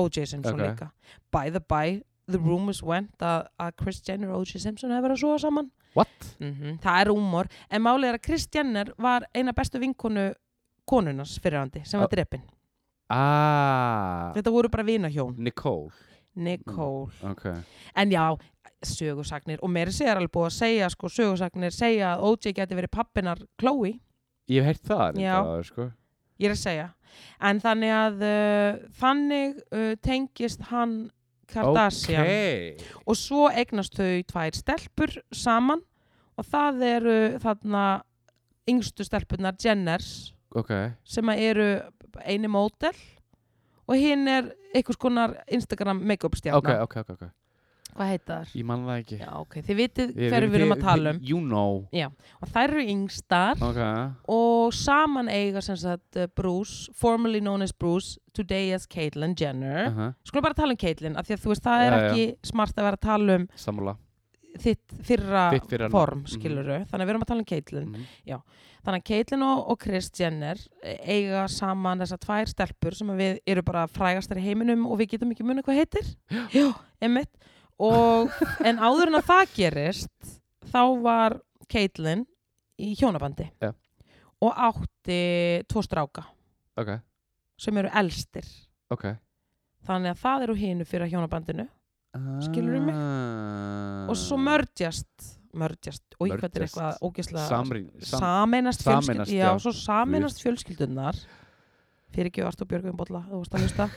Speaker 1: O.J. Simpson
Speaker 2: Ok.
Speaker 1: líka by the by, the rumors went að að Kris Jenner og O.J. Simpson hefur verið að súa saman
Speaker 2: what?
Speaker 1: -hmm. það er rumor, en málið er að Kris Jenner var eina bestu vinkonu konunars fyrirhandi sem var
Speaker 2: Ah.
Speaker 1: drepin
Speaker 2: ah,
Speaker 1: þetta voru bara vinahjón,
Speaker 2: Nicole
Speaker 1: Nicole
Speaker 2: okay.
Speaker 1: en já, sögursagnir og meiri sér alveg búið að segja sko sögursagnir segja að O.J. geti verið pappinar Chloe
Speaker 2: Ég hef heyrt
Speaker 1: Já.
Speaker 2: það reyndar áður, sko.
Speaker 1: ég er að segja en þannig að uh, þannig uh, tengist hann Kardashian
Speaker 2: Ok.
Speaker 1: og svo eignast þau tvær stelpur saman og það eru þarna yngstu stelpurnar Jenners
Speaker 2: Ok,
Speaker 1: sem að eru eini mótel og hinn er einhvers konar Instagram make-up
Speaker 2: ok,
Speaker 1: stjarnar
Speaker 2: ok, ok, ok.
Speaker 1: Hvað heita þar?
Speaker 2: Ég man það ekki
Speaker 1: Hérna. Já, ok, þið vitið
Speaker 2: Ég-
Speaker 1: hverju við erum
Speaker 2: þið-
Speaker 1: að tala um
Speaker 2: You know
Speaker 1: og þær eru yngstar
Speaker 2: Ok
Speaker 1: og saman eiga sem sagt eh, Bruce, formerly known as Bruce today as Caitlyn Jenner
Speaker 2: uh -huh.
Speaker 1: Skulum bara tala um Caitlyn, af því að þú veist það er
Speaker 2: Já, já.
Speaker 1: ekki smart að vera að tala um
Speaker 2: Sammála
Speaker 1: þitt fyrra,
Speaker 2: Þitt fyrra nafn.
Speaker 1: form
Speaker 2: Mhm.
Speaker 1: skiluru, þannig að við erum að tala um Caitlyn
Speaker 2: Mhm.
Speaker 1: þannig að Caitlyn og, og Kris Jenner eh, eiga saman þessar tvær stelpur sem að við eru bara frægastar í heiminum og við getum ekki munið hvað heitir já, emmitt og, en áður en að það gerist þá var Caitlyn í hjónabandi
Speaker 2: Já.
Speaker 1: og átti tvo stráka
Speaker 2: Ok
Speaker 1: sem eru elstir
Speaker 2: Ok
Speaker 1: þannig að það eru hinu fyrir hjónabandinu Skilurðu mig?
Speaker 2: mig
Speaker 1: og svo mörgjast mörgjast, og hvað er
Speaker 2: Mergjast.
Speaker 1: eitthvað ógislega
Speaker 2: Samrín sam
Speaker 1: sameinast
Speaker 2: Sameinast,
Speaker 1: fjölskyldunar já,
Speaker 2: já.
Speaker 1: svo sameinast fjölskyldunar fyrir ekki Artur Björgum Bolla þú veist að hlusta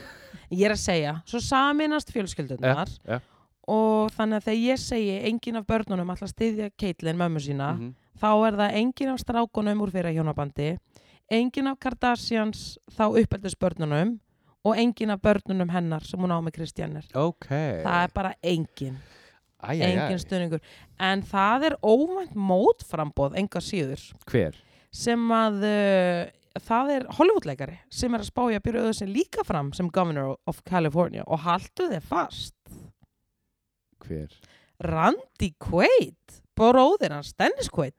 Speaker 1: ég er að segja, svo sameinast fjölskyldunar
Speaker 2: Ja, ja.
Speaker 1: og þannig að þegar ég segi engin af börnunum ætla að styðja Caitlyn mömmu sína
Speaker 2: Mhm.
Speaker 1: þá er það engin af strákunum úr fyrra hjónabandi engin af Kardashians þá uppeldis börnunum og engin af börnunum hennar sem hún á með Kristjannir
Speaker 2: Ok
Speaker 1: það er bara engin
Speaker 2: Æ, æ, æ.
Speaker 1: engin stuðningur en það er óvænt mótframboð enga síður
Speaker 2: Hver?
Speaker 1: sem að uh, það er Hollywoodleikari sem er að spája að byrja auðvitað sem líka fram sem governor of California og haltu þið fast
Speaker 2: Hver?
Speaker 1: Randy Quaid bróðir hans Dennis Quaid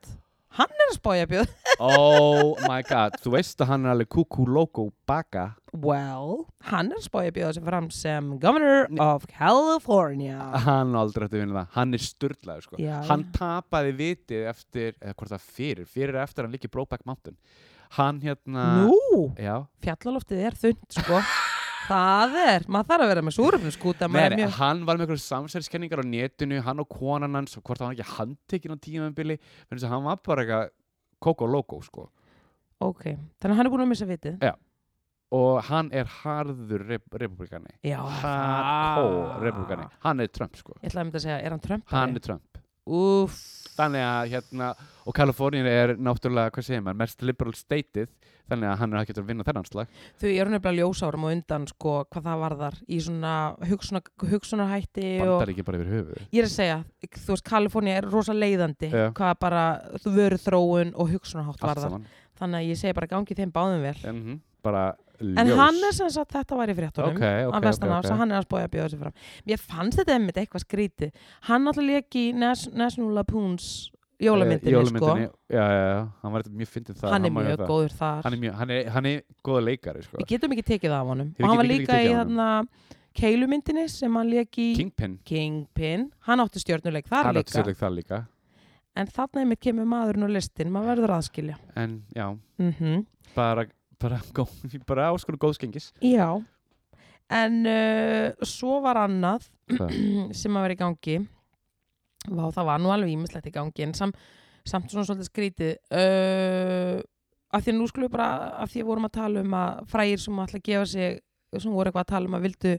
Speaker 1: hann er að spája að byrja
Speaker 2: Oh my god Þú veist að hann er alveg kúkú logo baka
Speaker 1: well, hann er að spája að byrja sem fram sem governor of California
Speaker 2: Hann á aldrei ætti að vinna það Hann er sturdlaður sko
Speaker 1: Já,
Speaker 2: Hann
Speaker 1: já.
Speaker 2: tapaði vitið eftir eða hvort það fyrir, fyrir eða eftir að hann líki Brokeback Mountain Hann hérna
Speaker 1: nú,
Speaker 2: Já,
Speaker 1: fjallaloftið er þund sko það er, maður þarf að vera með súröfnum skúta
Speaker 2: Nei, nei, hann var með einhverjum samsæðiskenningar á netinu, hann og konan hans og hvort hann var ekki handtekinn á tímabili þannig að hann var bara eitthvað Coco Loco sko.
Speaker 1: ok, þannig að hann er búin að missa vitið
Speaker 2: og hann er harður rep republikani
Speaker 1: já,
Speaker 2: hardcore republikani, hann er Trump sko.
Speaker 1: ég ætlaði að mynda að segja, er hann Trump?
Speaker 2: hann er Trump
Speaker 1: Úff,
Speaker 2: þannig að hérna, og Kalifornín er náttúrulega, hvað segir maður, mest liberal stateið þannig að hann er ekki að vinna þennan slag
Speaker 1: þau eru nefnilega ljósárum og undan sko hvað það varðar í svona hugsunar, hugsunarhætti og
Speaker 2: bandar ekki bara yfir höfuð
Speaker 1: ég er að segja, þú veist, Kalifornia er rosa leiðandi
Speaker 2: Já.
Speaker 1: hvað bara vöru þróun og hugsunarhátt
Speaker 2: allt
Speaker 1: varðar,
Speaker 2: saman,
Speaker 1: þannig að ég segi bara gangi þeim báðum vel.
Speaker 2: en, mhm, bara ljós
Speaker 1: En hann er sem sagt, þetta var í fréttunum
Speaker 2: ok, ok,
Speaker 1: af
Speaker 2: ok,
Speaker 1: vestan
Speaker 2: ok,
Speaker 1: okay, hann er að spója að bjóða sér fram Mér fannst þetta einmitt eitthvað skrítið Hann náttúrulega ekki í Nas National Lapoons jólamyndinni,
Speaker 2: Eh, jólamyndinni, já, já, já, hann var mjög fyndið
Speaker 1: sko
Speaker 2: það
Speaker 1: Hann er
Speaker 2: má
Speaker 1: mjög
Speaker 2: það.
Speaker 1: góður þar
Speaker 2: hann er mjög, hann er, hann er góða leikari sko.
Speaker 1: Við getum ekki tekið það af honum
Speaker 2: Við
Speaker 1: og hann var
Speaker 2: getum ekki
Speaker 1: líka í
Speaker 2: tekið af
Speaker 1: þarna keilumyndinni sem hann leik í
Speaker 2: Kingpin,
Speaker 1: Kingpin, hann átti stjórnuleik þar
Speaker 2: hann
Speaker 1: líka
Speaker 2: átti sérleik það líka
Speaker 1: en þarna einmitt kemur maðurinn og listin maður verður aðskilja
Speaker 2: en já,
Speaker 1: mm
Speaker 2: bara bara, gó, bara áskonu góðskengis
Speaker 1: Já en uh, svo var annað
Speaker 2: Hvað?
Speaker 1: sem að vera í gangi Vá, það var nú alveg ímislegt í gangi en sam, samt svona svolítið skrítið uh, af því að nú skulum við bara af því að vorum að tala um að frægir sem ætla að gefa sig sem voru eitthvað að tala um að vildu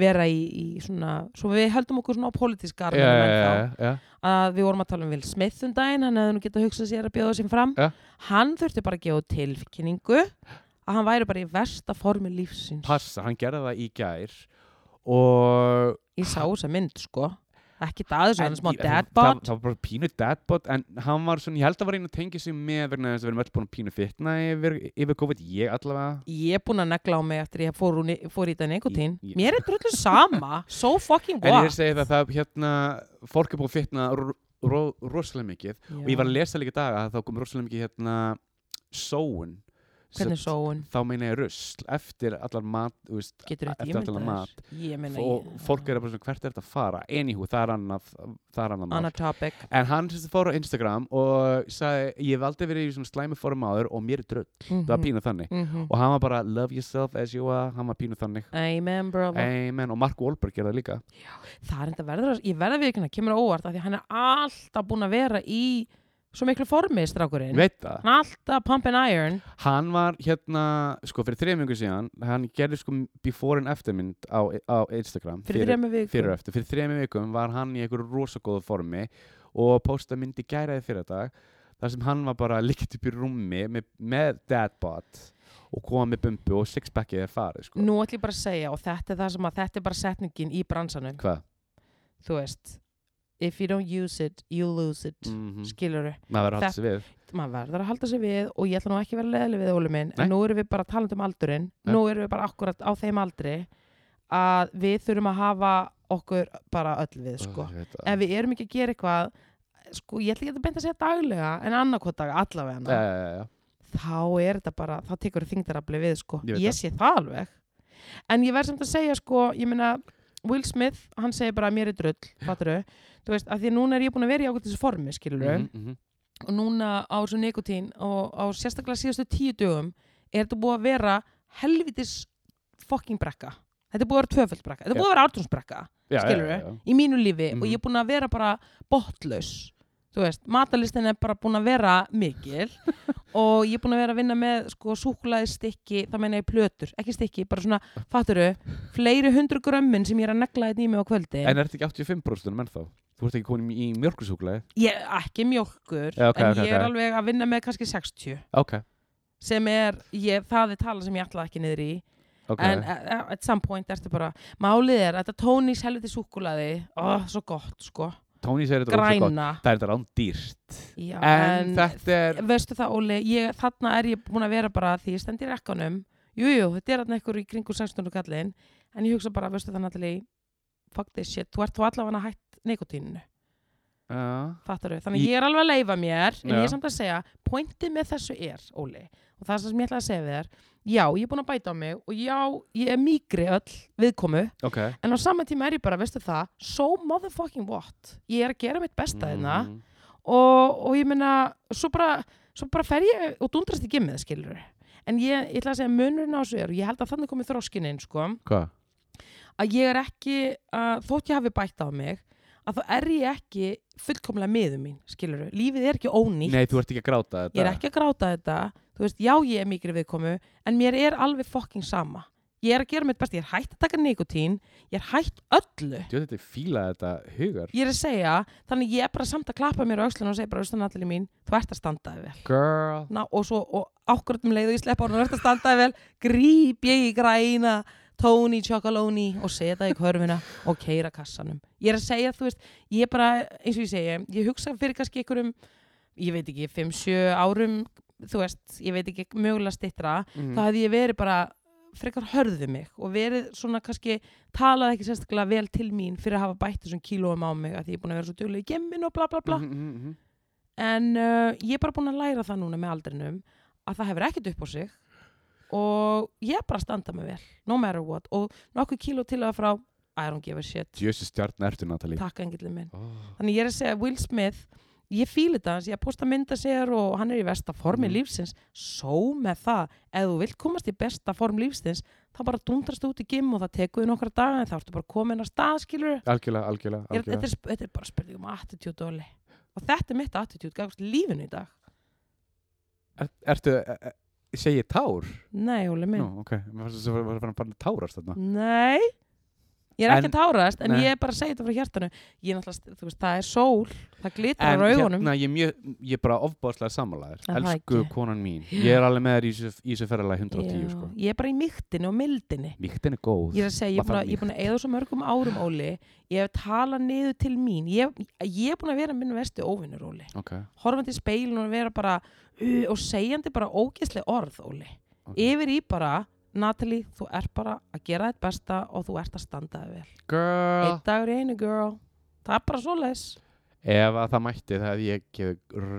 Speaker 1: vera í, í svona, svo við höldum okkur svona á pólitískar
Speaker 2: já, já, já,
Speaker 1: að við vorum að tala um Will Smith um daginn hann hefði nú getað hugsað sér að bjóða sér fram
Speaker 2: Ja.
Speaker 1: hann þurfti bara að gefa út tilkynningu að hann væri bara í versta formi lífsins
Speaker 2: passa, hann gerði það í gær og
Speaker 1: ég sá þessa mynd sko ekki daður sem
Speaker 2: en-
Speaker 1: hann er smá
Speaker 2: ég- það,
Speaker 1: deadbot
Speaker 2: það var bara pínu deadbot en hann var svona, ég held að var einn að tengja sig með vegna þess að við erum öll búin að pínu fitna yfir, yfir COVID, ég allavega
Speaker 1: ég er búin að negla á mig eftir ég fór, úr ni- fór í þetta nikotín
Speaker 2: Ég- ég-
Speaker 1: mér er drullu sama so fucking
Speaker 2: en ég
Speaker 1: what
Speaker 2: er að segja það, það hérna, fólk er búin að fitna ro, ro, rosalega mikið og ég var að lesa líka í dag að þá kom rosalega mikið hérna sóun
Speaker 1: hvernig
Speaker 2: Sem-
Speaker 1: sóun
Speaker 2: þá meina ég rusl eftir allar mat þú veist,
Speaker 1: getur þetta
Speaker 2: eftir allar
Speaker 1: ímyndað
Speaker 2: mat
Speaker 1: þér? ég meina
Speaker 2: og
Speaker 1: ég-
Speaker 2: fólk er bara svona hvert er þetta að fara anywho, það er annað, það er annað mál
Speaker 1: annar topic
Speaker 2: en hann sem sagt fór á Instagram og sagði ég hef aldrei verið í svona slæmi form áður og mér er drögg,
Speaker 1: Mhm.
Speaker 2: það var pínu þannig
Speaker 1: pín
Speaker 2: og hann var bara love yourself as you are hann var pínu þannig
Speaker 1: amen brother
Speaker 2: Amen. og Mark Wahlberg gerði það líka
Speaker 1: það er enda verður að, ég verða við ekki hann kemur á óvart af því að hann er alltaf búin að vera í svo miklu formi strákurinn
Speaker 2: veit það
Speaker 1: hann er alltaf pump and iron
Speaker 2: Hann var hérna, sko fyrir þrejmingu síðan, hann gerði sko before and after mynd á, á Instagram
Speaker 1: fyrir þrema vikum
Speaker 2: fyrir og eftir, fyrir þrejum vikum var hann í einhverju rosagóðu formi og posta mynd í gæraði fyrir dag þar sem hann var bara líkt upp í rúmi með, með dadbot og koma með bumbu og sixpackið er farið sko.
Speaker 1: nú ætlum ég bara að segja og þetta er það sem að þetta er bara setningin í bransanum
Speaker 2: Hvað?
Speaker 1: þú veist if you don't use it, you lose it mm.
Speaker 2: Mhm.
Speaker 1: skilur
Speaker 2: maður verður að halda sig við
Speaker 1: maður verður að halda sig við og ég ætla nú ekki að vera leðileg við Óli minn,
Speaker 2: Nei.
Speaker 1: en nú erum við bara talandi um aldurinn,
Speaker 2: Nei.
Speaker 1: nú erum við bara akkurat á þeim aldri að við þurfum að hafa okkur bara öll við sko.
Speaker 2: Ó, ég veit það.
Speaker 1: ef við erum ekki að gera eitthvað sko, ég ætla ekki að benda að segja daglega en annarkot dag allavega
Speaker 2: Já, já, já, já.
Speaker 1: þá er þetta bara, þá tekur þingdarafli við sko, ég,
Speaker 2: Ég veit það.
Speaker 1: sé það alveg en ég verð samt að segja sko, ég meina Will Smith, hann segir bara mér er drull, fatturu þú veist, af því að núna er ég búin að vera í ákvæmt þessu formi, skilur
Speaker 2: Mhm, mhm.
Speaker 1: og núna á þessu nikotín og á sérstaklega síðustu tíu dögum er þetta búið að vera helvitis fucking brekka þetta er búið að vera tvöföld brekka, þetta er búið að vera ártúnsbrekka
Speaker 2: Já, já,
Speaker 1: Skilurðu?
Speaker 2: já, já.
Speaker 1: í mínu lífi
Speaker 2: Mhm.
Speaker 1: og ég er búin að vera bara botlaus þú veist, matalistin er bara búin að vera mikil og ég er búin að vera að vinna með sko súkulaði stykki, það meina ég plötur ekki stykki, bara svona, fatturu fleiri hundru grömmin sem ég er að negla þetta í mig á kvöldi
Speaker 2: En er þetta ekki 85% menn þá? Þú ert ekki komin í mjölkursúklaði?
Speaker 1: ég er ekki mjólkur
Speaker 2: Já, ok,
Speaker 1: en
Speaker 2: ok,
Speaker 1: ég er
Speaker 2: ok.
Speaker 1: alveg að vinna með kannski 60
Speaker 2: Ok,
Speaker 1: sem er, ég, það er tala sem ég ætlaði ekki niður í
Speaker 2: ok.
Speaker 1: en a- a- at some point ertu bara málið er, þetta tónis helviti súkulaði ó, svo gott sko,
Speaker 2: Tóni segir þetta rosa gott.
Speaker 1: græna
Speaker 2: Það er þetta rán dýrt.
Speaker 1: Já,
Speaker 2: En, þetta er...
Speaker 1: veistu það Óli, ég, þarna er ég búin að vera bara því ég stendi í rekkanum jújú, jú, þetta er þarna ykkur í kringu 16. kallin en ég hugsa bara, veistu það Natalie fuck this shit, þú ert þú allavega hætt nikotíninu,
Speaker 2: Já.
Speaker 1: fattar þannig ég er alveg að leifa mér, en
Speaker 2: Já.
Speaker 1: ég er samt að segja pointið með þessu er, Óli og það er það sem ég ætla að segja við þér já, ég er búin að bæta á mig og já, ég er mýgri öll viðkomu,
Speaker 2: Ok.
Speaker 1: en á sama tíma er ég bara, veistu það so motherfucking what, ég er að gera mitt besta hérna
Speaker 2: Mhm.
Speaker 1: og, og ég meina svo bara, svo bara fer ég og dundrast í gimmið skilur en ég, ég ætla að segja munurinn á þessu er og ég held að þannig komið þróskin inn sko,
Speaker 2: Hvað?
Speaker 1: að ég er ekki uh, þótt ég hafi bætt á mig að þá er ég ekki fullkomlega miður mín skilur, lífið er ekki ónýtt
Speaker 2: Nei, þú ert ekki að gráta þetta.
Speaker 1: ég er ekki að gráta þetta þú veist, já ég er mikil viðkomu en mér er alveg fokking sama ég er að gera mitt best, ég er hætt að taka nikotín ég er hætt öllu
Speaker 2: Jú, þetta er fílað þetta hugar.
Speaker 1: ég er að segja, þannig ég er bara samt að klappa mér á öxlunum og segja bara, austan allir mín, þú ert að standa þig vel
Speaker 2: Girl.
Speaker 1: ná, og svo og ákvörðum um leið og ég slepp á hún og þetta standaði vel, gríp ég í græna Tony Chocoloni og seta í körfuna og keira kassanum ég er að segja, þú veist, ég bara eins og ég segi, ég hugsa fyrir kannski einhverjum ég veit ekki, 5-7 árum þú veist, ég veit ekki mögulega stittra, þá
Speaker 2: Mm. Mhm.
Speaker 1: hefði ég verið bara frekar hörðu mig og verið svona kannski talaði ekki sérstaklega vel til mín fyrir að hafa bætt þessum kílóum á mig að því ég er búin að vera svo duglega í gemmin og bla bla
Speaker 2: Mhm,
Speaker 1: bla en uh, ég er bara búin að læra það núna með aldrinum að það hefur ekkert upp á sig og ég er bara að standa mig vel no matter what og nokkuð kíló til að frá I don't give a shit,
Speaker 2: Jössi stjarn ertu, Natalie.
Speaker 1: takk engillin minn
Speaker 2: Oh.
Speaker 1: þannig ég er að segja Will Smith ég fíla þetta, hans, ég er að posta mynda sér og hann er í versta formi
Speaker 2: Mhm.
Speaker 1: lífsins svo með það, ef þú vilt komast í besta form lífsins, þá bara dundrast út í gym og það tekur því nokkra daga en þá ertu bara komin að stað, skilur
Speaker 2: Algjörlega, algjörlega,
Speaker 1: er,
Speaker 2: algjörlega.
Speaker 1: þetta, er, sp- þetta er bara spurning um attitude Óli. og þetta er mitt attitude, gafst lífinu í dag
Speaker 2: Er, ertu, er, er, segi ég tár?
Speaker 1: Nei, Óli minn.
Speaker 2: Nú, ok. Mér fannst þess að það var að fara að tárast þarna.
Speaker 1: Nei. Ég er ekki
Speaker 2: En-
Speaker 1: að tárast, en
Speaker 2: Nei.
Speaker 1: ég er bara að segja þetta frá hjartanu. Ég er náttúrulega, þú veist, það er sól, það glitrar
Speaker 2: En
Speaker 1: á augunum.
Speaker 2: hérna, ég er mjög, ég er bara ofbáðslega samanlæður.
Speaker 1: Er það
Speaker 2: Elsku
Speaker 1: ekki?
Speaker 2: konan mín. Ég er alveg með þér í þessu- í þessu ferðalega 110,
Speaker 1: Já,
Speaker 2: sko.
Speaker 1: Ég er bara í mýktinu og mildinni.
Speaker 2: Víktin er góð.
Speaker 1: Ég er að segja, ég er búin
Speaker 2: Maður þarf
Speaker 1: að, ég er búin að eða svo mörgum árum, Óli. Ég hef talað niður til mín. Ég, ég er búin að vera minn vestu óvinnur, Óli.
Speaker 2: Ok,
Speaker 1: Horfandi í speilin og vera bara, uh, og segjandi bara ógeðsleg orð, Óli.
Speaker 2: ok.
Speaker 1: Yfir í bara, Natalie, þú ert bara að gera þitt besta og þú ert að standa þig vel.
Speaker 2: Girl.
Speaker 1: Eitt dagur í einu, girl. Það er bara svoleiðis.
Speaker 2: Ef að það mætti það hefði ég gefið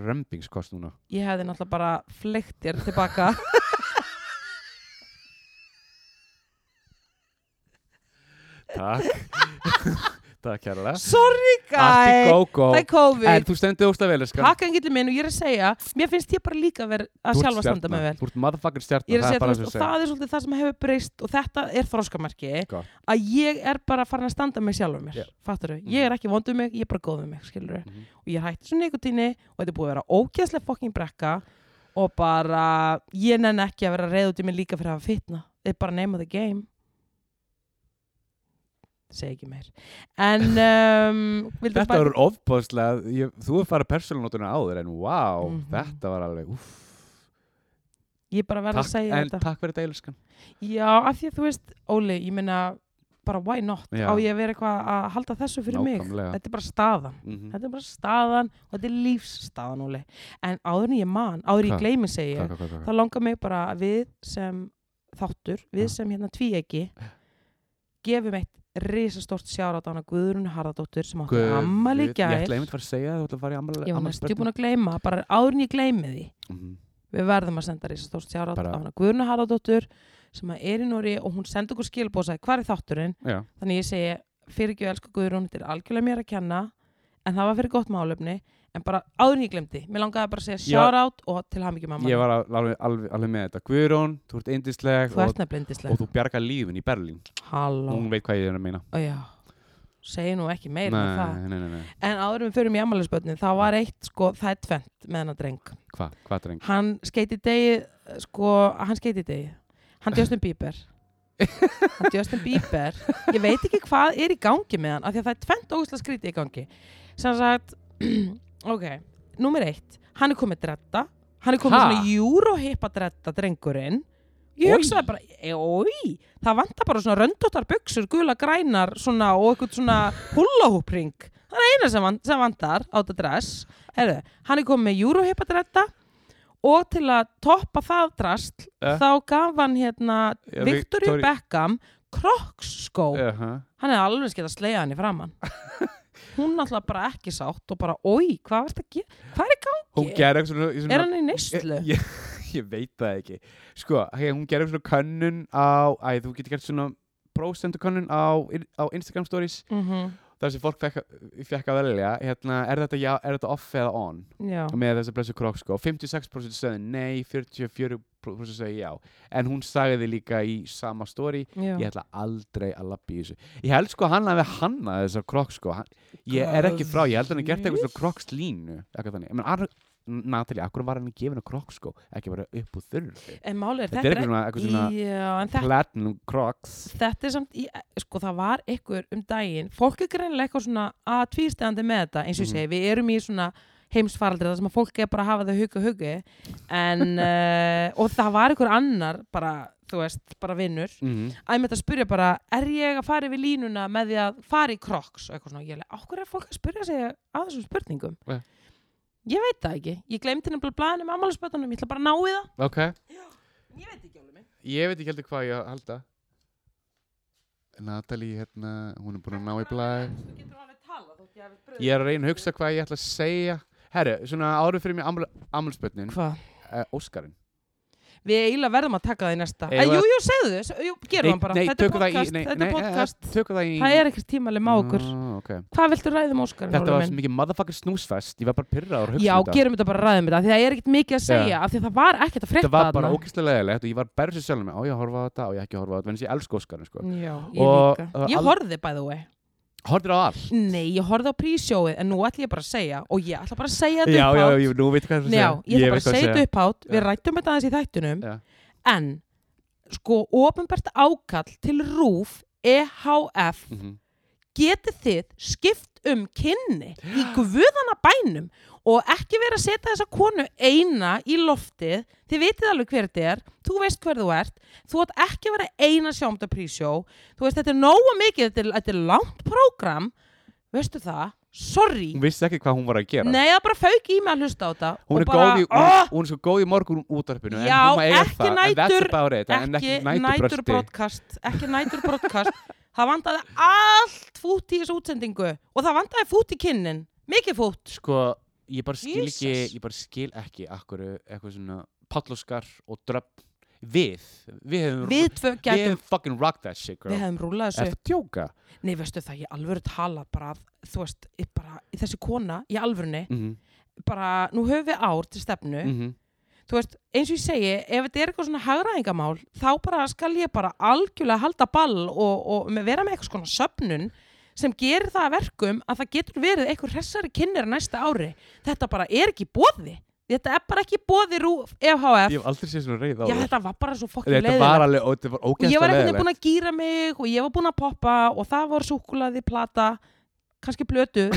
Speaker 2: römbingskost núna.
Speaker 1: ég hefði náttúrulega bara fleikt þér tilbaka
Speaker 2: Takk. Takk kærlega.
Speaker 1: sorry
Speaker 2: Allt í
Speaker 1: guy,
Speaker 2: gógó.
Speaker 1: það er
Speaker 2: En
Speaker 1: COVID
Speaker 2: þú stendur ósta vel, skar.
Speaker 1: takk engillin minn og ég er að segja mér finnst ég bara líka að vera að sjálfa standa með vel
Speaker 2: Þú ert motherfucking stjarnar.
Speaker 1: ég er að segja, þú veist, og
Speaker 2: það.
Speaker 1: það er svolítið það sem hefur breyst og þetta er þróskamarki
Speaker 2: Gott.
Speaker 1: að ég er bara farin að standa með sjálfur mér
Speaker 2: Já. Mm.
Speaker 1: yeah. ég er ekki vondum mig, ég er bara góðum mig skilur
Speaker 2: Mhm.
Speaker 1: og ég er hætti svo nikotíni og þetta er búið að vera ógeðslega fokkin brekka og bara, ég nenn ekki að vera reyð út í mig líka fyrir að hafa fitna þetta er bara name of the game segi ekki meir en um, vildu
Speaker 2: Þetta var ofbáðslega, ég, þú er farið persónunótuna áður en wow,
Speaker 1: Mhm.
Speaker 2: þetta var alveg, uff.
Speaker 1: ég bara verð að
Speaker 2: Takk,
Speaker 1: segja
Speaker 2: en
Speaker 1: þetta
Speaker 2: takk fyrir deiliskan.
Speaker 1: já, af því að þú veist, Óli, ég meina bara why not á
Speaker 2: Já.
Speaker 1: ég að vera eitthvað að halda þessu fyrir
Speaker 2: Nákvæmlega.
Speaker 1: mig þetta er bara staðan
Speaker 2: Mhm.
Speaker 1: þetta er bara staðan og þetta er lífsstaðan Óli. en áður en ég man, áður en ég
Speaker 2: Hvað?
Speaker 1: gleymi segi
Speaker 2: Hvað,
Speaker 1: ég,
Speaker 2: hvað, hvað, hvað,
Speaker 1: þá langar mig bara að við sem þáttur, við
Speaker 2: Já.
Speaker 1: sem hérna tvíegi gefum eitt risastórt sjárat á hana Guðrun Harðardóttur sem átti
Speaker 2: Guð,
Speaker 1: ammali í
Speaker 2: Ég
Speaker 1: gær
Speaker 2: ætla einmitt að fara að segja það, þú ætla að fara í ammali
Speaker 1: ég var næstu búin að gleyma, bara áður en ég gleymi því
Speaker 2: Mhm.
Speaker 1: við verðum að senda risastórt sjárat
Speaker 2: Bara-
Speaker 1: á hana Guðrun Harðardóttur sem að er í Nóri og hún sendi okkur skilbósa hvað er þátturinn
Speaker 2: Já,
Speaker 1: Þannig ég segi, fyrir ekki elsku Guðrún, þetta er algjörlega mér að kenna, en það var fyrir gott málefni, en bara áður en ég glemdi. Mér langaði bara að segja
Speaker 2: Já.
Speaker 1: shout out og til hamingjum mamma.
Speaker 2: ég var al- alveg, alveg, alveg með þetta Guðrún, þú ert indisleg
Speaker 1: Þú
Speaker 2: og,
Speaker 1: ert nefnilega
Speaker 2: og
Speaker 1: blindislega.
Speaker 2: þú bjarga lífin í Berlín
Speaker 1: Halló.
Speaker 2: Hún veit hvað ég er að meina
Speaker 1: Ó, já. Segi nú ekki meir en það.
Speaker 2: Nei, nei, nei, nei
Speaker 1: En áður en við förum í ammælisbötnin, það var eitt, sko, það er tvent með hennar dreng.
Speaker 2: Hvað, hvað dreng?
Speaker 1: Hann skeiti degi, sko, hann skeiti degi. Hann Justin Bieber. hann Justin Bieber. Ég veit ekki hvað er í gangi með hann, af því að það er tvent ógustlega skrítið í gangi. Sem sagt, ok, númer eitt, hann er komið dretta, hann er komið
Speaker 2: Ha?
Speaker 1: ha? svona júróhippa dretta drengurinn. Ég
Speaker 2: Oj.
Speaker 1: hugsaði bara, e, oi, það vantar bara svona röndóttar buksur, gula grænar svona, og eitthvað svona hullahúpring. Það er eina sem, van, sem vantar á þetta dress. Herðu, hann er komið með júróhippa dretta og til að toppa það drast
Speaker 2: Eh?
Speaker 1: þá gaf hann hérna
Speaker 2: Ja,
Speaker 1: Victoria
Speaker 2: Victoria-
Speaker 1: Beckham Crocs-skó
Speaker 2: Uh -huh.
Speaker 1: hann hefði alveg skeitt að sleiða hann í framann hún náttúrulega bara ekki sátt og bara, oi, hvað varst að gera hvað er í gangi?
Speaker 2: Hún gerði eitthvað svona, í svona
Speaker 1: er hann í neyslu?
Speaker 2: Ég, ég, ég veit það ekki Sko, hey, hún gerði eitthvað svona könnun á Æ, þú getur gert svona prósendu könnun á, á Instagram stories
Speaker 1: Mhm,
Speaker 2: þar sem fólk fekk, fekk að velja hérna, er, þetta, já, er þetta off eða on
Speaker 1: já,
Speaker 2: með þessi blessu krok sko 56% sagði nei, 44% sagði já en hún sagði líka í sama story
Speaker 1: já.
Speaker 2: ég ætla aldrei að lappi í þessu ég held sko að hann hafi hannað þessar krok sko hann, ég er ekki frá, ég held að hann hafi gert eitthvað svona kroks línu eitthvað þannig, ég menn Ar Natalie, akkur var hann að gefa henni krok sko ekki bara upp úr þurru
Speaker 1: en máli er
Speaker 2: Þetta
Speaker 1: þetta
Speaker 2: er eitthvað svona- eitthvað svona-
Speaker 1: já, en þetta,
Speaker 2: platinum crocs
Speaker 1: þetta er samt í, sko það var einhver um daginn fólk er greinilega eitthvað svona að tvístæðandi með þetta eins og ég
Speaker 2: Mhm.
Speaker 1: segi, við erum í svona heimsfaraldri þar sem að fólk er bara að hafa þau huga hugi en uh, og það var einhver annar bara, þú veist, bara vinnur
Speaker 2: mm
Speaker 1: að ég myndi að spyrja bara, er ég að fara yfir línuna með því að fara í kroks og eitthvað svona, ég leik, okkur er fólk að spyrja sig að þessum spurningum
Speaker 2: Ja.
Speaker 1: ég veit það ekki, ég glemdi nefnilega blaðinu með ammálusbötunum, ég ætla bara að ná í það
Speaker 2: ok,
Speaker 1: ég veit ekki alveg mig
Speaker 2: ég veit ekki heldur hvað ég á að halda Natalie hérna, hún er búin að ná í blæð
Speaker 1: þú getur alveg talað, þú getur alveg
Speaker 2: ég er að reyna að hugsa hvað ég ætla að segja herru, svona áður fyrir mér ammulspötnin
Speaker 1: hvað?
Speaker 2: uh, Óskarinn
Speaker 1: við eiginlega verðum að taka það í næsta
Speaker 2: Eigum
Speaker 1: Eh, jú,
Speaker 2: við-
Speaker 1: jú, segðu þess, jú, gerum það bara þetta er
Speaker 2: tökum það í-
Speaker 1: podcast,
Speaker 2: nei,
Speaker 1: þetta
Speaker 2: nei,
Speaker 1: er
Speaker 2: eh,
Speaker 1: podcast
Speaker 2: tökum það í
Speaker 1: það er ekkert tímalega má okkur
Speaker 2: Ah, ok.
Speaker 1: hvað viltu um ræðum Óskar?
Speaker 2: þetta var svo mikið motherfucker snúsfest ég var bara pyrrað og hugsa
Speaker 1: já,
Speaker 2: um þetta
Speaker 1: gerum þetta bara ræðum þetta, af því það er ekkert mikið að
Speaker 2: Já.
Speaker 1: segja af því það var ekkert að frétta
Speaker 2: þetta var bara
Speaker 1: þarna.
Speaker 2: ókýrslega leðilegt og ég var berðið sjálf með á ég að horfa á þetta, á ég ekki að horfa á þetta en ég elsku Óskarinn sko.
Speaker 1: Já, ég
Speaker 2: Og,
Speaker 1: líka.
Speaker 2: uh,
Speaker 1: Ég
Speaker 2: al-
Speaker 1: horfði by the way.
Speaker 2: horfir á allt
Speaker 1: Nei, ég horfði á prísjóið en nú ætla ég bara að segja og ég ætla bara að segja
Speaker 2: já,
Speaker 1: þetta
Speaker 2: já,
Speaker 1: upphátt.
Speaker 2: já, nú veit hvað það
Speaker 1: Nei, já, ég ætla bara
Speaker 2: veit
Speaker 1: að
Speaker 2: hvað
Speaker 1: segja þetta upphátt. Við
Speaker 2: Já.
Speaker 1: rættum þetta aðeins í þættunum
Speaker 2: Já.
Speaker 1: en sko, ofinbært ákall til E RÚF EHF
Speaker 2: Mhm.
Speaker 1: getið þið skipt um kynni í guðana bænum og ekki vera að setja þessa konu eina í loftið, þið vitið alveg hver þetta er, þú veist hver þú ert þú átt ekki að vera eina sjá um þetta prísjó þú veist, þetta er nóga mikið þetta er, þetta er langt prógram veistu það, sorry
Speaker 2: hún vissi ekki hvað hún var að gera
Speaker 1: nei, það bara fauk í mig að hlusta á þetta
Speaker 2: hún,
Speaker 1: og
Speaker 2: er
Speaker 1: bara,
Speaker 2: góð í,
Speaker 1: "Ah,
Speaker 2: hún, hún er svo góð í morgun útarpinu en
Speaker 1: Já,
Speaker 2: hún má eiga
Speaker 1: ekki
Speaker 2: það, en that's
Speaker 1: nætur-
Speaker 2: about it, en
Speaker 1: ekki
Speaker 2: næturbrölti.
Speaker 1: nætur broadcast ekki nætur broadcast það vandaði allt fút í þessu útsendingu og það vandaði fút í kinnin mikið fút
Speaker 2: sko, ég bara skil ekki
Speaker 1: Jesus.
Speaker 2: ég bara skil ekki akkur eitthvað svona palloskar og dröpp við, við hefum
Speaker 1: við tvö
Speaker 2: við
Speaker 1: gætum,
Speaker 2: hefum fucking rock that shit girl
Speaker 1: við hefum rúlað
Speaker 2: Er
Speaker 1: þessu
Speaker 2: það tjóka?
Speaker 1: nei veistu það, ég alvöru tala bara að, þú veist, ég bara, þessi kona í alvörunni,
Speaker 2: Mm -hmm.
Speaker 1: bara nú höfum við ár til stefnu,
Speaker 2: Mm -hmm.
Speaker 1: þú veist eins og ég segi, ef þetta er eitthvað svona hagraðingamál þá bara skal ég bara algjörlega halda ball og, og með- vera með eitthvað svona söfnun sem gerir það að verkum að það getur verið eitthvað hressari kynir næsta ári, þetta bara er ekki bóði, þetta er bara ekki bóði rú
Speaker 2: Ég
Speaker 1: FHF,
Speaker 2: hef aldrei séð svona reyð á
Speaker 1: E já þetta var bara svo fokkin
Speaker 2: Þetta
Speaker 1: leiðilegt
Speaker 2: var alveg, og þetta var
Speaker 1: og ég var
Speaker 2: ógæðslega
Speaker 1: einhvern veginn
Speaker 2: leiðilegt
Speaker 1: búin að gýra mig og ég var búin að poppa og það var súkulaði, plata kannski blötu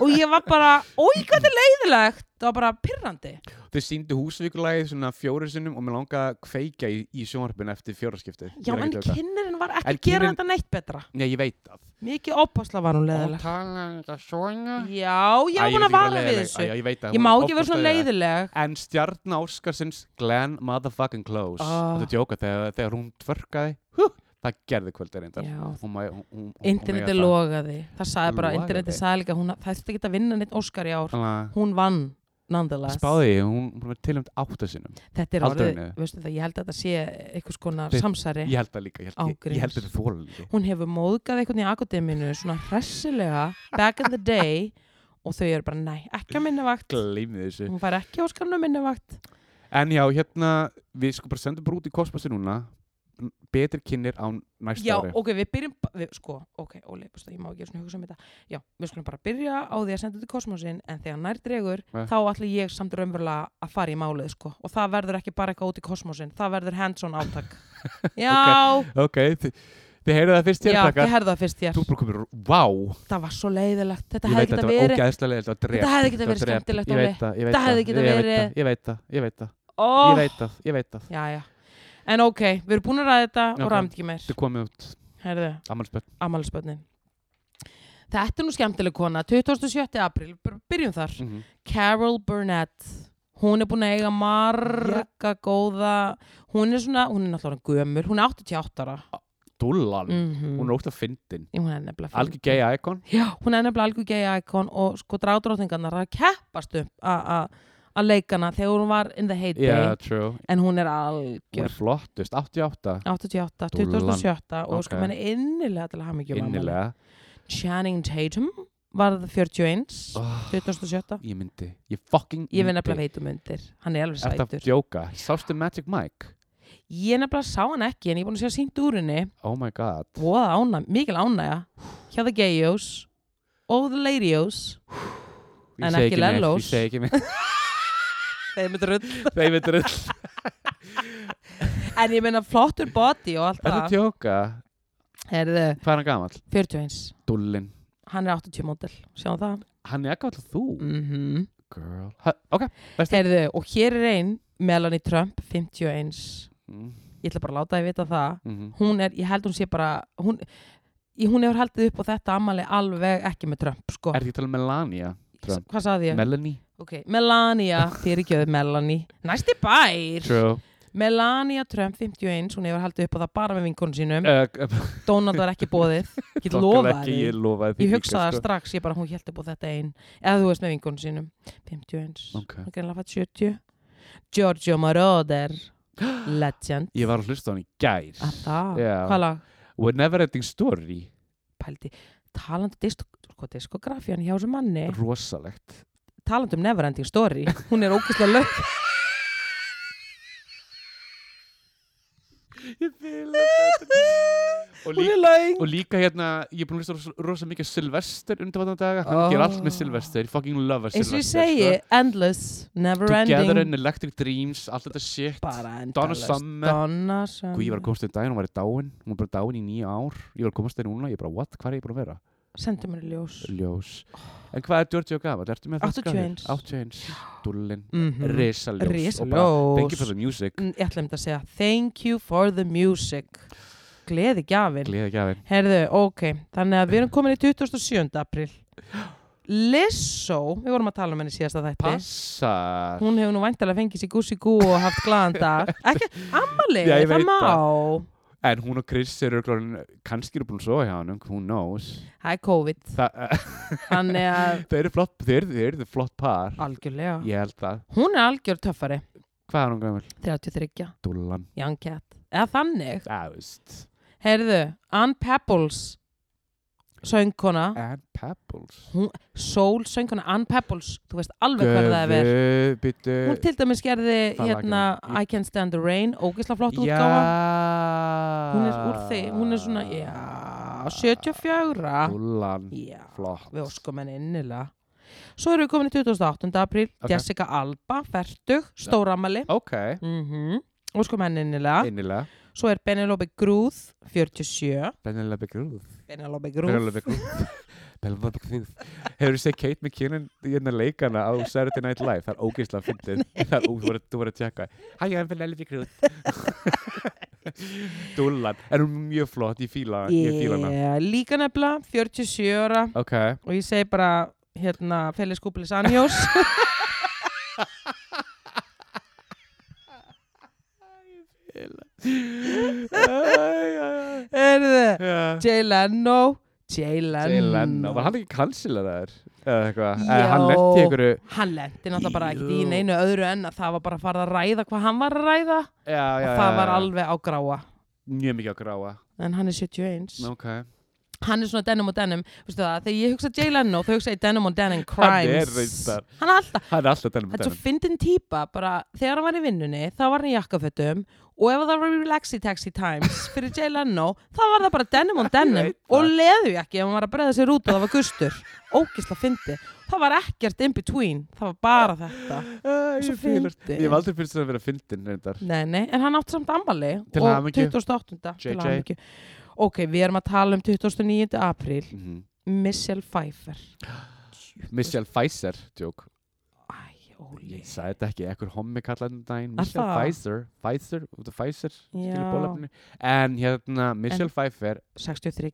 Speaker 1: og ég var bara, oi hvað þetta er leiðilegt það var bara pirrandi
Speaker 2: þau síndu húsvíkulagið svona fjóru sinnum og mér langaði að kveika í, í sjónvarpinu eftir fjóraskipti
Speaker 1: Já, en kynnerinn var ekki
Speaker 2: En
Speaker 1: að gera
Speaker 2: kynnirinn-
Speaker 1: þetta neitt betra.
Speaker 2: Nei, ég veit það
Speaker 1: Mikið opasla var hún leiðileg.
Speaker 2: talaði um þetta svona
Speaker 1: Já, ég
Speaker 2: Æ,
Speaker 1: var búin
Speaker 2: veit
Speaker 1: að
Speaker 2: ekki hvað
Speaker 1: vara við
Speaker 2: leiðileg-
Speaker 1: þessu.
Speaker 2: Æ, já, ég, veit það,
Speaker 1: Ég
Speaker 2: hún
Speaker 1: má
Speaker 2: er
Speaker 1: ekki vera svona
Speaker 2: ofboðslega
Speaker 1: leiðileg.
Speaker 2: En stjarn Áskarsins Glenn motherfucking close
Speaker 1: Ah.
Speaker 2: Þetta er djóka þegar, þegar hún tvörkaði hú, Það gerði kvöldir reyndar
Speaker 1: Já,
Speaker 2: Hún má- hún- hún- hún-
Speaker 1: interneti
Speaker 2: hún eiga það.
Speaker 1: logaði. Það sagði bara,
Speaker 2: Logaði.
Speaker 1: interneti sagði líka, hún, það þurfti ekki að vinna neitt Óskar í ár.
Speaker 2: Þannig
Speaker 1: Hún vann,
Speaker 2: að
Speaker 1: nonetheless.
Speaker 2: spáði ég, hún, hún var tilhæmt átta sinnum
Speaker 1: Þetta er
Speaker 2: Aldrei
Speaker 1: orðið,
Speaker 2: henni.
Speaker 1: veistu það, ég held að þetta sé einhvers konar
Speaker 2: Þið-
Speaker 1: samsari.
Speaker 2: Ég held það líka, ég held, ég, ég held
Speaker 1: Ágríns.
Speaker 2: þetta þóla líka
Speaker 1: Hún hefur móðgað einhvern í akademinu svona hressilega, back in the day, og þau eru bara, nei, ekki að minna vakt.
Speaker 2: Gleimið þessu
Speaker 1: Hún fær ekki Óskarinn að minna vakt.
Speaker 2: En já, hérna, við sko bara sendum bara út í kosmosi núna M- Betri kynir á næsta
Speaker 1: Já,
Speaker 2: ári
Speaker 1: ok, við byrjum, ba- við, sko, ok, Óli, veistu, ég má ekki svona hugsa um þetta. Já, við skulum bara byrja á því að senda þetta í kosmosin, en þegar nær dregur,
Speaker 2: Ja.
Speaker 1: þá ætla ég samt raunverulega að fara í málið, sko. Og það verður ekki bara eitthvað út í kosmosin, það verður hands-on átak. Já,
Speaker 2: Ok, þi- þið heyrðu það fyrst hér
Speaker 1: já,
Speaker 2: krakkar
Speaker 1: ég herði það fyrst hér.
Speaker 2: Þú bara komur, vá
Speaker 1: Það var svo leiðilegt, þetta
Speaker 2: Ég
Speaker 1: hefði
Speaker 2: veit að
Speaker 1: geta
Speaker 2: þetta var
Speaker 1: verið,
Speaker 2: ógæðslega Þetta var
Speaker 1: Þetta hefði
Speaker 2: drept,
Speaker 1: getað
Speaker 2: þetta
Speaker 1: verið
Speaker 2: var drept.
Speaker 1: skemmtilegt,
Speaker 2: Ég
Speaker 1: Óli.
Speaker 2: veit það, ég veit
Speaker 1: Þetta hefði
Speaker 2: það,
Speaker 1: getað
Speaker 2: ég veit
Speaker 1: verið-
Speaker 2: það, Ég veit það, ég veit það
Speaker 1: ó,
Speaker 2: Ég veit það, ég veit það.
Speaker 1: já, já. En ok, við erum búin að ræða þetta
Speaker 2: Ok.
Speaker 1: og ræðum þetta ekki meir.
Speaker 2: Þetta er komið út,
Speaker 1: Herðu,
Speaker 2: ammalspöld.
Speaker 1: amalisbönnin. Þetta er nú skemmtileg kona, 27. apríl, bara byrjum þar.
Speaker 2: Mm -hmm.
Speaker 1: Carol Burnett hún er búin að eiga marga góða hún er svona, hún er náttúrulega gömur hún er 88 ára
Speaker 2: Dúllan,
Speaker 1: mm
Speaker 2: hún er óslega fyndin.
Speaker 1: hún er nefnilega
Speaker 2: Algjör
Speaker 1: fyndin.
Speaker 2: gay icon.
Speaker 1: Já, hún er nefnilega algjör gay icon og sko drádrótingarnar að keppast upp a- a- að leikana þegar hún var in the heyday
Speaker 2: Yeah, true.
Speaker 1: en hún er
Speaker 2: Hún er
Speaker 1: algjör
Speaker 2: flottust, 88,
Speaker 1: 88,
Speaker 2: Dúllan.
Speaker 1: 2007 og sko
Speaker 2: Ok.
Speaker 1: menn innilega til að hafa mikið
Speaker 2: innilega.
Speaker 1: Channing Tatum varð 41
Speaker 2: Oh,
Speaker 1: 2007
Speaker 2: ég myndi, ég fucking myndi.
Speaker 1: ég vinn nefnilega veitum undir hann er alveg
Speaker 2: Er
Speaker 1: sætur
Speaker 2: þetta að djóka? Sástu Magic Mike?
Speaker 1: Ég nefnilega sá hann ekki en ég er búin að sjá sínt úr henni
Speaker 2: Oh my god.
Speaker 1: Voða ána, mikil ánæja Hjá the gayos og the ladyos
Speaker 2: Ég
Speaker 1: En
Speaker 2: segi
Speaker 1: ekki
Speaker 2: neitt,
Speaker 1: Lellos.
Speaker 2: Ég segi ekki með
Speaker 1: Þeim er drull
Speaker 2: þeim þetta rull.
Speaker 1: En ég meina flottur body og allt
Speaker 2: Er þetta
Speaker 1: það
Speaker 2: djóka?
Speaker 1: Herðu,
Speaker 2: Hvað er hann gamall?
Speaker 1: 41
Speaker 2: Dúllin.
Speaker 1: Hann er 80 mótil, sjáum það
Speaker 2: Hann er ekki alltaf þú,
Speaker 1: mm
Speaker 2: girl. Ha, ok, besti.
Speaker 1: Herðu, og hér er ein Melanie Trump, 51
Speaker 2: Mm
Speaker 1: Ég ætla bara að láta þið vita það
Speaker 2: -hmm.
Speaker 1: Hún er, ég held hún sé bara Hún, í- hún hefur haldið upp á þetta ammali alveg ekki með Trump sko.
Speaker 2: Er þetta talað um Melania? Trump?
Speaker 1: Hvað sagði ég?
Speaker 2: Melanie?
Speaker 1: Ok, Melania, fyrirgjöðu Melanie Næsti bær
Speaker 2: True.
Speaker 1: Melania Trump, 51, hún hefur haldið upp á það bara með vinkonum sínum
Speaker 2: Uh,
Speaker 1: Donald var ekki bóðið, ég
Speaker 2: Dokkur
Speaker 1: lofa
Speaker 2: ekki,
Speaker 1: því
Speaker 2: Ég lofaði því
Speaker 1: Ég
Speaker 2: líka,
Speaker 1: hugsaði það
Speaker 2: sko.
Speaker 1: strax, ég bara hún held upp á þetta ein eða þú veist með vinkonum sínum 51,
Speaker 2: Ok.
Speaker 1: hún er greinlega fætt 70 Giorgio Moroder Legend
Speaker 2: Ég var að hlusta á hann í gær
Speaker 1: að það,
Speaker 2: Já.
Speaker 1: hvað lag,
Speaker 2: We're never ending story
Speaker 1: pældi talandi disk, sko, diskografían hjá þessum manni
Speaker 2: Rosalegt
Speaker 1: talandi um Neverending Story hún er ógæslega lög
Speaker 2: Ég vil að þetta og,
Speaker 1: hún
Speaker 2: líka,
Speaker 1: er lög
Speaker 2: og líka hérna Ég er búin að hlusta á rosa, rosa mikið á Sylvester undanvatna daga Hann
Speaker 1: Oh.
Speaker 2: ger allt með Sylvester Ég fucking love
Speaker 1: eins og
Speaker 2: Sylvester
Speaker 1: ég segi,
Speaker 2: sko.
Speaker 1: Endless
Speaker 2: Together
Speaker 1: Neverending
Speaker 2: in Electric Dreams Allt þetta shit
Speaker 1: bara
Speaker 2: Donna
Speaker 1: endalust
Speaker 2: Summer
Speaker 1: Donna Summer
Speaker 2: Guð, ég var að komast þér daginn, hún var í dáin, hún var bara dáin í nýja ár, ég var að komast þér núna, ég bara, what, hvað er ég búin að vera?
Speaker 1: sendu mér í ljós
Speaker 2: Ljós. En hvað er 40 og gammal, ertu með það?
Speaker 1: 81.
Speaker 2: 81, dullin,
Speaker 1: Mhm.
Speaker 2: risaljós. og bara, Thank you
Speaker 1: risaljós
Speaker 2: for the music
Speaker 1: Mm, ég ætla um þetta að segja thank you for the music gleði gjafin
Speaker 2: Gleða gjafin
Speaker 1: herðu, ok, þannig að við erum komin í 27. april Lissó, við vorum að tala um henni í síðasta þætti
Speaker 2: Passar
Speaker 1: hún hefur nú væntalega fengið sér gúsi gú og haft glaðan dag ekki, ammali,
Speaker 2: Já, ég
Speaker 1: það
Speaker 2: veit
Speaker 1: má
Speaker 2: En hún og Chris eru örugglega orðin- kannski eru búin að sofa hjá hann Who knows
Speaker 1: það er COVID
Speaker 2: Þa, uh,
Speaker 1: þannig að,
Speaker 2: Þau eru flott Þau eru, þau eru þau flott par
Speaker 1: Ah. algjörlega
Speaker 2: Ég held það
Speaker 1: hún er algjör töffari,
Speaker 2: Hvað er hún gammal?
Speaker 1: 33
Speaker 2: Dúllan
Speaker 1: young cat, eða þannig
Speaker 2: Það veist
Speaker 1: Heyrðu, Ann Pebbles söngkona,
Speaker 2: And Pebbles
Speaker 1: soul söngkona Ann Pebbles, þú veist alveg hvað það er verið
Speaker 2: Byttu
Speaker 1: Hún til dæmis gerði
Speaker 2: Það lag
Speaker 1: hérna
Speaker 2: hennar.
Speaker 1: I Can't Stand the Rain, ógisla flott
Speaker 2: Já
Speaker 1: útgáfa Hún er úr því, hún er svona, já 74
Speaker 2: Dúllan
Speaker 1: Já,
Speaker 2: Flott
Speaker 1: við óskum henni innilega Svo erum við komin í 28. apríl
Speaker 2: Ok.
Speaker 1: Jessica Alba, fertug, stóramali
Speaker 2: Ok
Speaker 1: mm
Speaker 2: Mhm.
Speaker 1: Óskum henni innilega
Speaker 2: Innilega
Speaker 1: Svo er Penelope Grúð, 47
Speaker 2: Penelope Cruz
Speaker 1: Penelope Grúð
Speaker 2: Penelope Cruz Velvet Knife Hefur þú séð Kate McKinnon í hérna leikana á Saturday Night Live? Það er ógeðslega fyndið Það er ógeðslega, þú voru að tjekka Hæ, ég er vel elvi krútt Dúllan, en hún er mjög flott, ég fíla, ég fíla hana
Speaker 1: yeah, líka nefnilega 47 ára
Speaker 2: Ok,
Speaker 1: og ég segi bara hérna Félix Kúpilis Anjós
Speaker 2: Æ, æ, æ.
Speaker 1: Heyrðu,
Speaker 2: Já.
Speaker 1: Jay Leno Jay Leno,
Speaker 2: Jay Leno, var hann ekki kanslilaðar? Eða eitthvað, eða
Speaker 1: Já.
Speaker 2: hann lendi ykkur Já,
Speaker 1: hann lendi náttúrulega bara ekkert í
Speaker 2: Jú.
Speaker 1: neinu öðru en að það var bara að fara að ræða hvað hann var að ræða
Speaker 2: já,
Speaker 1: og
Speaker 2: já,
Speaker 1: það var
Speaker 2: já.
Speaker 1: alveg á gráa
Speaker 2: Mjög mikið á gráa
Speaker 1: en hann er 71
Speaker 2: Ok
Speaker 1: hann er svona denim og denim Veistu það, þegar ég hugsa Jay Leno þá hugsa ég denim og denim crimes
Speaker 2: er reyndar.
Speaker 1: hann er alltaf
Speaker 2: Það er alltaf um dennum
Speaker 1: þetta er svo fyndin típa bara þegar hann var í vinnunni þá var hann í jakkafötum og ef það var relaxi taxi times fyrir Jay Leno þá var það bara denim og denim
Speaker 2: veit
Speaker 1: og
Speaker 2: það.
Speaker 1: leðu ekki ef hann var að breyða sér út og það var gustur ógisla fyndi það var ekkert in between það var bara þetta
Speaker 2: Æ,
Speaker 1: Svo
Speaker 2: ég fílar
Speaker 1: fyndin.
Speaker 2: Ég hef aldrei finnst það að vera fyndin reyndar
Speaker 1: Nei, nei, en hann átti samt ammali
Speaker 2: Til
Speaker 1: og
Speaker 2: hamingju.
Speaker 1: 28. til
Speaker 2: JJ.
Speaker 1: hamingju Ok, við erum að tala um 29. apríl
Speaker 2: mm
Speaker 1: Michelle Pfeiffer
Speaker 2: Michelle Pfizer, djók
Speaker 1: Æ, Óli
Speaker 2: Ég sagði þetta ekki, ekkur hommi kallaði þetta um daginn
Speaker 1: Er
Speaker 2: Michelle
Speaker 1: það?
Speaker 2: Pfizer, Pfizer, út af Pfizer skilur
Speaker 1: Já.
Speaker 2: bólefni. En hérna, Michelle Pfeiffer
Speaker 1: 63,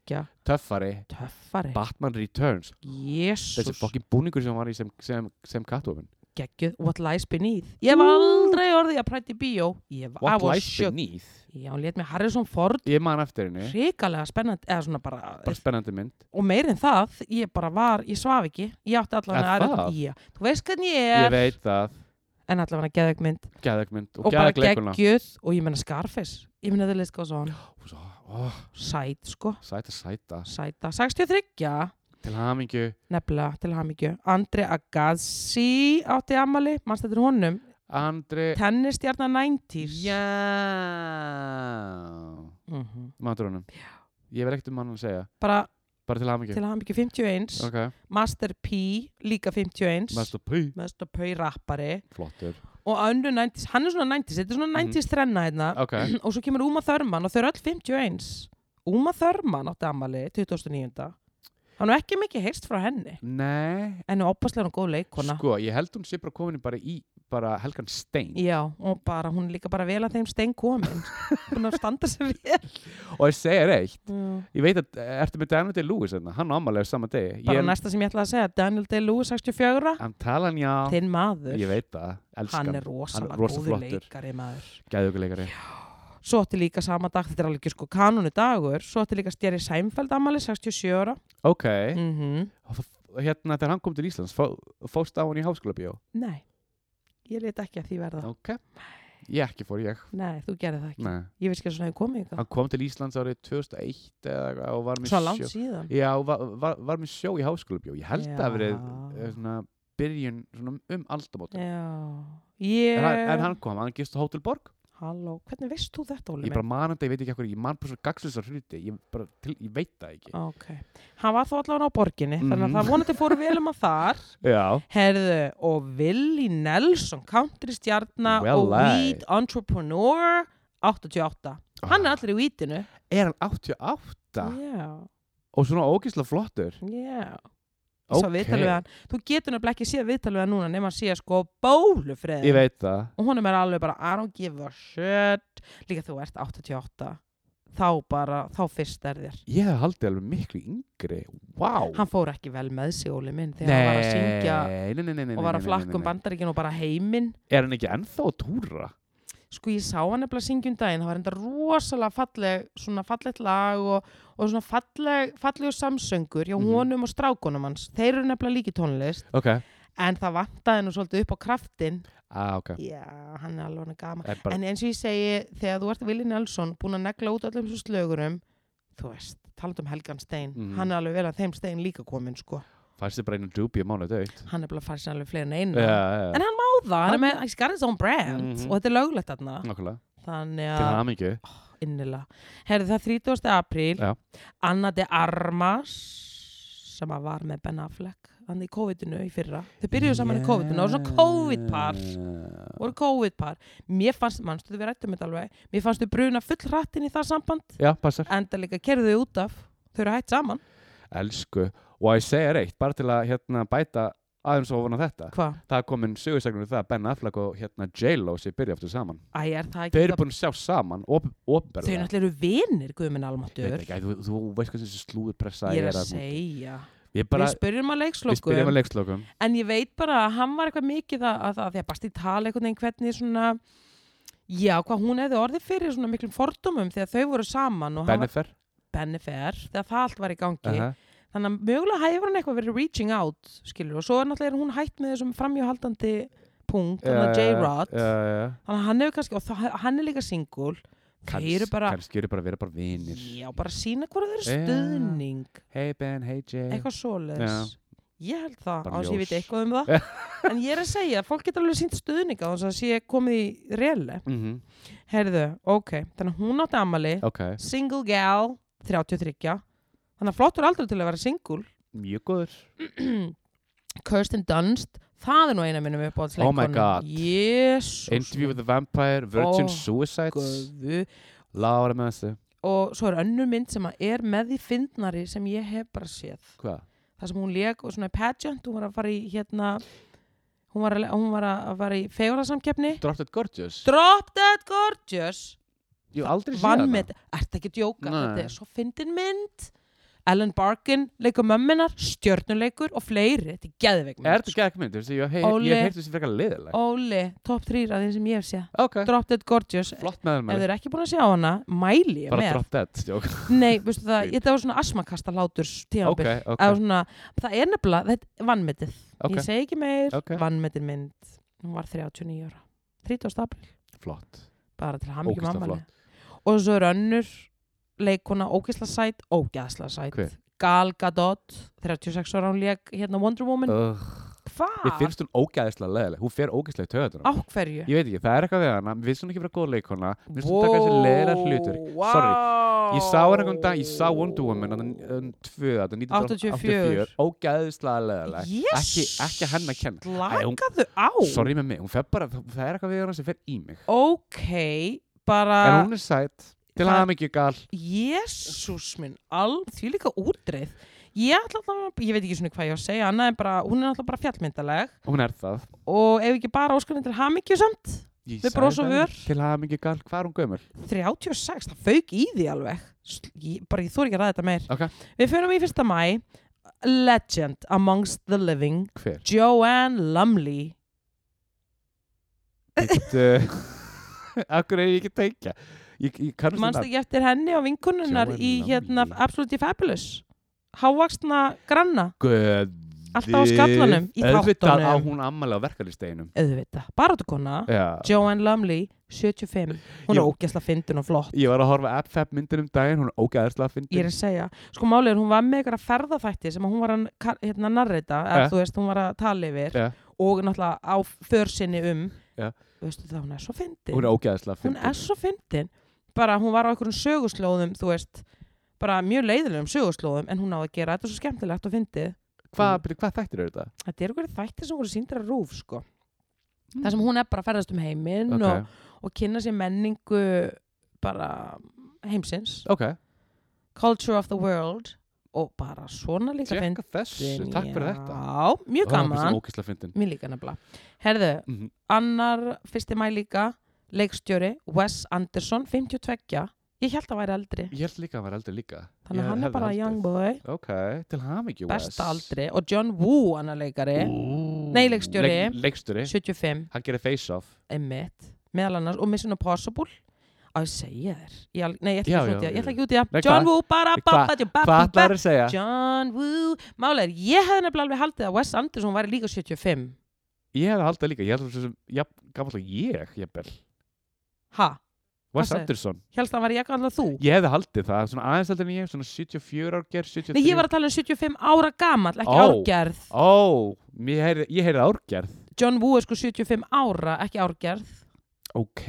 Speaker 2: Töffari,
Speaker 1: töffari
Speaker 2: Batman Returns Þessi
Speaker 1: Jésús,
Speaker 2: fokkin búningur sem var í sem, sem, sem Catwoman
Speaker 1: geggjöð What lies beneath Ég var aldrei orðið að prætti bíó Ég var, I
Speaker 2: What
Speaker 1: was
Speaker 2: Lies
Speaker 1: shook.
Speaker 2: Beneath
Speaker 1: Já, hún létt með Harrison Ford
Speaker 2: Ég man eftir henni,
Speaker 1: Hrikalega spennandi, eða svona bara,
Speaker 2: bara spennandi mynd
Speaker 1: Og meir en það, ég bara var Ég svaf ekki, ég átti allavega
Speaker 2: Er
Speaker 1: aðra-
Speaker 2: það?
Speaker 1: Já, Þú veist hvernig ég
Speaker 2: Ég
Speaker 1: er
Speaker 2: veit það,
Speaker 1: En allavega geðveik mynd
Speaker 2: geðagmynd
Speaker 1: og
Speaker 2: og
Speaker 1: bara
Speaker 2: geðagleikuna
Speaker 1: geggjöð og ég menna Scarface ég menna það leist góð svo hann sæt sko
Speaker 2: Sæta, sæta
Speaker 1: sæta 63
Speaker 2: Til hamingju
Speaker 1: nefnilega til hamingju Andri Agassi átti amali mannst þetta er honum
Speaker 2: Eh. Andri
Speaker 1: tennistjarnar 90s
Speaker 2: Já
Speaker 1: Mhm.
Speaker 2: Matur honum Ég verð ekkert um hann að segja
Speaker 1: bara
Speaker 2: Bara til hamingju
Speaker 1: til hamingju 51
Speaker 2: Ok
Speaker 1: Master P líka 51
Speaker 2: Master P
Speaker 1: Master P rappari
Speaker 2: Flottur
Speaker 1: og önnu 90s hann er svona 90s þetta er
Speaker 2: Mhm.
Speaker 1: svona 90s þrenna hérna
Speaker 2: Ok
Speaker 1: og svo kemur Uma Thurman og þau eru öll 51 Uma Thurman átti amali 2009 hann er ekki mikið heist frá henni
Speaker 2: Nei
Speaker 1: en hún opaslega er hún góð leikona
Speaker 2: Sko, ég held hún sé bara komin bara í bara helgan stein
Speaker 1: já, og bara, hún er líka bara vel að þeim stein komin hún er að standa sér vel
Speaker 2: Og ég segja reitt Ég veit að eh, Ertu með Daniel Day-Lewis hérna Hann á ámælega sama degi
Speaker 1: bara
Speaker 2: Ég-
Speaker 1: næsta sem ég ætla að segja Daniel Day-Lewis 64,
Speaker 2: Hann tala hann já
Speaker 1: þinn maður
Speaker 2: Ég veit það Elskan
Speaker 1: hann er rosalega
Speaker 2: rosa
Speaker 1: góður
Speaker 2: flottur.
Speaker 1: leikari maður
Speaker 2: Gæðugleikari
Speaker 1: svo átti líka sama dag, þetta er alveg ekki sko kanunu dagur svo átti líka Stjari Sæmfeld amali 67 ára
Speaker 2: Ok
Speaker 1: mm
Speaker 2: Hérna þegar hann kom til Íslands fó, Fóst á hann í háskóla bíó
Speaker 1: nei, ég leit ekki að því verða
Speaker 2: Ok Ég ekki fór ég
Speaker 1: nei, þú gerði það ekki,
Speaker 2: Nei
Speaker 1: ég veist ekki að svona hefur komið ykkur
Speaker 2: Hann kom til Íslands árið 2001 eða eitthvað og var með
Speaker 1: svona langt
Speaker 2: sjó.
Speaker 1: síðan
Speaker 2: Já, og var, var, var með sjó í háskólabjó. Ég held að
Speaker 1: Já. Eh.
Speaker 2: hafi verið eh, svona byrjun svona um aldamót.
Speaker 1: já,
Speaker 2: En,
Speaker 1: ég
Speaker 2: hann- en hann kom, hann gist á Hotel Borg.
Speaker 1: Halló, hvernig veist þú þetta, Óli
Speaker 2: Ég bara man þetta, ég veit ekki eitthvað, ég man bara svona gagslisar hluti. Ég, bara, til, ég veit það ekki.
Speaker 1: minn? Ok, hann var þó allavega á borginni, þannig að
Speaker 2: Mhm.
Speaker 1: það vonandi fór vel um að þar.
Speaker 2: Já.
Speaker 1: Herðu, og Willi Nelson, country stjarna
Speaker 2: Well,
Speaker 1: og
Speaker 2: aye.
Speaker 1: weed entrepreneur, 88. Hann er allir í weedinu.
Speaker 2: Er hann 88?
Speaker 1: Já,
Speaker 2: Og svona ógislega flottur.
Speaker 1: já.
Speaker 2: Ok.
Speaker 1: Svo viðtal við hann. Þú getur nefnilega ekki séð viðtal við hann núna nema að sé sko bólufreðin.
Speaker 2: Ég veit það.
Speaker 1: Og honum er alveg bara, I don't give a shit. Líka þú ert 88. Þá bara, þá fyrst er þér.
Speaker 2: Ég hef haldið alveg miklu yngri. Vá.
Speaker 1: Hann fór ekki vel með sig, Óli minn, þegar hann var að syngja
Speaker 2: Nei, nei, nei, nei, nei,
Speaker 1: og var
Speaker 2: nei,
Speaker 1: að
Speaker 2: nei, nei,
Speaker 1: flakka um
Speaker 2: nei.
Speaker 1: bandaríkinn og bara heiminn
Speaker 2: Er hann ekki ennþá að túra?
Speaker 1: sko ég sá hann nefnilega syngjum daginn það var enda rosalega falleg svona fallegt lag og, og svona falleg fallegur samsöngur hjá
Speaker 2: Mhm.
Speaker 1: honum og strákonum hans þeir eru nefnilega líki tónlist
Speaker 2: Ok.
Speaker 1: en það vantaði nú svolítið upp á kraftin
Speaker 2: Ah, ok.
Speaker 1: já, hann er alveg hann gaman
Speaker 2: Er bara
Speaker 1: en eins og ég segi, þegar þú ert Willi Nelson búin að negla út öllum svo slögurum þú veist, talandum um Helgan Stein
Speaker 2: Mhm.
Speaker 1: hann er alveg vel að þeim Stein líka komin sko
Speaker 2: fæst þið bara einu djúbi að mánu dögt
Speaker 1: hann er bara farið sér alveg fleiri en einu
Speaker 2: Já,
Speaker 1: en
Speaker 2: já, já,
Speaker 1: hann má það, hann er með he's got his own brand
Speaker 2: Mhm.
Speaker 1: og þetta er löglegt þarna
Speaker 2: nokkulega
Speaker 1: þannig
Speaker 2: Til
Speaker 1: að
Speaker 2: hamingju
Speaker 1: innilega. Herði það 30. apríl,
Speaker 2: Já.
Speaker 1: Anna de Armas sem að var með Ben Affleck hann í COVID-inu í fyrra. Þau byrjuðu saman í COVID-inu og svona COVID-par voru COVID-par. Mér fannst, mannstu þau við rættum þetta alveg, mér fannst þau bruna full hrattinn í það samband,
Speaker 2: Já, passar
Speaker 1: enda líka kerðu þau út af, þau eru hætt saman.
Speaker 2: Elsku og að ég segja reitt, bara til að hérna, bæta aðeins ofan á þetta
Speaker 1: Hvað?
Speaker 2: það er komin sögursagnur um það að Ben Affleck og hérna J-Lo sé byrja aftur saman
Speaker 1: Æ, er það
Speaker 2: þeir
Speaker 1: ekki...
Speaker 2: eru búin að sjá saman, op
Speaker 1: Þau
Speaker 2: opinberlega
Speaker 1: náttúrulega eru vinir, guðminn almáttur.
Speaker 2: ekki, æ, þú, þú veist hvað þessi slúðurpressa
Speaker 1: Ég er að
Speaker 2: þarna úti.
Speaker 1: segja.
Speaker 2: ég bara,
Speaker 1: við spyrjum að
Speaker 2: við spyrjum
Speaker 1: leikslokum.
Speaker 2: að leikslokum
Speaker 1: En ég veit bara að hann var eitthvað mikið að, að, að því að Basti tala einhvern veginn hvernig svona... Já, hvað hún hefði orðið fyrir svona miklum fordómum þegar þau voru saman og hann var
Speaker 2: Bennifer
Speaker 1: Bennifer, þegar það allt var í gangi.
Speaker 2: uh -huh.
Speaker 1: Þannig að mögulega hefur hann eitthvað verið reaching out, skilur, og svo er náttúrulega er hún hætt með þessum framhjóhaldandi punkt, þannig að J-Rod, þannig að hann hefur kannski, og það, hann er líka single, þeir eru bara,
Speaker 2: kannski eru bara að vera bara vinir
Speaker 1: já, bara sína hvora þeir eru
Speaker 2: Já.
Speaker 1: stuðning,
Speaker 2: hey Ben, hey J
Speaker 1: eitthvað svoleiðis. Ég held það, á
Speaker 2: Bara
Speaker 1: þess að ég
Speaker 2: ljós.
Speaker 1: veit eitthvað um það, en ég er að segja, fólk getur alveg sínt stuðning á þess að sé komið í reelle.
Speaker 2: mm
Speaker 1: Herðu, ok, þannig að hún átti amali,
Speaker 2: ok,
Speaker 1: single gal, 33, þannig að flottur aldrei til að vera single,
Speaker 2: mjög góður
Speaker 1: Kirsten Dunst það er nú eina minnum upp á
Speaker 2: Oh my god.
Speaker 1: Jésus
Speaker 2: Interview with the Vampire, Virgin
Speaker 1: Ó,
Speaker 2: Suicides
Speaker 1: Guðu.
Speaker 2: Lára með þessu
Speaker 1: og svo er önnur mynd sem að er með því fyndnari sem ég hef bara séð
Speaker 2: hvað?
Speaker 1: það sem hún leik og svona í pageant hún var að fara í hérna hún var að, le- hún var að, að fara í fegurðarsamkeppni
Speaker 2: Dropped Dead Gorgeous?
Speaker 1: Drop Dead Gorgeous
Speaker 2: Ég hef aldrei séð
Speaker 1: vann
Speaker 2: hana.
Speaker 1: með, ert ekki að djóka
Speaker 2: Nei.
Speaker 1: þetta er svo fyndin mynd Ellen Barkin leikur mömminar, stjörnuleikur og fleiri, þetta er geðveik mynd
Speaker 2: Er þetta gegn mynd? Þú veist, Ég hef heyrt
Speaker 1: Óli.
Speaker 2: ég hef heyrt þessi frekar liðileg
Speaker 1: Óli, top 3 að þeim sem ég hef séð
Speaker 2: Ok,
Speaker 1: Drop Dead Gorgeous
Speaker 2: flott með
Speaker 1: ef
Speaker 2: hennar
Speaker 1: þið eru ekki búin að sjá hana, mæli ég
Speaker 2: Bara
Speaker 1: með
Speaker 2: Drop Dead jók.
Speaker 1: nei, veistu það, þetta var svona asmakasta látur
Speaker 2: Ok,
Speaker 1: tíðanbyrg
Speaker 2: ok,
Speaker 1: svona, það er nefnilega, þetta er vannmetið
Speaker 2: ok
Speaker 1: ég segi ekki meir,
Speaker 2: Ok.
Speaker 1: vannmetið mynd hún var 39 ára, 30. april
Speaker 2: Flott
Speaker 1: bara til ham ekki
Speaker 2: Ógeðslega
Speaker 1: mamma og svo er önnur leikuna ógisla sæt, ógæðsla sæt
Speaker 2: Hver?
Speaker 1: Gal Gadot, 36 ára hún leik hérna Wonder Woman,
Speaker 2: Ugh, Ég
Speaker 1: hvað?
Speaker 2: finnst hún ógæðislega leðileg Hún fer ógæðislega í töðunum
Speaker 1: á hverju?
Speaker 2: Ég veit ekki, það er eitthvað við hana Mér finnst hún ekki vera góð leikona Mér finnst hún taka þessi leðilega hlutur
Speaker 1: wow.
Speaker 2: Sorry. Ég sá hann einhvern dag, ég sá Wonder Woman Þannig tvö, þannig
Speaker 1: 84.
Speaker 2: 1984 Ógæðislega leðileg Ekki, ekki henn að kenna Æ, hún-
Speaker 1: Slakaðu á
Speaker 2: Sorry með mig, hún fer bara Það er eitthvað við hana sem fer í mig
Speaker 1: Ok,
Speaker 2: En
Speaker 1: bara
Speaker 2: hún er sætt Til
Speaker 1: það-
Speaker 2: hann ekki gal
Speaker 1: Jésús minn, all því líka útreið Ég ætla alltaf, ég veit ekki svona hvað ég á að segja annað en bara, hún er alltaf bara fjallmyndaleg
Speaker 2: Hún er það
Speaker 1: og ef ekki bara óskunni til hamingju samt
Speaker 2: Ég
Speaker 1: Við
Speaker 2: sagði
Speaker 1: bros og
Speaker 2: það
Speaker 1: vör.
Speaker 2: Til hann ekki gal, hvað er hún gömur?
Speaker 1: 36, það fauk í því alveg Sl- ég, bara ég þór ekki að ræða þetta meir
Speaker 2: Ok.
Speaker 1: Við fyrir í fyrsta mæ Legend Amongst the Living
Speaker 2: Hver?
Speaker 1: Joanne Lumley
Speaker 2: Akkur er ég ekki að tengja Ég, ég kannast um
Speaker 1: Manst ekki eftir henni og vinkununar
Speaker 2: Joanne
Speaker 1: í hérna
Speaker 2: Lumley.
Speaker 1: Absolutely Fabulous Hávaksna granna
Speaker 2: Guð
Speaker 1: Alltaf á skallanum, í
Speaker 2: Auðvitað á
Speaker 1: þáttunum.
Speaker 2: hún ammæli á verkalisteginum
Speaker 1: auðvitað, barátukonna
Speaker 2: Já
Speaker 1: Joanne Lumley, 75 hún
Speaker 2: Ég-
Speaker 1: er ógæsla fyndin og flott
Speaker 2: Ég var að horfa AppFab myndin um daginn Hún er ógæðislega að
Speaker 1: ég er
Speaker 2: fyndi
Speaker 1: að segja, sko málið er hún var með eitthvað ferðaþætti sem að hún var að kar- hérna, narrita, eða
Speaker 2: Ja.
Speaker 1: þú veist, hún var að tala yfir
Speaker 2: Ja.
Speaker 1: og náttúrulega á försinni um
Speaker 2: Ja.
Speaker 1: veistu það, hún er svo fyndin
Speaker 2: Hún er ógæðislega að
Speaker 1: Hún
Speaker 2: fyndi
Speaker 1: er svo fyndin bara hún var á einhverjum söguslóðum þú veist, bara mjög leiðilegum söguslóðum en hún náði að gera þetta er svo skemmtilegt og fyndið
Speaker 2: Hvað, byrju, hvað þættir eru þetta?
Speaker 1: þetta er einhverju þætti sem voru síndir að rúf sko. það sem hún er bara að ferðast um heiminn
Speaker 2: Ok,
Speaker 1: og, og kynna sér menningu bara heimsins
Speaker 2: ok
Speaker 1: Culture of the World og bara svona líka
Speaker 2: Tjekka þessu,
Speaker 1: fyndin
Speaker 2: takk fyrir þetta
Speaker 1: Já, mjög gaman
Speaker 2: Ógæðislega að fyndin
Speaker 1: Mér líka nefnilega Herðu,
Speaker 2: Mhm.
Speaker 1: annar fyrsti mæ líka leikstjóri Wes Anderson, 52 Ég held að væri eldri
Speaker 2: Ég held líka að hann var eldur líka
Speaker 1: Þannig að
Speaker 2: Ég
Speaker 1: hann er
Speaker 2: hefði
Speaker 1: bara
Speaker 2: haldið.
Speaker 1: young boy
Speaker 2: Ok, til ham ekki
Speaker 1: Besta aldri Og John Woo, annar leikari Nei, leikstjóri.
Speaker 2: Leikstjóri
Speaker 1: 75,
Speaker 2: Hann gerir face-off
Speaker 1: emmitt Meðal annars, og Mission Impossible Á, ég segja þér ég, al- Nei, ég ætla
Speaker 2: Já,
Speaker 1: ekki
Speaker 2: já,
Speaker 1: út í það Ég ætla
Speaker 2: já.
Speaker 1: ekki út í
Speaker 2: Nei,
Speaker 1: það John
Speaker 2: hvað?
Speaker 1: Woo, bara
Speaker 2: Hvað-
Speaker 1: babba, djú, babba,
Speaker 2: Hvað
Speaker 1: babba
Speaker 2: ætlar að segja?
Speaker 1: John Woo Málega, ég hefði nefnilega alveg haldið að Wes Anderson væri líka 75
Speaker 2: Ég hefði haldið líka, ég held þessum ja, Gammal og ég, jafnvel
Speaker 1: Ha,
Speaker 2: Wes
Speaker 1: segirðu?
Speaker 2: Anderson
Speaker 1: helst að hann væri jafn alveg þú
Speaker 2: Ég hefði haldið það, svona aðeins heldur en ég Svona 74 árgerð, 73
Speaker 1: Nei, ég var að tala um 75 ára gamall, ekki
Speaker 2: Ó.
Speaker 1: árgerð.
Speaker 2: Ó, ég heyrði, ég heyrði árgerð
Speaker 1: John Woo er sko 75 ára, ekki árgerð.
Speaker 2: Ok,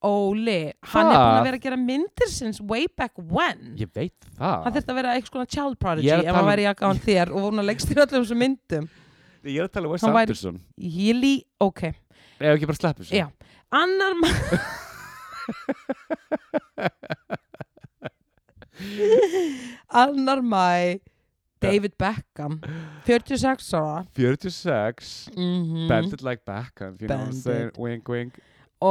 Speaker 1: Óli, hann er búin
Speaker 2: Hvað?
Speaker 1: að vera að gera myndir sinns way back when.
Speaker 2: ég veit það
Speaker 1: Hann þurfti að vera einhvers konar child prodigy
Speaker 2: Ég er
Speaker 1: ef
Speaker 2: að tala
Speaker 1: hann
Speaker 2: um-
Speaker 1: væri jakka án þér og hún að leggst þér öllum þessum myndum.
Speaker 2: Ég er að tala um Wes
Speaker 1: Hann væri-
Speaker 2: Anderson
Speaker 1: Ég lí, ok.
Speaker 2: Ef ekki bara sleppu
Speaker 1: Já. Annar maður, annar mæ, David Beckham 46 ára
Speaker 2: 46
Speaker 1: mm
Speaker 2: Bended like Beckham if You know what I'm
Speaker 1: Bend
Speaker 2: saying
Speaker 1: it.
Speaker 2: Wink wink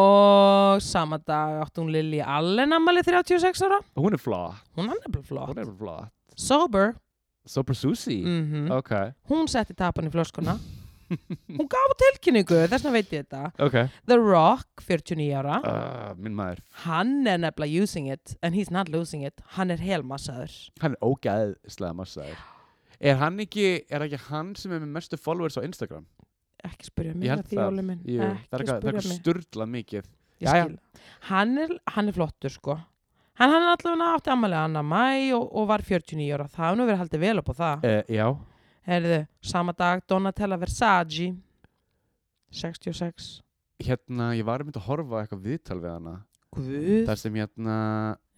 Speaker 1: og sama dag átti hún Lily Allen ammali 36 ára
Speaker 2: Hún er flott
Speaker 1: hún er nefnilega
Speaker 2: Hún
Speaker 1: flott
Speaker 2: er flott
Speaker 1: Sober
Speaker 2: Sober Susie
Speaker 1: mhm.
Speaker 2: Ok
Speaker 1: hún setti tapan í flöskuna hún gaf út tilkynningu þess vegna veit ég þetta
Speaker 2: Ok
Speaker 1: The Rock 49 ára
Speaker 2: uh, Minn maður
Speaker 1: hann er nefnilega using it and he's not losing it hann er helmassaður
Speaker 2: Hann er ógæðslega massaður Er hann ekki Er ekki hann sem er með mestu followers á Instagram
Speaker 1: ekki spyrja mig
Speaker 2: Ég held
Speaker 1: að því
Speaker 2: það.
Speaker 1: Óli minn
Speaker 2: Jú, það er
Speaker 1: ekki
Speaker 2: eitthvað- það er
Speaker 1: spyrja
Speaker 2: eitthvað
Speaker 1: mig
Speaker 2: sturlað mikið
Speaker 1: Ég
Speaker 2: Jæja.
Speaker 1: skil. hann er, hann er flottur sko hann, hann er allavega átti ammæli annar mæ og, og var 49 ára það hefur nú verið haldið vel upp á það
Speaker 2: uh, Já
Speaker 1: Herðu, sama dag Donatella Versace 66
Speaker 2: Hérna Ég var mynd að horfa á eitthvað viðtal við hana
Speaker 1: Guð
Speaker 2: Þar sem hérna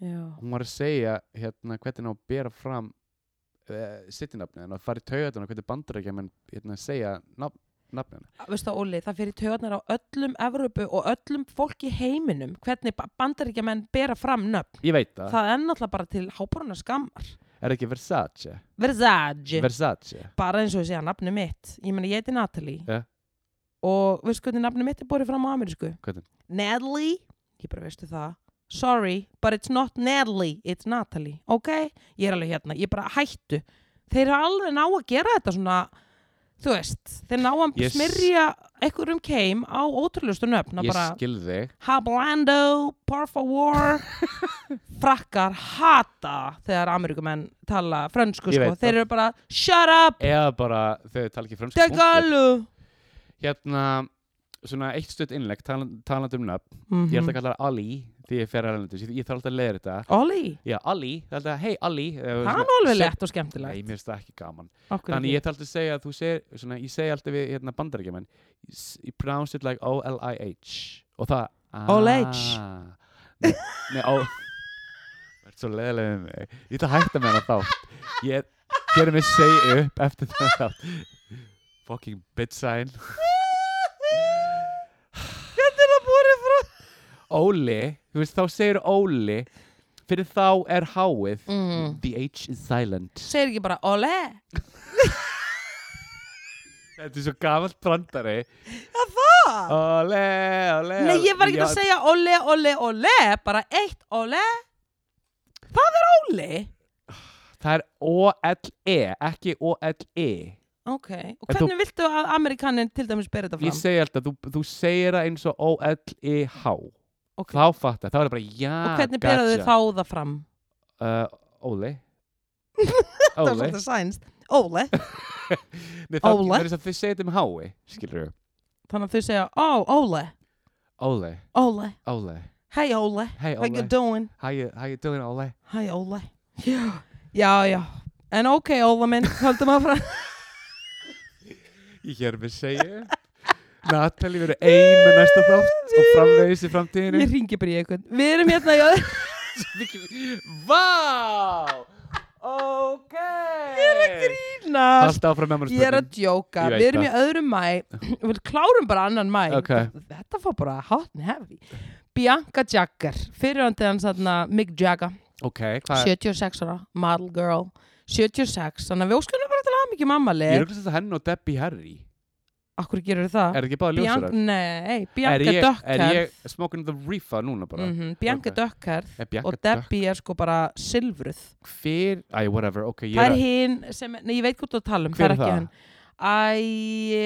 Speaker 1: Já.
Speaker 2: Hún var að segja hérna Hvernig hann á að bera fram uh, Sittinafni Hann að fara í taugatana Hvernig bandar ekki Menn hérna segja nafn, Nafnina
Speaker 1: Veistu það Óli, það fyrir töðnar á öllum Evrópu og öllum fólk í heiminum hvernig bandaríkja menn bera fram nöfn
Speaker 2: Ég veit það,
Speaker 1: það er náttúrulega bara til hábúruna skammar
Speaker 2: Er ekki Versace
Speaker 1: Versace
Speaker 2: Versace
Speaker 1: bara eins og ég segja nafni mitt ég meina ég heiti Natalie
Speaker 2: Ja.
Speaker 1: og veistu hvernig nafni mitt er borðið fram á amerísku
Speaker 2: Hvernig?
Speaker 1: Natalie ég bara veistu það sorry but it's not Natalie it's Natalie ok ég er alveg hérna ég bara hættu þeir eru alveg ná að gera þetta svona þú veist þeir ná að
Speaker 2: Ég s-
Speaker 1: smyrja einhverjum keim á ótrúlustu nöfna
Speaker 2: Ég
Speaker 1: bara
Speaker 2: skil þig
Speaker 1: Hablando por favor frakkar hata þegar ameríkumenn tala frönsku
Speaker 2: Ég
Speaker 1: sko.
Speaker 2: veit það.
Speaker 1: þeir eru bara shut up
Speaker 2: Eða bara þau tala ekki frönsku
Speaker 1: Degalu
Speaker 2: Hérna Svona eitt stutt innlegg talan, talandi um nöfn Ég
Speaker 1: Mhm.
Speaker 2: er alltaf að kalla það Ali Því ég fer að erlendis Ég, ég þarf alltaf að leiða þetta
Speaker 1: Olli,
Speaker 2: Já, Ali Það er alltaf Hei, Ali Það
Speaker 1: það er nú alveg lett og skemmtilegt
Speaker 2: Nei, mér finnst það ekki gaman
Speaker 1: Okkur
Speaker 2: Þannig
Speaker 1: ekki.
Speaker 2: ég þarf alltaf að segja að Þú segir Svona, ég segi alltaf við hérna, bandarækjumenn Ég pronounce it like O-L-I-H Og það ah,
Speaker 1: OLH.
Speaker 2: Nei, nei, ó Það er svo leðilega með mig Ég ætla að hætta með hana þá Ég gerir mig segja upp eftir það þátt Fucking bitch sign
Speaker 1: Hvernig er það búið frá
Speaker 2: Óli Þú veist, þá segir Óli Fyrir þá er háið
Speaker 1: mm.
Speaker 2: The H is silent
Speaker 1: Segir ekki bara Olli
Speaker 2: Eh, Þetta er svo gamalt brandari
Speaker 1: Það
Speaker 2: Óli, óli
Speaker 1: Nei, ég var ekki
Speaker 2: Já,
Speaker 1: að segja Olli, Olli, Olli Bara eitt Olli Það er Olli
Speaker 2: Það er O-L-E, ekki E. O-L-E.
Speaker 1: Ok, og
Speaker 2: En þú-
Speaker 1: hvernig viltu að Amerikanin til dæmis bera þetta
Speaker 2: Ég
Speaker 1: fram?
Speaker 2: segi alltaf, þú, þú segir það eins og O-L-E-H.
Speaker 1: Ok.
Speaker 2: Þá fattar, þá er það bara, já,
Speaker 1: Og hvernig beraðu þá það fram?
Speaker 2: Uh, Óli.
Speaker 1: Það var
Speaker 2: Óli.
Speaker 1: svolítið sænst Olli
Speaker 2: Nei, þá
Speaker 1: Óli.
Speaker 2: er þess að þau segja þetta um með hái, skilur þú.
Speaker 1: Þannig að þau segja, ó, Olli,
Speaker 2: Óli,
Speaker 1: Olli
Speaker 2: Óli.
Speaker 1: Hey Olli,
Speaker 2: Hey,
Speaker 1: how you
Speaker 2: Óli.
Speaker 1: doing?
Speaker 2: How you, how you doing, Óli?
Speaker 1: Hæ Óla Já, já, já En ok Óla minn, höldum að frá
Speaker 2: Ég hér með segja. Natalie verður ein með næsta þátt og framvegis í framtíðinu.
Speaker 1: Ég ringi bara í eitthvað Við erum hérna í öðru
Speaker 2: Vá! Ok! Ég er að grína.
Speaker 1: Nast,
Speaker 2: Alltaf áfram með mér
Speaker 1: Ég er að djóka,
Speaker 2: Ég veit
Speaker 1: við erum í öðrum mæ Við klárum bara annan mæ
Speaker 2: Ok.
Speaker 1: Þetta fór bara hot and heavy Bianca Jagger, fyrirandi hans þarna Mick Jagger,
Speaker 2: Ok, hvað
Speaker 1: 76 ára, model girl 76, þannig að við óskunum bara til að hafa mikið mammali
Speaker 2: Ég er auðvitað henn og Debbie Harry
Speaker 1: Akkur gerur það?
Speaker 2: Er ekki báða
Speaker 1: Bianca,
Speaker 2: ljósarar?
Speaker 1: nei,
Speaker 2: Er
Speaker 1: Bianca
Speaker 2: ég, er
Speaker 1: Dökkerð
Speaker 2: ég smoking the reefa núna bara?
Speaker 1: mm Bianca
Speaker 2: Ok.
Speaker 1: Dökkerð
Speaker 2: Er Bianca
Speaker 1: og Debbie er sko bara silfruð
Speaker 2: Dökk fyrir Æ, whatever, ok ég
Speaker 1: það er
Speaker 2: að-
Speaker 1: hinn sem, nei ég veit hvort þú ert að tala um það er
Speaker 2: Hver er
Speaker 1: ekki
Speaker 2: það?
Speaker 1: hann Æ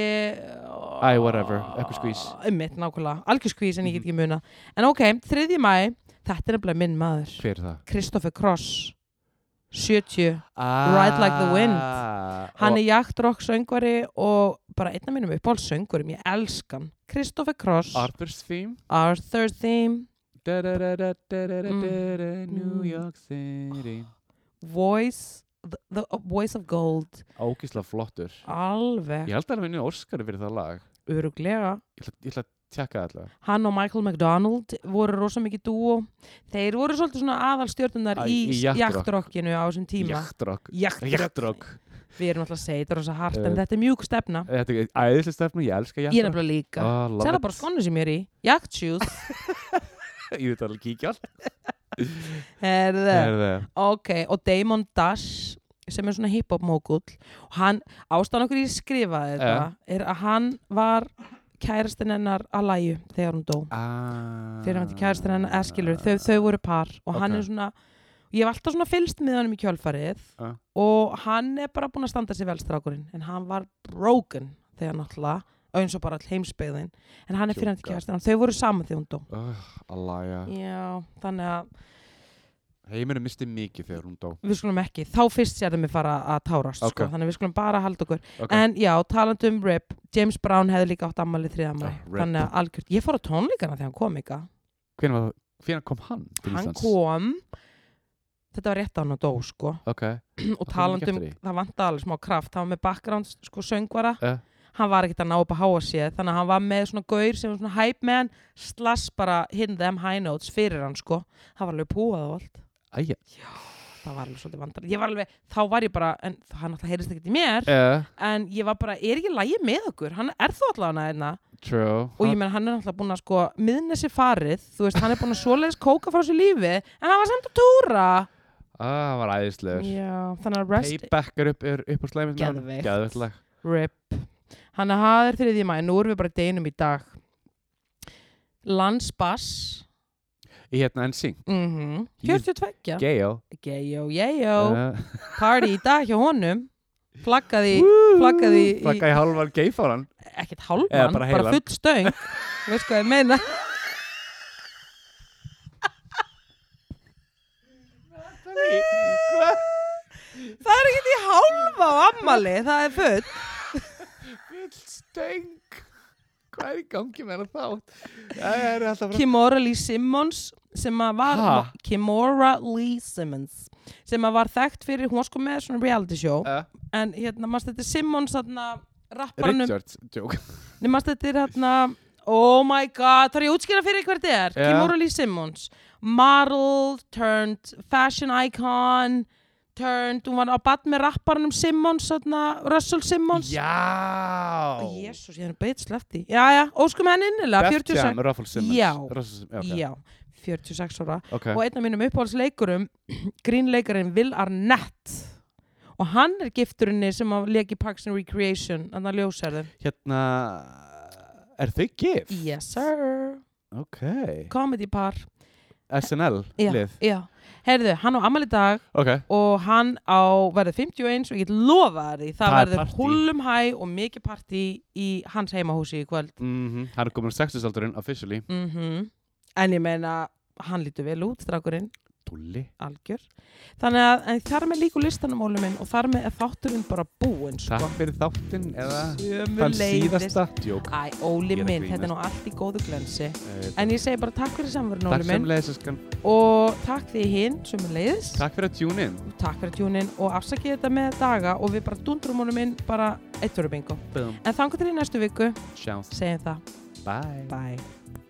Speaker 2: Æ, whatever, eitthvað Mhm. skvís.
Speaker 1: Einmitt, nákvæmlega, algjör skvís en ég get ekki muna En ok, 3. mæ, þetta er nefnilega minn maður
Speaker 2: Hver er það?
Speaker 1: Kristoffer Cross 70,
Speaker 2: Ah,
Speaker 1: Ride Like the Wind. hann
Speaker 2: og,
Speaker 1: er jaktrock söngvari og bara einn af mínum uppáhalds söngurum, ég elskan Kristoffer Cross,
Speaker 2: Arthur's theme
Speaker 1: Arthur Theme
Speaker 2: da, da, da, da, da, da, da,
Speaker 1: Mm.
Speaker 2: da, da, New
Speaker 1: Mm.
Speaker 2: York City
Speaker 1: Voice the, the Voice of Gold
Speaker 2: Ógislega flottur
Speaker 1: alveg,
Speaker 2: Ég held að hann vinni Óskari fyrir það lag
Speaker 1: öruglega
Speaker 2: Ég ætla, ég ætla að tjekka það alltaf
Speaker 1: hann og Michael McDonald voru rosa mikið dúo þeir voru svolítið svona aðalstjörnunar
Speaker 2: Æ,
Speaker 1: í,
Speaker 2: í
Speaker 1: í
Speaker 2: jaktrock.
Speaker 1: jaktrokkinu á þessum tíma
Speaker 2: Jaktrokk
Speaker 1: jaktrokk,
Speaker 2: Jaktrokk
Speaker 1: við erum alltaf að segja þetta er rosa hart
Speaker 2: Eh,
Speaker 1: en þetta er mjúk stefna
Speaker 2: Þetta er æðislega stefnum, ég elska
Speaker 1: ég er
Speaker 2: jaktrokk
Speaker 1: nefnilega líka
Speaker 2: Ah, love
Speaker 1: sér það
Speaker 2: it.
Speaker 1: bara skonu sem ég er í, jaktsjúð
Speaker 2: Ég veit alveg kíkja allt Eh.
Speaker 1: herðu,
Speaker 2: Herðu.
Speaker 1: ok og Damon Dash sem er svona hip-hop mógull og hann, ástæðan okkur ég
Speaker 2: Eh.
Speaker 1: skrifaði þetta er að hann var kærastinn hennar að læju þegar hún dó
Speaker 2: Ah.
Speaker 1: fyrir hann til kærastinn hennar eskilur þau, þau voru par og hann
Speaker 2: Ok.
Speaker 1: er svona ég hef alltaf svona fylst með honum í kjölfarið
Speaker 2: Ah.
Speaker 1: og hann er bara búin að standa sér velstrákurinn en hann var broken þegar náttúrulega eins og bara all heimsbyggðin en hann er fyrir hann til
Speaker 2: Sjúka.
Speaker 1: kærastinn hennar, þau voru saman þegar hún dó
Speaker 2: Oh, Allaja.
Speaker 1: já, þannig að
Speaker 2: Heimurinn misti mikið þegar hún dó.
Speaker 1: við skulum ekki, þá fyrst sérðum við fara að tárast
Speaker 2: Ok.
Speaker 1: sko, þannig að við skulum bara halda okkur
Speaker 2: Ok.
Speaker 1: en já, talandi um Rip, James Brown hefði líka átt ammali 3. mæ,
Speaker 2: Ah, RIP.
Speaker 1: þannig að algjört ég fór á tónleikana þegar hann kom ykkar
Speaker 2: Hvenær var það- hvenær kom hann til
Speaker 1: hann
Speaker 2: Íslands?
Speaker 1: kom þetta var rétt á hann að dó sko
Speaker 2: Ok.
Speaker 1: og
Speaker 2: ekki
Speaker 1: talandi um,
Speaker 2: eftir því?
Speaker 1: það vantaði alveg smá kraft hann var með background sko söngvara
Speaker 2: Eh.
Speaker 1: hann var ekkert að ná upp að háa sér þannig að hann var með svona gaur sem var svona hype man slass bara hinn þeim high notes fyrir hann sko, hann var alveg púað og allt
Speaker 2: Æja.
Speaker 1: það var alveg svolítið vandar ég var alveg, þá var ég bara, en hann alltaf heyrist ekkert í mér
Speaker 2: Uh,
Speaker 1: en ég var bara, er ekki lægi með okkur hann er þó allavega hérna
Speaker 2: true.
Speaker 1: og ég menn hann er alltaf búin að sko miðna sér farið, þú veist, hann er búin að svoleiðis kóka frá sér lífi, en hann var samt að túra
Speaker 2: Ah, það var æðislegur.
Speaker 1: já, þannig að rest
Speaker 2: Payback er upp, er upp á slæmið
Speaker 1: Geðveikt.
Speaker 2: Geðveikt lag
Speaker 1: Rip Þannig að það er þriðið mæ, nú erum við bara í deginum í dag Landsbass
Speaker 2: Í hérna NSYNC
Speaker 1: mm 42
Speaker 2: Gale
Speaker 1: Gejó, jejó
Speaker 2: uh,
Speaker 1: Party í dag hjá honum Flaggaði, flaggaði í,
Speaker 2: Flakkaði hálfan geifáran
Speaker 1: ekkert
Speaker 2: Eða
Speaker 1: hálfmann,
Speaker 2: bara
Speaker 1: bara,
Speaker 2: heilan.
Speaker 1: full stöng Veist hvað ég meina Það er ekkert í hálfa á ammali, það er full
Speaker 2: Vill stöng Hvað er í gangi með hana þá? Það er alltaf frá
Speaker 1: Kimora Lee Simmons sem að var
Speaker 2: Ha?
Speaker 1: Kimora Lee Simmons sem að var þekkt fyrir, hún var sko með svona reality show
Speaker 2: uh,
Speaker 1: en hérna, mannst þetta er Simmons þarna, rapparanum,
Speaker 2: Richards Joke
Speaker 1: nema þetta er hérna oh my god, þarf ég að útskýra fyrir hvert þið er
Speaker 2: Já.
Speaker 1: Kimora Lee Simmons model turned fashion icon turned, hún var á bad með rapparanum Simmons, þarna, Russell Simmons
Speaker 2: Já
Speaker 1: Jésús, ég er beitt slefti Jæja, óskum henni innilega,
Speaker 2: Def
Speaker 1: 46
Speaker 2: Jam, Ruffles Simmons
Speaker 1: Já.
Speaker 2: Russell Simmons, Já,
Speaker 1: Já, 46 ára
Speaker 2: ok,
Speaker 1: og
Speaker 2: ok
Speaker 1: einn af mínum uppáhaldsleikurum grínleikarinn Will Arnett og hann er gifturinni sem að leki Parks and Recreation en það ljósarðu
Speaker 2: Hérna Er þau gif?
Speaker 1: Yes sir
Speaker 2: Ok
Speaker 1: Comedy par
Speaker 2: SNL
Speaker 1: Já.
Speaker 2: lið
Speaker 1: Já Heyrðu, hann á ammali dag
Speaker 2: Ok
Speaker 1: og hann á verður 51 og ég get lofa þér því það
Speaker 2: Það er
Speaker 1: verður
Speaker 2: partí.
Speaker 1: hullum hæ og mikið partí í hans heimahúsi í kvöld
Speaker 2: mm Hann er komin á 60-saldurinn officially
Speaker 1: mm En ég meina, hann lítur vel út, strákurinn
Speaker 2: Dulli
Speaker 1: algjör Þannig að en þar með líku listanum ólum minn og þar með er þátturinn bara búinn sko.
Speaker 2: Takk fyrir þáttinn eða Þann
Speaker 1: Sömuleiðis.
Speaker 2: síðasta Joke
Speaker 1: Æ, Óli
Speaker 2: Ég er að
Speaker 1: minn,
Speaker 2: grínast.
Speaker 1: þetta er nú allt í góðu glensi
Speaker 2: Eh,
Speaker 1: En ég segi bara takk fyrir samverðin
Speaker 2: Takk
Speaker 1: Óli minn
Speaker 2: samlega Saskan
Speaker 1: Og takk því hinn, sömuleiðis
Speaker 2: Takk fyrir að tune in
Speaker 1: takk fyrir tjúnin og afsakið þetta með daga Og við bara dundrum honum inn bara eitt fyrir bingo
Speaker 2: Boom
Speaker 1: En þangur til í næstu viku,
Speaker 2: Sjáumst
Speaker 1: segjum það,
Speaker 2: Bye
Speaker 1: bye